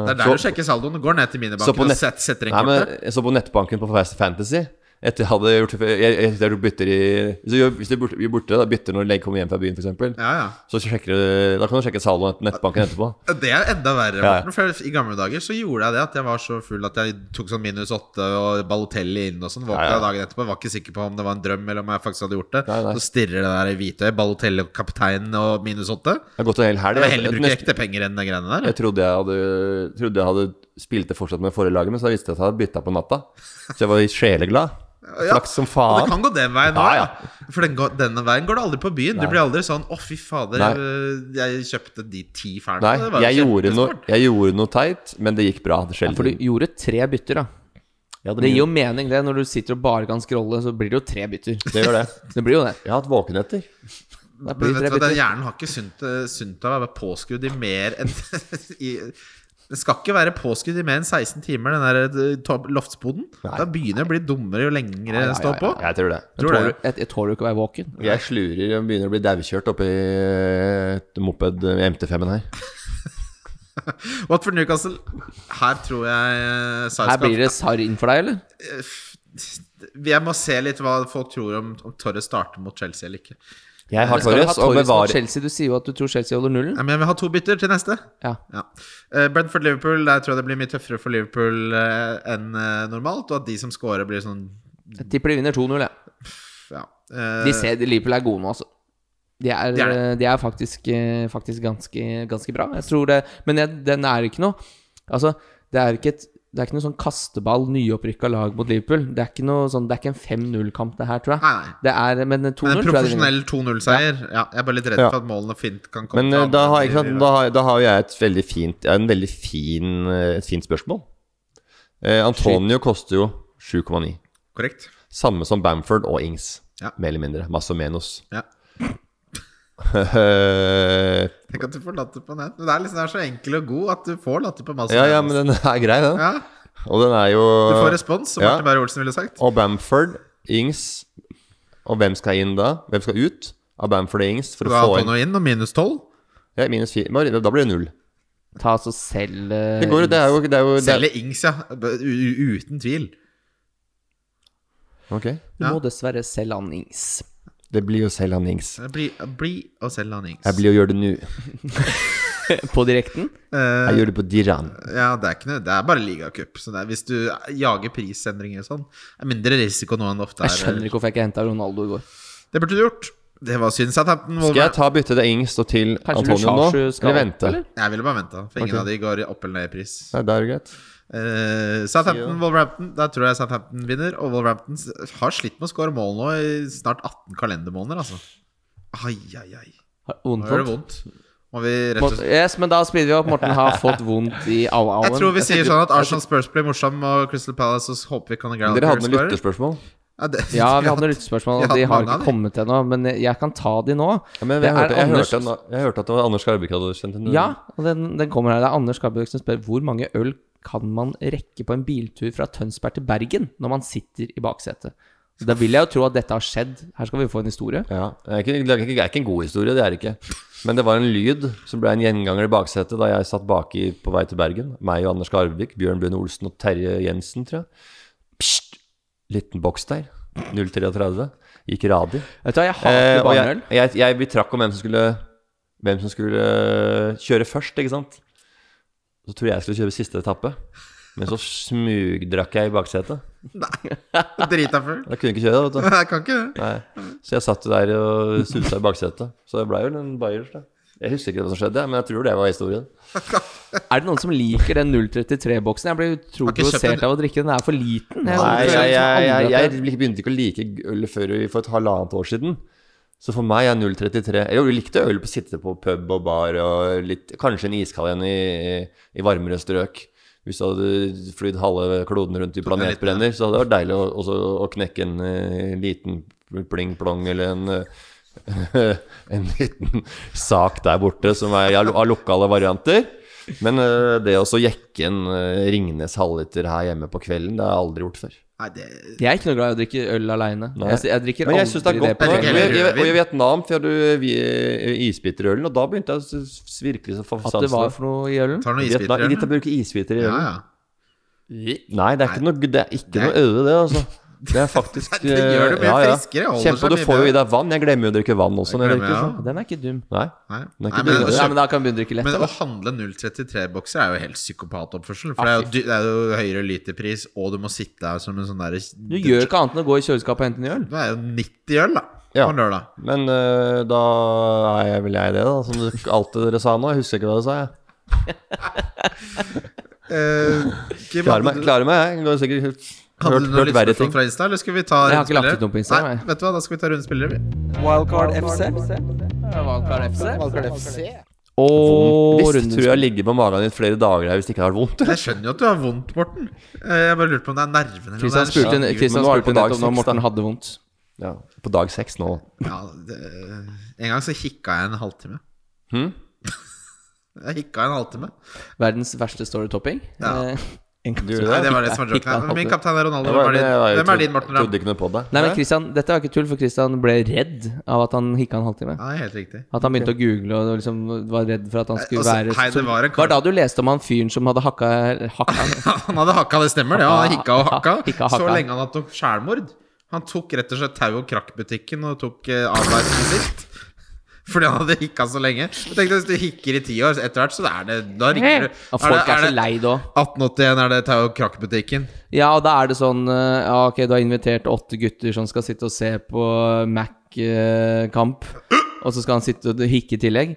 [SPEAKER 4] Det er der du sjekker saldoen. Du går ned til
[SPEAKER 3] så på
[SPEAKER 4] minibanken og
[SPEAKER 3] nett-
[SPEAKER 4] set, setter inn
[SPEAKER 3] Nei, men
[SPEAKER 4] kortet.
[SPEAKER 3] jeg så på nettbanken på Fast Fantasy Etter jeg hadde gjort jeg, jeg, jeg gjorde bytter i Hvis du gjør- hvis du bytter, gjør borte, da, bytter når Legg kommer hjem fra byen, f.eks.,
[SPEAKER 4] Ja, ja.
[SPEAKER 3] så sjekker du Da kan du sjekke saldoen etter nettbanken etterpå.
[SPEAKER 4] Det er enda verre.
[SPEAKER 3] Ja, ja.
[SPEAKER 4] Morten, For I gamle dager så gjorde jeg det at jeg var så full at jeg tok sånn minus åtte og Balotelli inn og sånn. Våkna
[SPEAKER 3] Ja, ja.
[SPEAKER 4] dagen etterpå, var ikke sikker på om det var en drøm eller om jeg faktisk hadde gjort det.
[SPEAKER 3] Nei, nei.
[SPEAKER 4] Så stirrer det der i hvitøyet. Balotelli, kapteinen og minus åtte.
[SPEAKER 3] Det har gått en hel helg.
[SPEAKER 4] Jeg vil
[SPEAKER 3] jeg-
[SPEAKER 4] heller
[SPEAKER 3] jeg-
[SPEAKER 4] bruke
[SPEAKER 3] nesten-
[SPEAKER 4] ekte penger enn de greiene der.
[SPEAKER 3] Jeg trodde jeg hadde, trodde jeg hadde spilt det fortsatt med forrige laget, men så visste jeg at jeg hadde bytta på natta. Så jeg var sjeleglad.
[SPEAKER 4] Ja.
[SPEAKER 3] Flaks som
[SPEAKER 4] Og det
[SPEAKER 3] faen.
[SPEAKER 4] kan gå den veien òg,
[SPEAKER 3] Ja, ja.
[SPEAKER 4] for den går, denne veien går du aldri på byen. Du
[SPEAKER 3] Nei.
[SPEAKER 4] blir aldri sånn 'Å, fy fader, øh,
[SPEAKER 3] Nei.
[SPEAKER 4] jeg, jeg kjøpte de ti fælene'.
[SPEAKER 3] Nei,
[SPEAKER 4] Det var jo
[SPEAKER 3] jeg gjorde, noe,
[SPEAKER 4] kjempesmart.
[SPEAKER 3] jeg gjorde noe teit, men det gikk bra. Det skjedde.
[SPEAKER 1] For du gjorde tre bytter, da.
[SPEAKER 3] Ja,
[SPEAKER 1] Det gir jo mening, det. Når du sitter og bare kan scrolle, så blir det jo tre bytter.
[SPEAKER 3] det gjør det.
[SPEAKER 1] Det blir jo det.
[SPEAKER 3] Jeg har hatt våkenheter.
[SPEAKER 1] Det
[SPEAKER 4] Men
[SPEAKER 1] blir
[SPEAKER 4] vet
[SPEAKER 1] tre
[SPEAKER 4] du hva, den
[SPEAKER 1] bytter.
[SPEAKER 4] hjernen har ikke sunt, eh, sunt av å være påskrudd i mer enn i, Den skal ikke være påskrudd i mer enn 16 timer, den der eh, to- loftsboden.
[SPEAKER 3] Nei.
[SPEAKER 4] Da begynner det å bli dummere jo lengre
[SPEAKER 1] ja,
[SPEAKER 4] den står
[SPEAKER 1] ja,
[SPEAKER 4] på.
[SPEAKER 3] Jeg tror det.
[SPEAKER 1] Jeg
[SPEAKER 4] Tror
[SPEAKER 1] tåler-
[SPEAKER 4] det.
[SPEAKER 1] Jeg, jeg tåler jo ikke å være våken.
[SPEAKER 3] Jeg slurer og begynner å bli daukjørt oppi et moped eh, i MT5-en her.
[SPEAKER 4] Watford Newcastle, her tror jeg eh,
[SPEAKER 1] Her
[SPEAKER 4] Sarpsborg-
[SPEAKER 1] blir det sarr inn for deg, eller?
[SPEAKER 4] Jeg må se litt hva folk tror om, om Torres starter mot Chelsea eller ikke.
[SPEAKER 3] Jeg har
[SPEAKER 1] Skal du ha
[SPEAKER 3] Torres og
[SPEAKER 1] Torres mot
[SPEAKER 3] bevarer
[SPEAKER 1] Chelsea? Du sier jo at du tror Chelsea holder nullen.
[SPEAKER 4] Nei, men jeg vil ha to bytter til neste.
[SPEAKER 1] Ja.
[SPEAKER 4] Ja. Eh, Brentford-Liverpool, der tror jeg det blir mye tøffere for Liverpool eh, enn eh, normalt. Og at de som scorer, blir sånn
[SPEAKER 1] Jeg tipper de vinner 2-0, jeg.
[SPEAKER 4] Ja. eh,
[SPEAKER 1] De ser Liverpool er gode nå, altså. De er,
[SPEAKER 4] De er det.
[SPEAKER 1] de er faktisk, eh, faktisk ganske, ganske bra. Jeg tror det Men jeg, den er ikke noe Altså, det er ikke et det er ikke noe sånn kasteball, nyopprykka lag mot Liverpool. Det er ikke noe sånn, det er ikke en 5-0-kamp, det her, tror jeg.
[SPEAKER 4] Nei, nei.
[SPEAKER 1] Det er, men 2-0
[SPEAKER 4] En
[SPEAKER 1] tror jeg de vinner.
[SPEAKER 4] profesjonell 2-0-seier. Ja, jeg er bare litt redd
[SPEAKER 3] Ja.
[SPEAKER 4] for at målene fint kan komme.
[SPEAKER 3] Men eh,
[SPEAKER 4] fra
[SPEAKER 3] da
[SPEAKER 4] andre
[SPEAKER 3] har, ikke sant,
[SPEAKER 4] enn de-
[SPEAKER 3] da har, da har jo jeg et veldig fint, en veldig fin, eh, et fint spørsmål. Eh, Antonio koster jo 7,9.
[SPEAKER 4] Korrekt.
[SPEAKER 3] Samme som Bamford og Ings.
[SPEAKER 4] Ja.
[SPEAKER 3] Mer eller mindre. Masse og menos.
[SPEAKER 4] Ja.
[SPEAKER 3] Eh,
[SPEAKER 4] Tenk at du får latter på nett. Men det er liksom det er så enkel og god at du får latter på masse.
[SPEAKER 3] ja, ja, men den er grei, den.
[SPEAKER 4] Ja,
[SPEAKER 3] Og den er jo
[SPEAKER 4] Du får respons, som
[SPEAKER 3] Ja.
[SPEAKER 4] Martin Beyer-Olsen ville sagt.
[SPEAKER 3] Og Bamford, Ings Og hvem skal inn da? Hvem skal ut av Bamford og Ings for
[SPEAKER 4] Du
[SPEAKER 3] å
[SPEAKER 4] har
[SPEAKER 3] få inn
[SPEAKER 4] Antonio inn og minus 12.
[SPEAKER 3] ja, minus fire? Bare- Da blir det null.
[SPEAKER 1] Ta altså selv eh,
[SPEAKER 3] Det går jo, det er jo, det er jo det er,
[SPEAKER 4] Selger Ings, ja. B- u- u- Uten tvil.
[SPEAKER 3] Ok.
[SPEAKER 1] Du
[SPEAKER 4] Ja.
[SPEAKER 1] må dessverre selge han Ings.
[SPEAKER 3] Det blir jo selv han Ings.
[SPEAKER 4] Bli, bli og selg han Ings.
[SPEAKER 3] Jeg blir jo gjør det nå.
[SPEAKER 1] På direkten.
[SPEAKER 4] Eh,
[SPEAKER 3] Jeg gjør det på Diran.
[SPEAKER 4] ja, det er ikke noe Det er bare ligacup. Så det er, hvis du jager prisendringer og sånn, er mindre risiko nå enn det ofte er.
[SPEAKER 1] Jeg skjønner ikke hvorfor jeg ikke henta Ronaldo i går.
[SPEAKER 4] Det burde du gjort. Det var synd, Southampton.
[SPEAKER 3] Skal jeg ta bytte til Ings og til
[SPEAKER 1] Kanskje
[SPEAKER 3] Antonio nå?
[SPEAKER 1] Lukaku skal
[SPEAKER 3] Eller
[SPEAKER 1] opp,
[SPEAKER 3] vente?
[SPEAKER 1] eller?
[SPEAKER 4] Jeg ville bare venta, for ingen
[SPEAKER 3] Ok.
[SPEAKER 4] av de går i opp eller ned i pris.
[SPEAKER 3] Nei, det er jo greit.
[SPEAKER 4] Eh,
[SPEAKER 3] Sier
[SPEAKER 4] Southampton,
[SPEAKER 3] det.
[SPEAKER 4] Wolverhampton. Der tror jeg Southampton vinner. Og Wolverhampton s- har slitt med å skåre mål nå i snart 18 kalendermåneder, altså. Ai, ai, ai.
[SPEAKER 1] Har
[SPEAKER 4] Nå
[SPEAKER 1] Vondt,
[SPEAKER 4] gjør det
[SPEAKER 1] vondt.
[SPEAKER 4] vondt. Må vi rett og slett
[SPEAKER 1] Yes, men da speeder vi opp. Morten har fått vondt i au-auen.
[SPEAKER 4] Jeg tror vi sier
[SPEAKER 1] setter-
[SPEAKER 4] sånn at Arsenal Spurs blir morsom, og Crystal Palace så håper vi kan
[SPEAKER 3] Dere hadde noen lytterspørsmål?
[SPEAKER 4] Ja, det-
[SPEAKER 1] Ja, vi hadde lyttespørsmål,
[SPEAKER 4] vi
[SPEAKER 1] og de
[SPEAKER 4] hadde
[SPEAKER 1] har
[SPEAKER 4] mange av
[SPEAKER 1] ikke
[SPEAKER 4] de.
[SPEAKER 1] kommet ennå. Men jeg- jeg kan ta de nå.
[SPEAKER 3] Ja, men
[SPEAKER 1] Det
[SPEAKER 3] jeg,
[SPEAKER 1] er
[SPEAKER 3] hørte, jeg,
[SPEAKER 1] Anders-
[SPEAKER 3] hørte, at- jeg hørte at det var Anders Skarbekk hadde sendt en
[SPEAKER 1] Ja, og den, den kommer her. Det er Anders Skarbøk som spør hvor mange øl kan man rekke på en biltur fra Tønsberg til Bergen når man sitter i baksetet? Så Da vil jeg jo tro at dette har skjedd. Her skal vi få en historie.
[SPEAKER 3] Ja, det, er ikke, det er ikke- det er ikke en god historie, det er det ikke. Men det var en lyd som ble en gjenganger i baksetet da jeg satt baki på vei til Bergen. Meg og Anders Skarbekk, Bjørn Brune Olsen og Terje Jensen, tror jeg. Psst! Liten boks der. 033. Gikk radig.
[SPEAKER 1] Vet du hva, jeg
[SPEAKER 3] Eh,
[SPEAKER 1] hater
[SPEAKER 3] og
[SPEAKER 1] barneøl.
[SPEAKER 3] jeg, jeg, jeg, vi trakk om hvem som skulle Hvem som skulle eh, kjøre først, ikke sant? Så tror jeg jeg skulle kjøre siste etappe. Men så smugdrakk jeg i baksetet.
[SPEAKER 4] Drita full.
[SPEAKER 3] Da kunne jeg ikke kjøre, vet du.
[SPEAKER 4] Jeg kan ikke det.
[SPEAKER 3] Nei. Så jeg satt jo der og susa i baksetet. Så det blei vel en bayers, da. Jeg husker ikke hva som skjedde, men jeg tror det var historien.
[SPEAKER 1] Er det noen som liker den 033-boksen? Jeg blir utrolig
[SPEAKER 4] Har ikke kjøpt
[SPEAKER 1] provosert
[SPEAKER 4] den.
[SPEAKER 1] av å drikke den. Den er for liten. Jeg
[SPEAKER 3] Nei,
[SPEAKER 1] aldri-
[SPEAKER 3] jeg, jeg, jeg,
[SPEAKER 1] aldri-
[SPEAKER 3] jeg begynte ikke å like øl før i- for et halvannet år siden. Så for meg er 033 Jeg jo likte øl på å sitte på pub og bar og litt, kanskje en iskald en i, i varmere strøk. Hvis du hadde flydd halve kloden rundt i planetbrenner, så hadde det vært deilig å, også, å knekke en eh, liten pling-plong eller en eh, en liten sak der borte som er av av lokale varianter. Men eh, det å så jekke en eh, Ringnes halvliter her hjemme på kvelden, det har jeg aldri gjort før.
[SPEAKER 4] Nei, det
[SPEAKER 1] Jeg er ikke noe glad i å drikke øl aleine.
[SPEAKER 3] Nei.
[SPEAKER 1] Jeg, jeg drikker
[SPEAKER 3] Men jeg syns det
[SPEAKER 1] aldri
[SPEAKER 3] er
[SPEAKER 1] det
[SPEAKER 3] godt.
[SPEAKER 1] på
[SPEAKER 4] Jeg
[SPEAKER 3] nå.
[SPEAKER 4] drikker
[SPEAKER 1] kvelden.
[SPEAKER 4] heller
[SPEAKER 3] Og i- og I
[SPEAKER 4] rødvin.
[SPEAKER 3] Vietnam fikk du vi- eh, isbiterølen, og da begynte jeg å s- s- virkelig å få
[SPEAKER 1] At det var
[SPEAKER 3] sansen.
[SPEAKER 1] for noe i ølen.
[SPEAKER 4] Tar noen
[SPEAKER 3] Vietnam-
[SPEAKER 4] isbiter.
[SPEAKER 3] I Vietnam
[SPEAKER 4] Jørgen.
[SPEAKER 3] bruker isbiter i
[SPEAKER 4] Ja,
[SPEAKER 3] ølen.
[SPEAKER 4] ja.
[SPEAKER 3] Nei, det er ikke noe, det er ikke
[SPEAKER 4] Nei.
[SPEAKER 3] noe øde, det, altså. Det er faktisk
[SPEAKER 4] Det gjør det mye
[SPEAKER 3] eh,
[SPEAKER 4] friskere, holder
[SPEAKER 3] Kjenn på,
[SPEAKER 4] seg
[SPEAKER 3] du
[SPEAKER 4] mye
[SPEAKER 3] får jo i
[SPEAKER 4] bedre.
[SPEAKER 3] deg vann. Jeg glemmer jo å drikke vann også. Når jeg
[SPEAKER 4] glemmer
[SPEAKER 3] drikker
[SPEAKER 4] jeg
[SPEAKER 3] sånn.
[SPEAKER 4] også.
[SPEAKER 1] Den er ikke dum.
[SPEAKER 3] Nei.
[SPEAKER 4] Nei.
[SPEAKER 3] Den er
[SPEAKER 4] Nei,
[SPEAKER 3] ikke
[SPEAKER 4] men,
[SPEAKER 3] billig.
[SPEAKER 4] å
[SPEAKER 1] Nei,
[SPEAKER 4] kjøpe,
[SPEAKER 1] men da kan vi begynne å drikke lett.
[SPEAKER 4] men
[SPEAKER 1] da.
[SPEAKER 4] å handle 033-bokser er jo helt psykopatoppførsel. For det er, jo, dy- det er jo høyere literpris, og du må sitte her som en sånn derre
[SPEAKER 1] Du gjør ikke annet enn å gå i kjøleskapet og hente en ny øl.
[SPEAKER 4] Det er jo 90 øl, da.
[SPEAKER 3] Ja.
[SPEAKER 4] På lørdag.
[SPEAKER 3] Men eh, da er jeg vel jeg det, da. Som du- alt det dere sa nå. Jeg husker ikke hva dere sa, jeg.
[SPEAKER 4] Eh, Kim,
[SPEAKER 3] Klarer
[SPEAKER 4] hadde
[SPEAKER 3] meg,
[SPEAKER 4] du-
[SPEAKER 3] klarer meg jeg. Går sikkert hørt,
[SPEAKER 4] hadde
[SPEAKER 3] hørt,
[SPEAKER 4] du noen
[SPEAKER 3] verre
[SPEAKER 4] lyttspørsmål
[SPEAKER 3] ting.
[SPEAKER 4] fra Insta, eller skulle vi ta
[SPEAKER 1] Jeg har ikke lagt ut
[SPEAKER 4] rundspillere?
[SPEAKER 1] noe på Insta,
[SPEAKER 4] Nei,
[SPEAKER 1] nei.
[SPEAKER 4] vet du hva, da skal vi ta rundspillere, vi.
[SPEAKER 2] Wildcard FC.
[SPEAKER 1] Wildcard FC.
[SPEAKER 2] Wildcard FC.
[SPEAKER 1] Og
[SPEAKER 3] Visst
[SPEAKER 1] runden
[SPEAKER 3] tror jeg ligger på magen din flere dager her hvis det ikke har vært vondt.
[SPEAKER 4] Jeg skjønner jo at du har vondt, Morten. Eh, Jeg bare lurte på om det er nervene eller om det er
[SPEAKER 1] Kristian spurte,
[SPEAKER 3] Ja,
[SPEAKER 1] Kristian
[SPEAKER 3] men nå er det på
[SPEAKER 1] spurte nettopp når
[SPEAKER 3] dag seks, da.
[SPEAKER 1] Morten hadde vondt.
[SPEAKER 3] Ja, på dag seks nå.
[SPEAKER 4] Ja, det, en gang så hikka jeg en halvtime.
[SPEAKER 3] Hm?
[SPEAKER 4] Jeg hikka en halvtime.
[SPEAKER 1] Verdens verste storytopping.
[SPEAKER 4] Ja.
[SPEAKER 1] Eh, en
[SPEAKER 3] Du gjorde
[SPEAKER 4] Nei, det var det
[SPEAKER 1] Hikka-
[SPEAKER 4] som
[SPEAKER 1] hikka
[SPEAKER 4] var
[SPEAKER 1] en
[SPEAKER 4] joken. her. Min
[SPEAKER 1] halvtime.
[SPEAKER 4] kaptein er
[SPEAKER 3] Det
[SPEAKER 4] Ronaldo.
[SPEAKER 3] var-
[SPEAKER 4] Hvem er
[SPEAKER 3] det var- jeg
[SPEAKER 4] din, hvem er
[SPEAKER 3] trodde-
[SPEAKER 4] din Morten Ramm?
[SPEAKER 3] Trodde ikke noe på det.
[SPEAKER 1] Nei, men
[SPEAKER 3] Hæ?
[SPEAKER 1] Christian, Dette var ikke tull, for Christian ble redd av at han hikka en halvtime.
[SPEAKER 4] Ja, det er helt riktig.
[SPEAKER 1] At han begynte å google og liksom var redd for at han skulle
[SPEAKER 4] Altså,
[SPEAKER 1] være
[SPEAKER 4] hei, det var en kar-
[SPEAKER 1] var da du leste om han fyren som hadde hakka Hakka?
[SPEAKER 4] Han hadde hakka, det stemmer det. Han hadde hikka og hakka,
[SPEAKER 1] Hikka Ah, og
[SPEAKER 4] så
[SPEAKER 1] hakka.
[SPEAKER 4] lenge han hadde tok selvmord. Han tok rett og slett tau- og krakkbutikken og tok eh, avveisende sitt. Fordi han hadde hikka så lenge. Jeg tenkte Hvis du hikker i ti år så etter hvert, så er det Da ringer du.
[SPEAKER 1] Og folk er,
[SPEAKER 4] det-
[SPEAKER 1] så
[SPEAKER 4] det
[SPEAKER 1] lei da.
[SPEAKER 4] 1881 er det tau- og krakkbutikken.
[SPEAKER 1] Ja, og da er det sånn eh, Ja, ok, du har invitert åtte gutter som skal sitte og se på Mac-kamp. Og så skal han sitte og hikke i tillegg.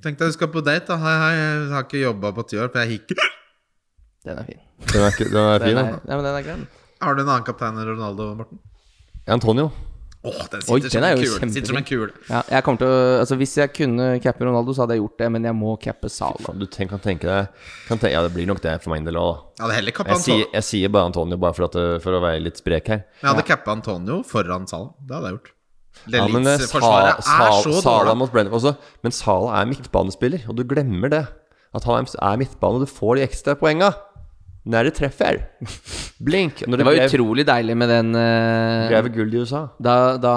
[SPEAKER 4] Tenk deg du skal på date. da Hei, hei, jeg har ikke jobba på ti år, for jeg hikker.
[SPEAKER 1] Den er fin.
[SPEAKER 3] Den er, ikke- den er fin,
[SPEAKER 1] Den
[SPEAKER 3] den.
[SPEAKER 1] er, ja, men den er grei. den.
[SPEAKER 4] Har du en annen kaptein enn Ronaldo, Morten?
[SPEAKER 3] Antonio.
[SPEAKER 4] Åh, den
[SPEAKER 1] Oi,
[SPEAKER 4] sitter,
[SPEAKER 1] den
[SPEAKER 4] som,
[SPEAKER 1] er
[SPEAKER 4] en
[SPEAKER 1] jo
[SPEAKER 4] kule. Den sitter som en kule.
[SPEAKER 1] Ja, jeg kommer til å Altså, hvis jeg kunne cappe Ronaldo, så hadde jeg gjort det, men jeg må cappe Sala.
[SPEAKER 3] Faen, Du tenk, kan tenke deg kan tenke, Ja, det blir nok det for min del òg.
[SPEAKER 4] Jeg hadde heller kappa
[SPEAKER 3] Jeg,
[SPEAKER 4] Antonio.
[SPEAKER 3] sier- jeg sier bare Antonio bare for, at, det- for å være litt sprek her.
[SPEAKER 4] Jeg hadde cappa Antonio foran Salah. Det hadde jeg gjort.
[SPEAKER 3] Ja, men eh,
[SPEAKER 4] Leeds
[SPEAKER 3] Sa-
[SPEAKER 4] forsvaret er
[SPEAKER 3] Sa-
[SPEAKER 4] så
[SPEAKER 3] Sala
[SPEAKER 4] dårlig.
[SPEAKER 3] mot Brentford også. Men Sala er midtbanespiller, og du glemmer det. At han er- er midtbane, og du får de ekstra poenga når det treffer. Blink. Når
[SPEAKER 1] Det var
[SPEAKER 3] drev-
[SPEAKER 1] utrolig deilig med den eh,
[SPEAKER 3] drev gull i USA.
[SPEAKER 1] Da, da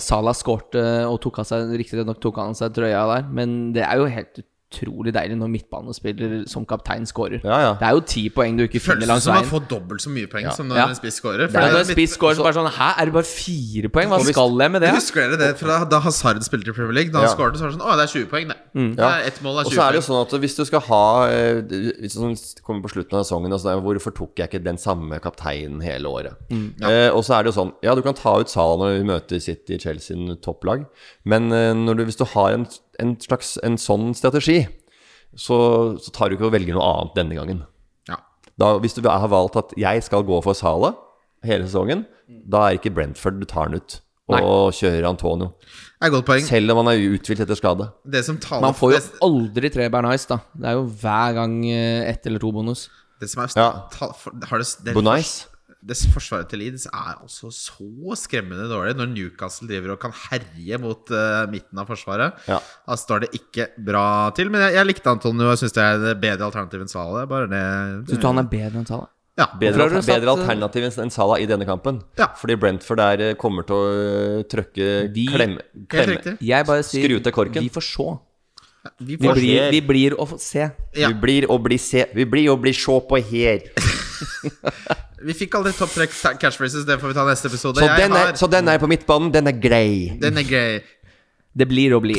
[SPEAKER 1] Salah skårte og tok av seg Riktignok tok han av seg trøya der, men det er jo helt utrolig deilig når midtbanespiller som kaptein skårer.
[SPEAKER 3] Ja, ja.
[SPEAKER 1] Det er jo ti poeng du ikke finner
[SPEAKER 4] Føles det
[SPEAKER 1] langs
[SPEAKER 4] som å
[SPEAKER 1] veien.
[SPEAKER 4] få dobbelt så mye poeng som når
[SPEAKER 1] Ja.
[SPEAKER 4] en spiss scorer.
[SPEAKER 1] Og når
[SPEAKER 4] For
[SPEAKER 1] en
[SPEAKER 4] det-
[SPEAKER 1] spiss scorer, så bare sånn Hæ, er det bare fire poeng? Hva skal jeg med det?
[SPEAKER 4] Husker dere det fra da Hazard spilte i Premier League? Da han
[SPEAKER 3] Ja. Mm,
[SPEAKER 4] skårte, så var det sånn Å, det er 20 poeng, det. det
[SPEAKER 3] Ja.
[SPEAKER 4] er ett mål det
[SPEAKER 3] Og så
[SPEAKER 4] er 20
[SPEAKER 3] er det
[SPEAKER 4] poeng.
[SPEAKER 3] jo sånn at hvis du skal ha eh, Hvis du kommer på slutten av sesongen og sånn, Hvorfor tok jeg ikke den samme kapteinen hele året? eh, og så er det jo sånn Ja, du kan ta ut Salah når vi møter City, Chelsea, en topplag, men eh, når du, hvis du har en, en slags en sånn strategi, så, så tar du ikke og velger noe annet denne gangen.
[SPEAKER 4] Ja.
[SPEAKER 3] Da, hvis du har valgt at jeg skal gå for Salah hele sesongen, da er ikke Brentford du tar den ut og kjører Antonio.
[SPEAKER 4] Det er et godt poeng.
[SPEAKER 3] Selv om han er uthvilt etter skade.
[SPEAKER 4] Det som taler
[SPEAKER 1] Man får jo
[SPEAKER 4] det,
[SPEAKER 1] aldri tre Bernais, da. Det er jo hver gang eh, ett eller to bonus.
[SPEAKER 4] det som er
[SPEAKER 3] Ja.
[SPEAKER 4] ta, for, har det, det,
[SPEAKER 3] Bonais.
[SPEAKER 4] det forsvaret til Leeds er altså så skremmende dårlig. Når Newcastle driver og kan herje mot eh, midten av forsvaret,
[SPEAKER 3] Ja.
[SPEAKER 4] da står det ikke bra til. Men jeg, jeg likte Antonio, og jeg syns det er det bedre alternativ enn Salah. Bare det,
[SPEAKER 1] Syns du han er bedre enn Salah?
[SPEAKER 4] ja.
[SPEAKER 1] Hvorfor
[SPEAKER 3] Bedre,
[SPEAKER 1] har
[SPEAKER 3] alter,
[SPEAKER 1] du satt- eh,
[SPEAKER 3] bedre alternativ enn Salah i denne kampen.
[SPEAKER 4] Ja.
[SPEAKER 3] Fordi Brentford er, eh, kommer til å øh, trøkke
[SPEAKER 1] Vi-
[SPEAKER 3] klemme,
[SPEAKER 4] Helt
[SPEAKER 3] klemme.
[SPEAKER 4] riktig.
[SPEAKER 1] Jeg bare sier
[SPEAKER 3] Skru til korken.
[SPEAKER 1] Vi får se.
[SPEAKER 4] Vi
[SPEAKER 1] Vi
[SPEAKER 4] får
[SPEAKER 1] blir, vi blir å få se.
[SPEAKER 4] Ja.
[SPEAKER 3] Vi blir å bli se Vi blir å bli sjå på her.
[SPEAKER 4] Vi fikk aldri topp tre ca- cash races, det får vi ta neste episode.
[SPEAKER 3] Så
[SPEAKER 4] Jeg
[SPEAKER 3] den, er,
[SPEAKER 4] har-
[SPEAKER 3] så den er på midtbanen. Den er grei.
[SPEAKER 4] den er grei.
[SPEAKER 1] Det blir å bli.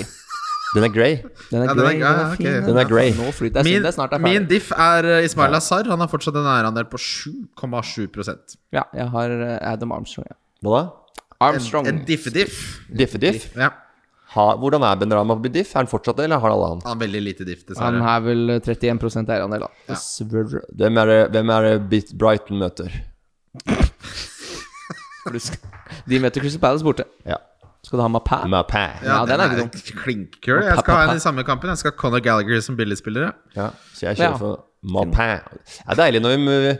[SPEAKER 3] Den er grei.
[SPEAKER 1] Den er
[SPEAKER 4] Ja, den er-
[SPEAKER 1] grey,
[SPEAKER 4] ja,
[SPEAKER 1] den
[SPEAKER 4] ok.
[SPEAKER 1] er fin.
[SPEAKER 3] Den er grey.
[SPEAKER 1] Nå flyter jeg
[SPEAKER 4] Min,
[SPEAKER 1] siden det snart er ferdig.
[SPEAKER 4] min diff er eh, Ismail Azar. Han har fortsatt en eierandel på 7,7
[SPEAKER 1] Ja, jeg har eh, Adam Armstrong. Ja.
[SPEAKER 3] Hva da?
[SPEAKER 1] Armstrong.
[SPEAKER 4] En diff-diff.
[SPEAKER 3] Diffediff?
[SPEAKER 4] Ja.
[SPEAKER 3] Ha, hvordan er Benrahma på diff? Er han fortsatt det, eller har han alle han?
[SPEAKER 4] Han har veldig lite diff,
[SPEAKER 1] han
[SPEAKER 4] dessverre.
[SPEAKER 1] har vel eh, 31 eierandel, da. Dessverre.
[SPEAKER 3] Hvem er det, hvem er det Bit- Brighton møter?
[SPEAKER 1] For du skal- De møter Crystal Palace borte.
[SPEAKER 3] Ja.
[SPEAKER 1] Skal du ha Mapæ?
[SPEAKER 3] Mapæ.
[SPEAKER 1] Ja, den er ikke
[SPEAKER 4] Klinkkul. Jeg skal ha en i samme kampen. Jeg skal ha Conor Gallagher som billigspillere.
[SPEAKER 3] Ja, så jeg
[SPEAKER 1] Ja.
[SPEAKER 3] kjører for Mapæ. Det er deilig når, vi,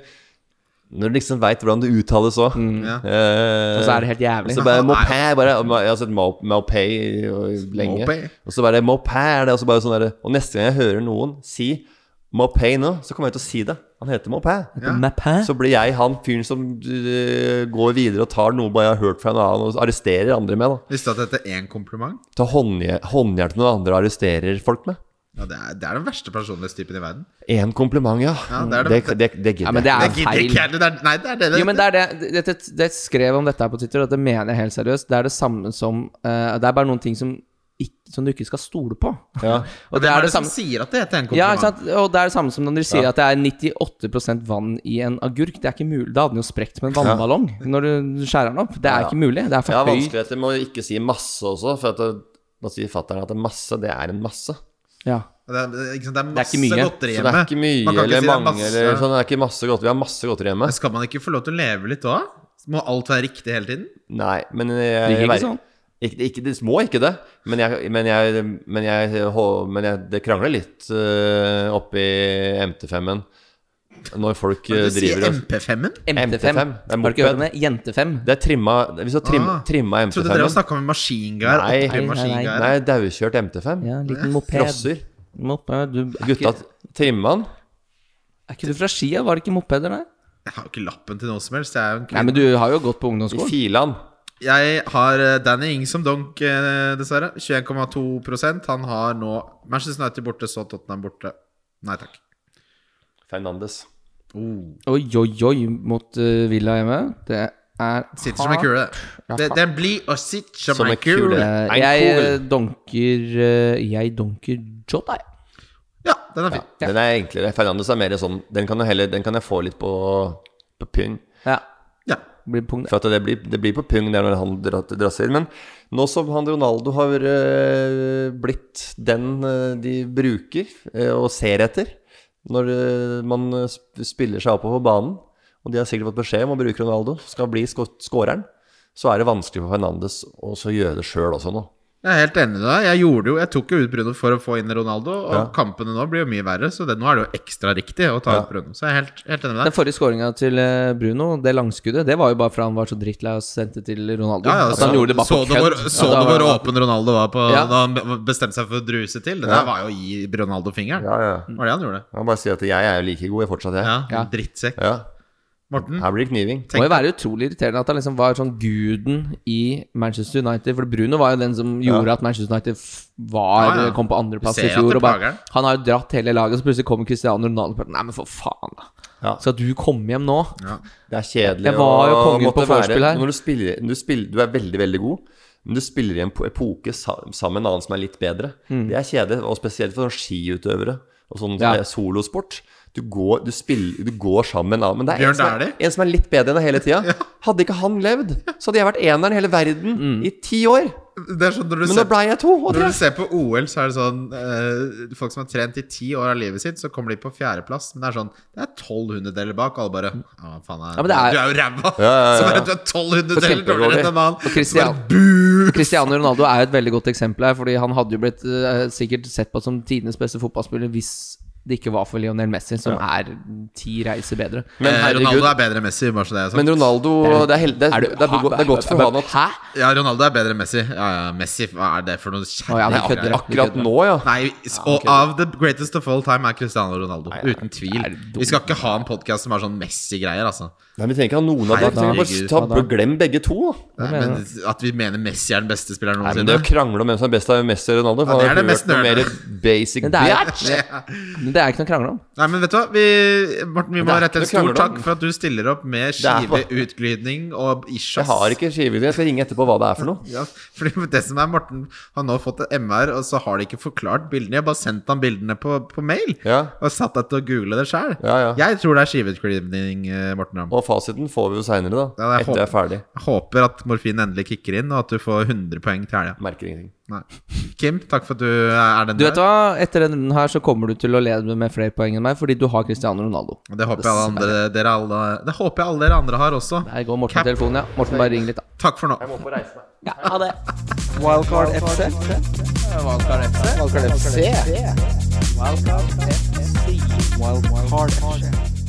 [SPEAKER 3] når du liksom veit hvordan det uttales
[SPEAKER 1] Mm.
[SPEAKER 3] òg.
[SPEAKER 4] Ja.
[SPEAKER 1] Og så er det helt jævlig.
[SPEAKER 3] Så bare Mopé bare, Jeg har sett Mo- Mopé i- lenge.
[SPEAKER 4] Mopé.
[SPEAKER 3] Og så bare Mopé er det. Og, så bare sånn der, og neste gang jeg hører noen si Mopé nå, så kommer jeg til å si det. Han heter Mopé.
[SPEAKER 1] Mapæ?
[SPEAKER 3] Så blir jeg han fyren som øh, går videre og tar noe bare jeg har hørt fra en annen, og arresterer andre med. da
[SPEAKER 4] Visste du at dette er én kompliment?
[SPEAKER 3] Ta håndje- håndjern til noen andre og arresterer folk med.
[SPEAKER 4] Ja, det, er, det er den verste personlighetstypen i verden.
[SPEAKER 3] Én kompliment, ja.
[SPEAKER 4] Ja, det
[SPEAKER 3] det,
[SPEAKER 4] er det-
[SPEAKER 3] det, det
[SPEAKER 1] Ja,
[SPEAKER 3] gidder
[SPEAKER 1] men det
[SPEAKER 3] jeg
[SPEAKER 1] er
[SPEAKER 4] Det gidder
[SPEAKER 1] feil.
[SPEAKER 4] ikke jeg. det er- Nei, det er det. det.
[SPEAKER 1] Jo, men det er det, det, det, det skrev om dette her på Twitter, og det mener jeg helt seriøst. Det er det samme som eh, Det er bare noen ting som, ikke, som du ikke skal stole på.
[SPEAKER 3] ikke. Ja.
[SPEAKER 1] Og
[SPEAKER 4] Hvem er det som sier at det heter en
[SPEAKER 1] Ja, ikke
[SPEAKER 4] kompliment?
[SPEAKER 1] sant? og det er det samme som når dere sier at det er 98 vann i en agurk. Det er ikke mulig. Da hadde den jo sprukket med en vannballong når du skjærer den opp. Det er
[SPEAKER 3] Ja.
[SPEAKER 1] ikke mulig. Det er
[SPEAKER 3] Jeg har
[SPEAKER 1] for høy.
[SPEAKER 3] vanskeligheter med å ikke si masse også, for at det, nå sier fatteren at det er masse, det er en masse.
[SPEAKER 1] Ja.
[SPEAKER 4] Det er, ikke sant, det er
[SPEAKER 1] Det er
[SPEAKER 4] masse
[SPEAKER 1] ikke mye.
[SPEAKER 4] godteri
[SPEAKER 6] Så det er
[SPEAKER 4] hjemme.
[SPEAKER 6] ikke mye
[SPEAKER 4] Man kan ikke
[SPEAKER 6] eller
[SPEAKER 4] si det er
[SPEAKER 6] mange eller
[SPEAKER 4] masse-
[SPEAKER 6] sånn. Det er ikke masse godteri. Vi har masse godteri hjemme.
[SPEAKER 4] Men Skal man ikke få lov til å leve litt òg? Må alt være riktig hele tiden?
[SPEAKER 6] Nei, men jeg,
[SPEAKER 1] Det gikk
[SPEAKER 6] jeg-
[SPEAKER 1] ikke sånn.
[SPEAKER 6] Ikke, ikke, det må ikke det, men, jeg, men, jeg, men, jeg, hå- men jeg, det krangler litt eh, oppe i MT5-en når folk eh,
[SPEAKER 4] Du sier
[SPEAKER 6] driver og
[SPEAKER 4] MP5-en?
[SPEAKER 1] MT5.
[SPEAKER 6] MT5, det er
[SPEAKER 1] Har du ikke hørt
[SPEAKER 6] moped.
[SPEAKER 1] om det? Jente5.
[SPEAKER 6] Det er trimma Hvis du har trim,
[SPEAKER 4] Ah,
[SPEAKER 6] trimma
[SPEAKER 4] Trodde dere
[SPEAKER 6] MT5-en
[SPEAKER 4] snakka om maskingevær.
[SPEAKER 6] Nei.
[SPEAKER 4] opptil
[SPEAKER 1] Nei, nei, nei.
[SPEAKER 4] maskingevær.
[SPEAKER 6] Nei, daukjørt MT5.
[SPEAKER 1] Ja, en liten moped.
[SPEAKER 6] Crosser.
[SPEAKER 1] Moped. Du, er,
[SPEAKER 6] Gutta
[SPEAKER 1] ikke,
[SPEAKER 6] trimma den.
[SPEAKER 1] er ikke du fra Skia? Var det ikke mopeder der?
[SPEAKER 4] Jeg har jo ikke lappen til noe som helst. Jeg er jo en
[SPEAKER 1] Nei,
[SPEAKER 4] kvinne.
[SPEAKER 1] men du har jo gått på
[SPEAKER 6] I
[SPEAKER 1] ungdomsskolen.
[SPEAKER 6] filan.
[SPEAKER 4] Jeg har eh, Danny Ing som donk, eh, dessverre. 21,2 Han har nå Manchester United borte, så Tottenham borte. Nei takk.
[SPEAKER 6] Fernandes.
[SPEAKER 4] Oh.
[SPEAKER 1] Oi, oi, oi mot eh, Villa hjemme. Det er
[SPEAKER 4] Sitter som en kule.
[SPEAKER 1] Ja,
[SPEAKER 4] Det-
[SPEAKER 1] hardt.
[SPEAKER 4] Den blir å sitte som,
[SPEAKER 6] Som
[SPEAKER 4] en
[SPEAKER 6] en kule.
[SPEAKER 4] kule.
[SPEAKER 1] Eh,
[SPEAKER 6] En
[SPEAKER 1] jeg
[SPEAKER 6] kol.
[SPEAKER 1] eh, donker eh, Jeg donker Jota, jeg.
[SPEAKER 4] Ja, den er fin.
[SPEAKER 1] Ja.
[SPEAKER 6] Den er enklere. Fernandes er mer sånn Den kan, jeg heller, den kan jeg få litt på, på pung.
[SPEAKER 1] Ja.
[SPEAKER 4] Ja.
[SPEAKER 1] Blir pung,
[SPEAKER 6] For at det blir, det blir på pung der når han dra- drasser. Men nå som han Ronaldo har eh, blitt den eh, de bruker eh, og ser etter når eh, man eh, sp- spiller seg oppover banen, og de har sikkert fått beskjed om å bruke Ronaldo, skal bli skå- skåreren, så er det vanskelig for Fernandes å så gjøre det sjøl også nå.
[SPEAKER 4] Jeg er helt enig med deg. Jeg gjorde jo Jeg tok jo ut Bruno for å få inn Ronaldo, og
[SPEAKER 6] Ja.
[SPEAKER 4] kampene nå blir jo mye verre, så det, nå er det jo ekstra riktig å ta ut Bruno. Så jeg er helt, helt enig med
[SPEAKER 1] Den
[SPEAKER 4] deg.
[SPEAKER 1] forrige skåringa til eh, Bruno, det langskuddet, det var jo bare fordi han var så drittlei og sendte til Ronaldo.
[SPEAKER 4] Ja, ja,
[SPEAKER 1] at han gjorde det bare
[SPEAKER 4] så
[SPEAKER 1] på
[SPEAKER 4] du hvor,
[SPEAKER 1] kødd.
[SPEAKER 4] så
[SPEAKER 1] Ja, da
[SPEAKER 4] du hvor
[SPEAKER 1] var-
[SPEAKER 4] åpen Ronaldo var på,
[SPEAKER 1] Ja.
[SPEAKER 4] da han be- bestemte seg for å druse til? Det der var jo å gi Ronaldo fingeren.
[SPEAKER 6] Ja, ja.
[SPEAKER 4] Det var det han gjorde.
[SPEAKER 6] Jeg må bare si at jeg er jo like god, jeg fortsatt, jeg.
[SPEAKER 4] Ja,
[SPEAKER 1] Ja.
[SPEAKER 4] Drittsekk.
[SPEAKER 6] Ja.
[SPEAKER 4] Morten?
[SPEAKER 6] Her blir det kniving.
[SPEAKER 1] Det må jo være utrolig irriterende at han liksom var sånn guden i Manchester United. For Bruno var jo den som gjorde at Manchester United f- var,
[SPEAKER 4] Ja, ja.
[SPEAKER 1] kom på andreplass
[SPEAKER 4] Du
[SPEAKER 1] i
[SPEAKER 4] ser at
[SPEAKER 1] fjor.
[SPEAKER 4] det
[SPEAKER 1] Og bare,
[SPEAKER 4] plager han.
[SPEAKER 1] han har jo dratt hele laget, så plutselig kommer Cristiano Ronaldo og bare Nei, men for faen, da.
[SPEAKER 6] Ja.
[SPEAKER 1] Skal du komme hjem nå?
[SPEAKER 4] Ja.
[SPEAKER 6] Det er kjedelig
[SPEAKER 1] Jeg var jo
[SPEAKER 6] å
[SPEAKER 1] kongen
[SPEAKER 6] måtte
[SPEAKER 1] på vorspiel
[SPEAKER 6] være-
[SPEAKER 1] her.
[SPEAKER 6] Når du, spiller, du, spiller, du er veldig, veldig god, men du spiller i en po- epoke sa- sammen med en annen som er litt bedre.
[SPEAKER 4] Mm.
[SPEAKER 6] Det er kjedelig, og spesielt for sånne skiutøvere og sånn
[SPEAKER 1] Ja.
[SPEAKER 6] eh, solosport. Du går, du, spiller, du går sammen med en annen. Men det er
[SPEAKER 4] Bjørn
[SPEAKER 6] en som er,
[SPEAKER 4] Dæhlie?
[SPEAKER 6] en som er litt bedre enn deg hele tida. Hadde ikke han levd, så hadde jeg vært eneren i hele verden
[SPEAKER 4] Mm.
[SPEAKER 6] i ti år.
[SPEAKER 4] Det er sånn når du
[SPEAKER 6] Men nå
[SPEAKER 4] ser
[SPEAKER 6] blei jeg to og
[SPEAKER 4] Når
[SPEAKER 6] tre.
[SPEAKER 4] du ser på OL, så er det sånn eh, Folk som har trent i ti år av livet sitt, så kommer de på fjerdeplass. Men det er sånn Det er tolv hundedeler bak, og alle bare Å, faen er,
[SPEAKER 1] Ja, men det er-
[SPEAKER 4] Du er jo ræva!
[SPEAKER 6] ja, ja.
[SPEAKER 4] Så bare du er tolv hundedeler
[SPEAKER 1] kjempedårlig.
[SPEAKER 4] dårligere enn en
[SPEAKER 1] Og
[SPEAKER 4] annen. Så
[SPEAKER 1] Christian-
[SPEAKER 4] bare buh!
[SPEAKER 1] Cristiano Ronaldo er jo et veldig godt eksempel her, fordi han hadde jo blitt eh, sikkert sett på som tidenes beste fotballspiller hvis det ikke var for Lionel Messi, som er ti reiser bedre.
[SPEAKER 6] Men
[SPEAKER 4] Eh, Ronaldo
[SPEAKER 6] herregud.
[SPEAKER 4] er bedre enn Messi, bare så det er sagt.
[SPEAKER 6] Men Ronaldo Det er, hel- det er,
[SPEAKER 1] Er
[SPEAKER 6] det
[SPEAKER 1] du-
[SPEAKER 6] er, go- det er godt for han at
[SPEAKER 1] Hæ?
[SPEAKER 4] Ja, Ronaldo er bedre enn Messi. Ja, ja, Messi, hva er det for noe
[SPEAKER 1] Å, ja,
[SPEAKER 4] kjærlighet?
[SPEAKER 1] de kødder. de
[SPEAKER 6] akkurat
[SPEAKER 1] kødder.
[SPEAKER 6] nå, ja.
[SPEAKER 4] Nei, s- og av the greatest of all time er Cristiano Ronaldo. Uten tvil. Vi skal ikke ha en podkast som er sånn Messi-greier, altså.
[SPEAKER 6] Nei, Vi trenger ikke ha noen av dem. Vi
[SPEAKER 4] Herregud,
[SPEAKER 6] trenger Bare ta- glem begge to. da.
[SPEAKER 4] Nei, men at vi mener Messi er den beste spilleren
[SPEAKER 6] Nei, men det å
[SPEAKER 4] noensinne
[SPEAKER 6] krangle om hvem som er best av Messi og Ronaldo
[SPEAKER 4] Ja, det er det
[SPEAKER 6] faen,
[SPEAKER 4] mest
[SPEAKER 6] jeg har ikke hørt noe mer basic
[SPEAKER 1] Men det er,
[SPEAKER 6] bitch.
[SPEAKER 1] men det er ikke noe å krangle om.
[SPEAKER 4] Nei, men vet du hva? Vi, Morten, vi må
[SPEAKER 6] Det er
[SPEAKER 4] rette en
[SPEAKER 6] ikke noe
[SPEAKER 4] stor
[SPEAKER 6] å krangle om.
[SPEAKER 4] takk for at du stiller opp med
[SPEAKER 6] er for-
[SPEAKER 4] skiveutglidning og isjas.
[SPEAKER 6] Jeg har ikke skivevideo. Jeg skal ringe etterpå hva det er for noe.
[SPEAKER 4] Ja, fordi det som er Morten har nå fått et MR, og så har de ikke forklart bildene. Jeg har bare sendt ham bildene på, på mail.
[SPEAKER 6] Ja.
[SPEAKER 4] Og satt deg til å google det sjøl.
[SPEAKER 6] Ja, ja.
[SPEAKER 4] Jeg tror det er skiveutglidning, eh, Morten Ramm.
[SPEAKER 6] Og fasiten får vi jo seinere, da.
[SPEAKER 4] Ja, det er
[SPEAKER 6] etter jeg er ferdig.
[SPEAKER 4] Jeg Håper at morfin endelig kicker inn, og at du får 100 poeng til helga.
[SPEAKER 6] Merker ingenting.
[SPEAKER 4] Nei. Kim, takk for at du er den
[SPEAKER 1] Du vet hva, Etter denne runden her så kommer du til å lede med flere poeng enn meg, fordi du har Cristiano Ronaldo.
[SPEAKER 4] Det håper jeg alle, andre, dere alle, det håper jeg alle dere andre har også.
[SPEAKER 1] Her går Morten på telefonen, ja. Morten, bare ring litt, da.
[SPEAKER 4] Takk for nå.
[SPEAKER 1] Ja, ha det.
[SPEAKER 7] Wildcard FC. Wildcard FC. Wildcard FC.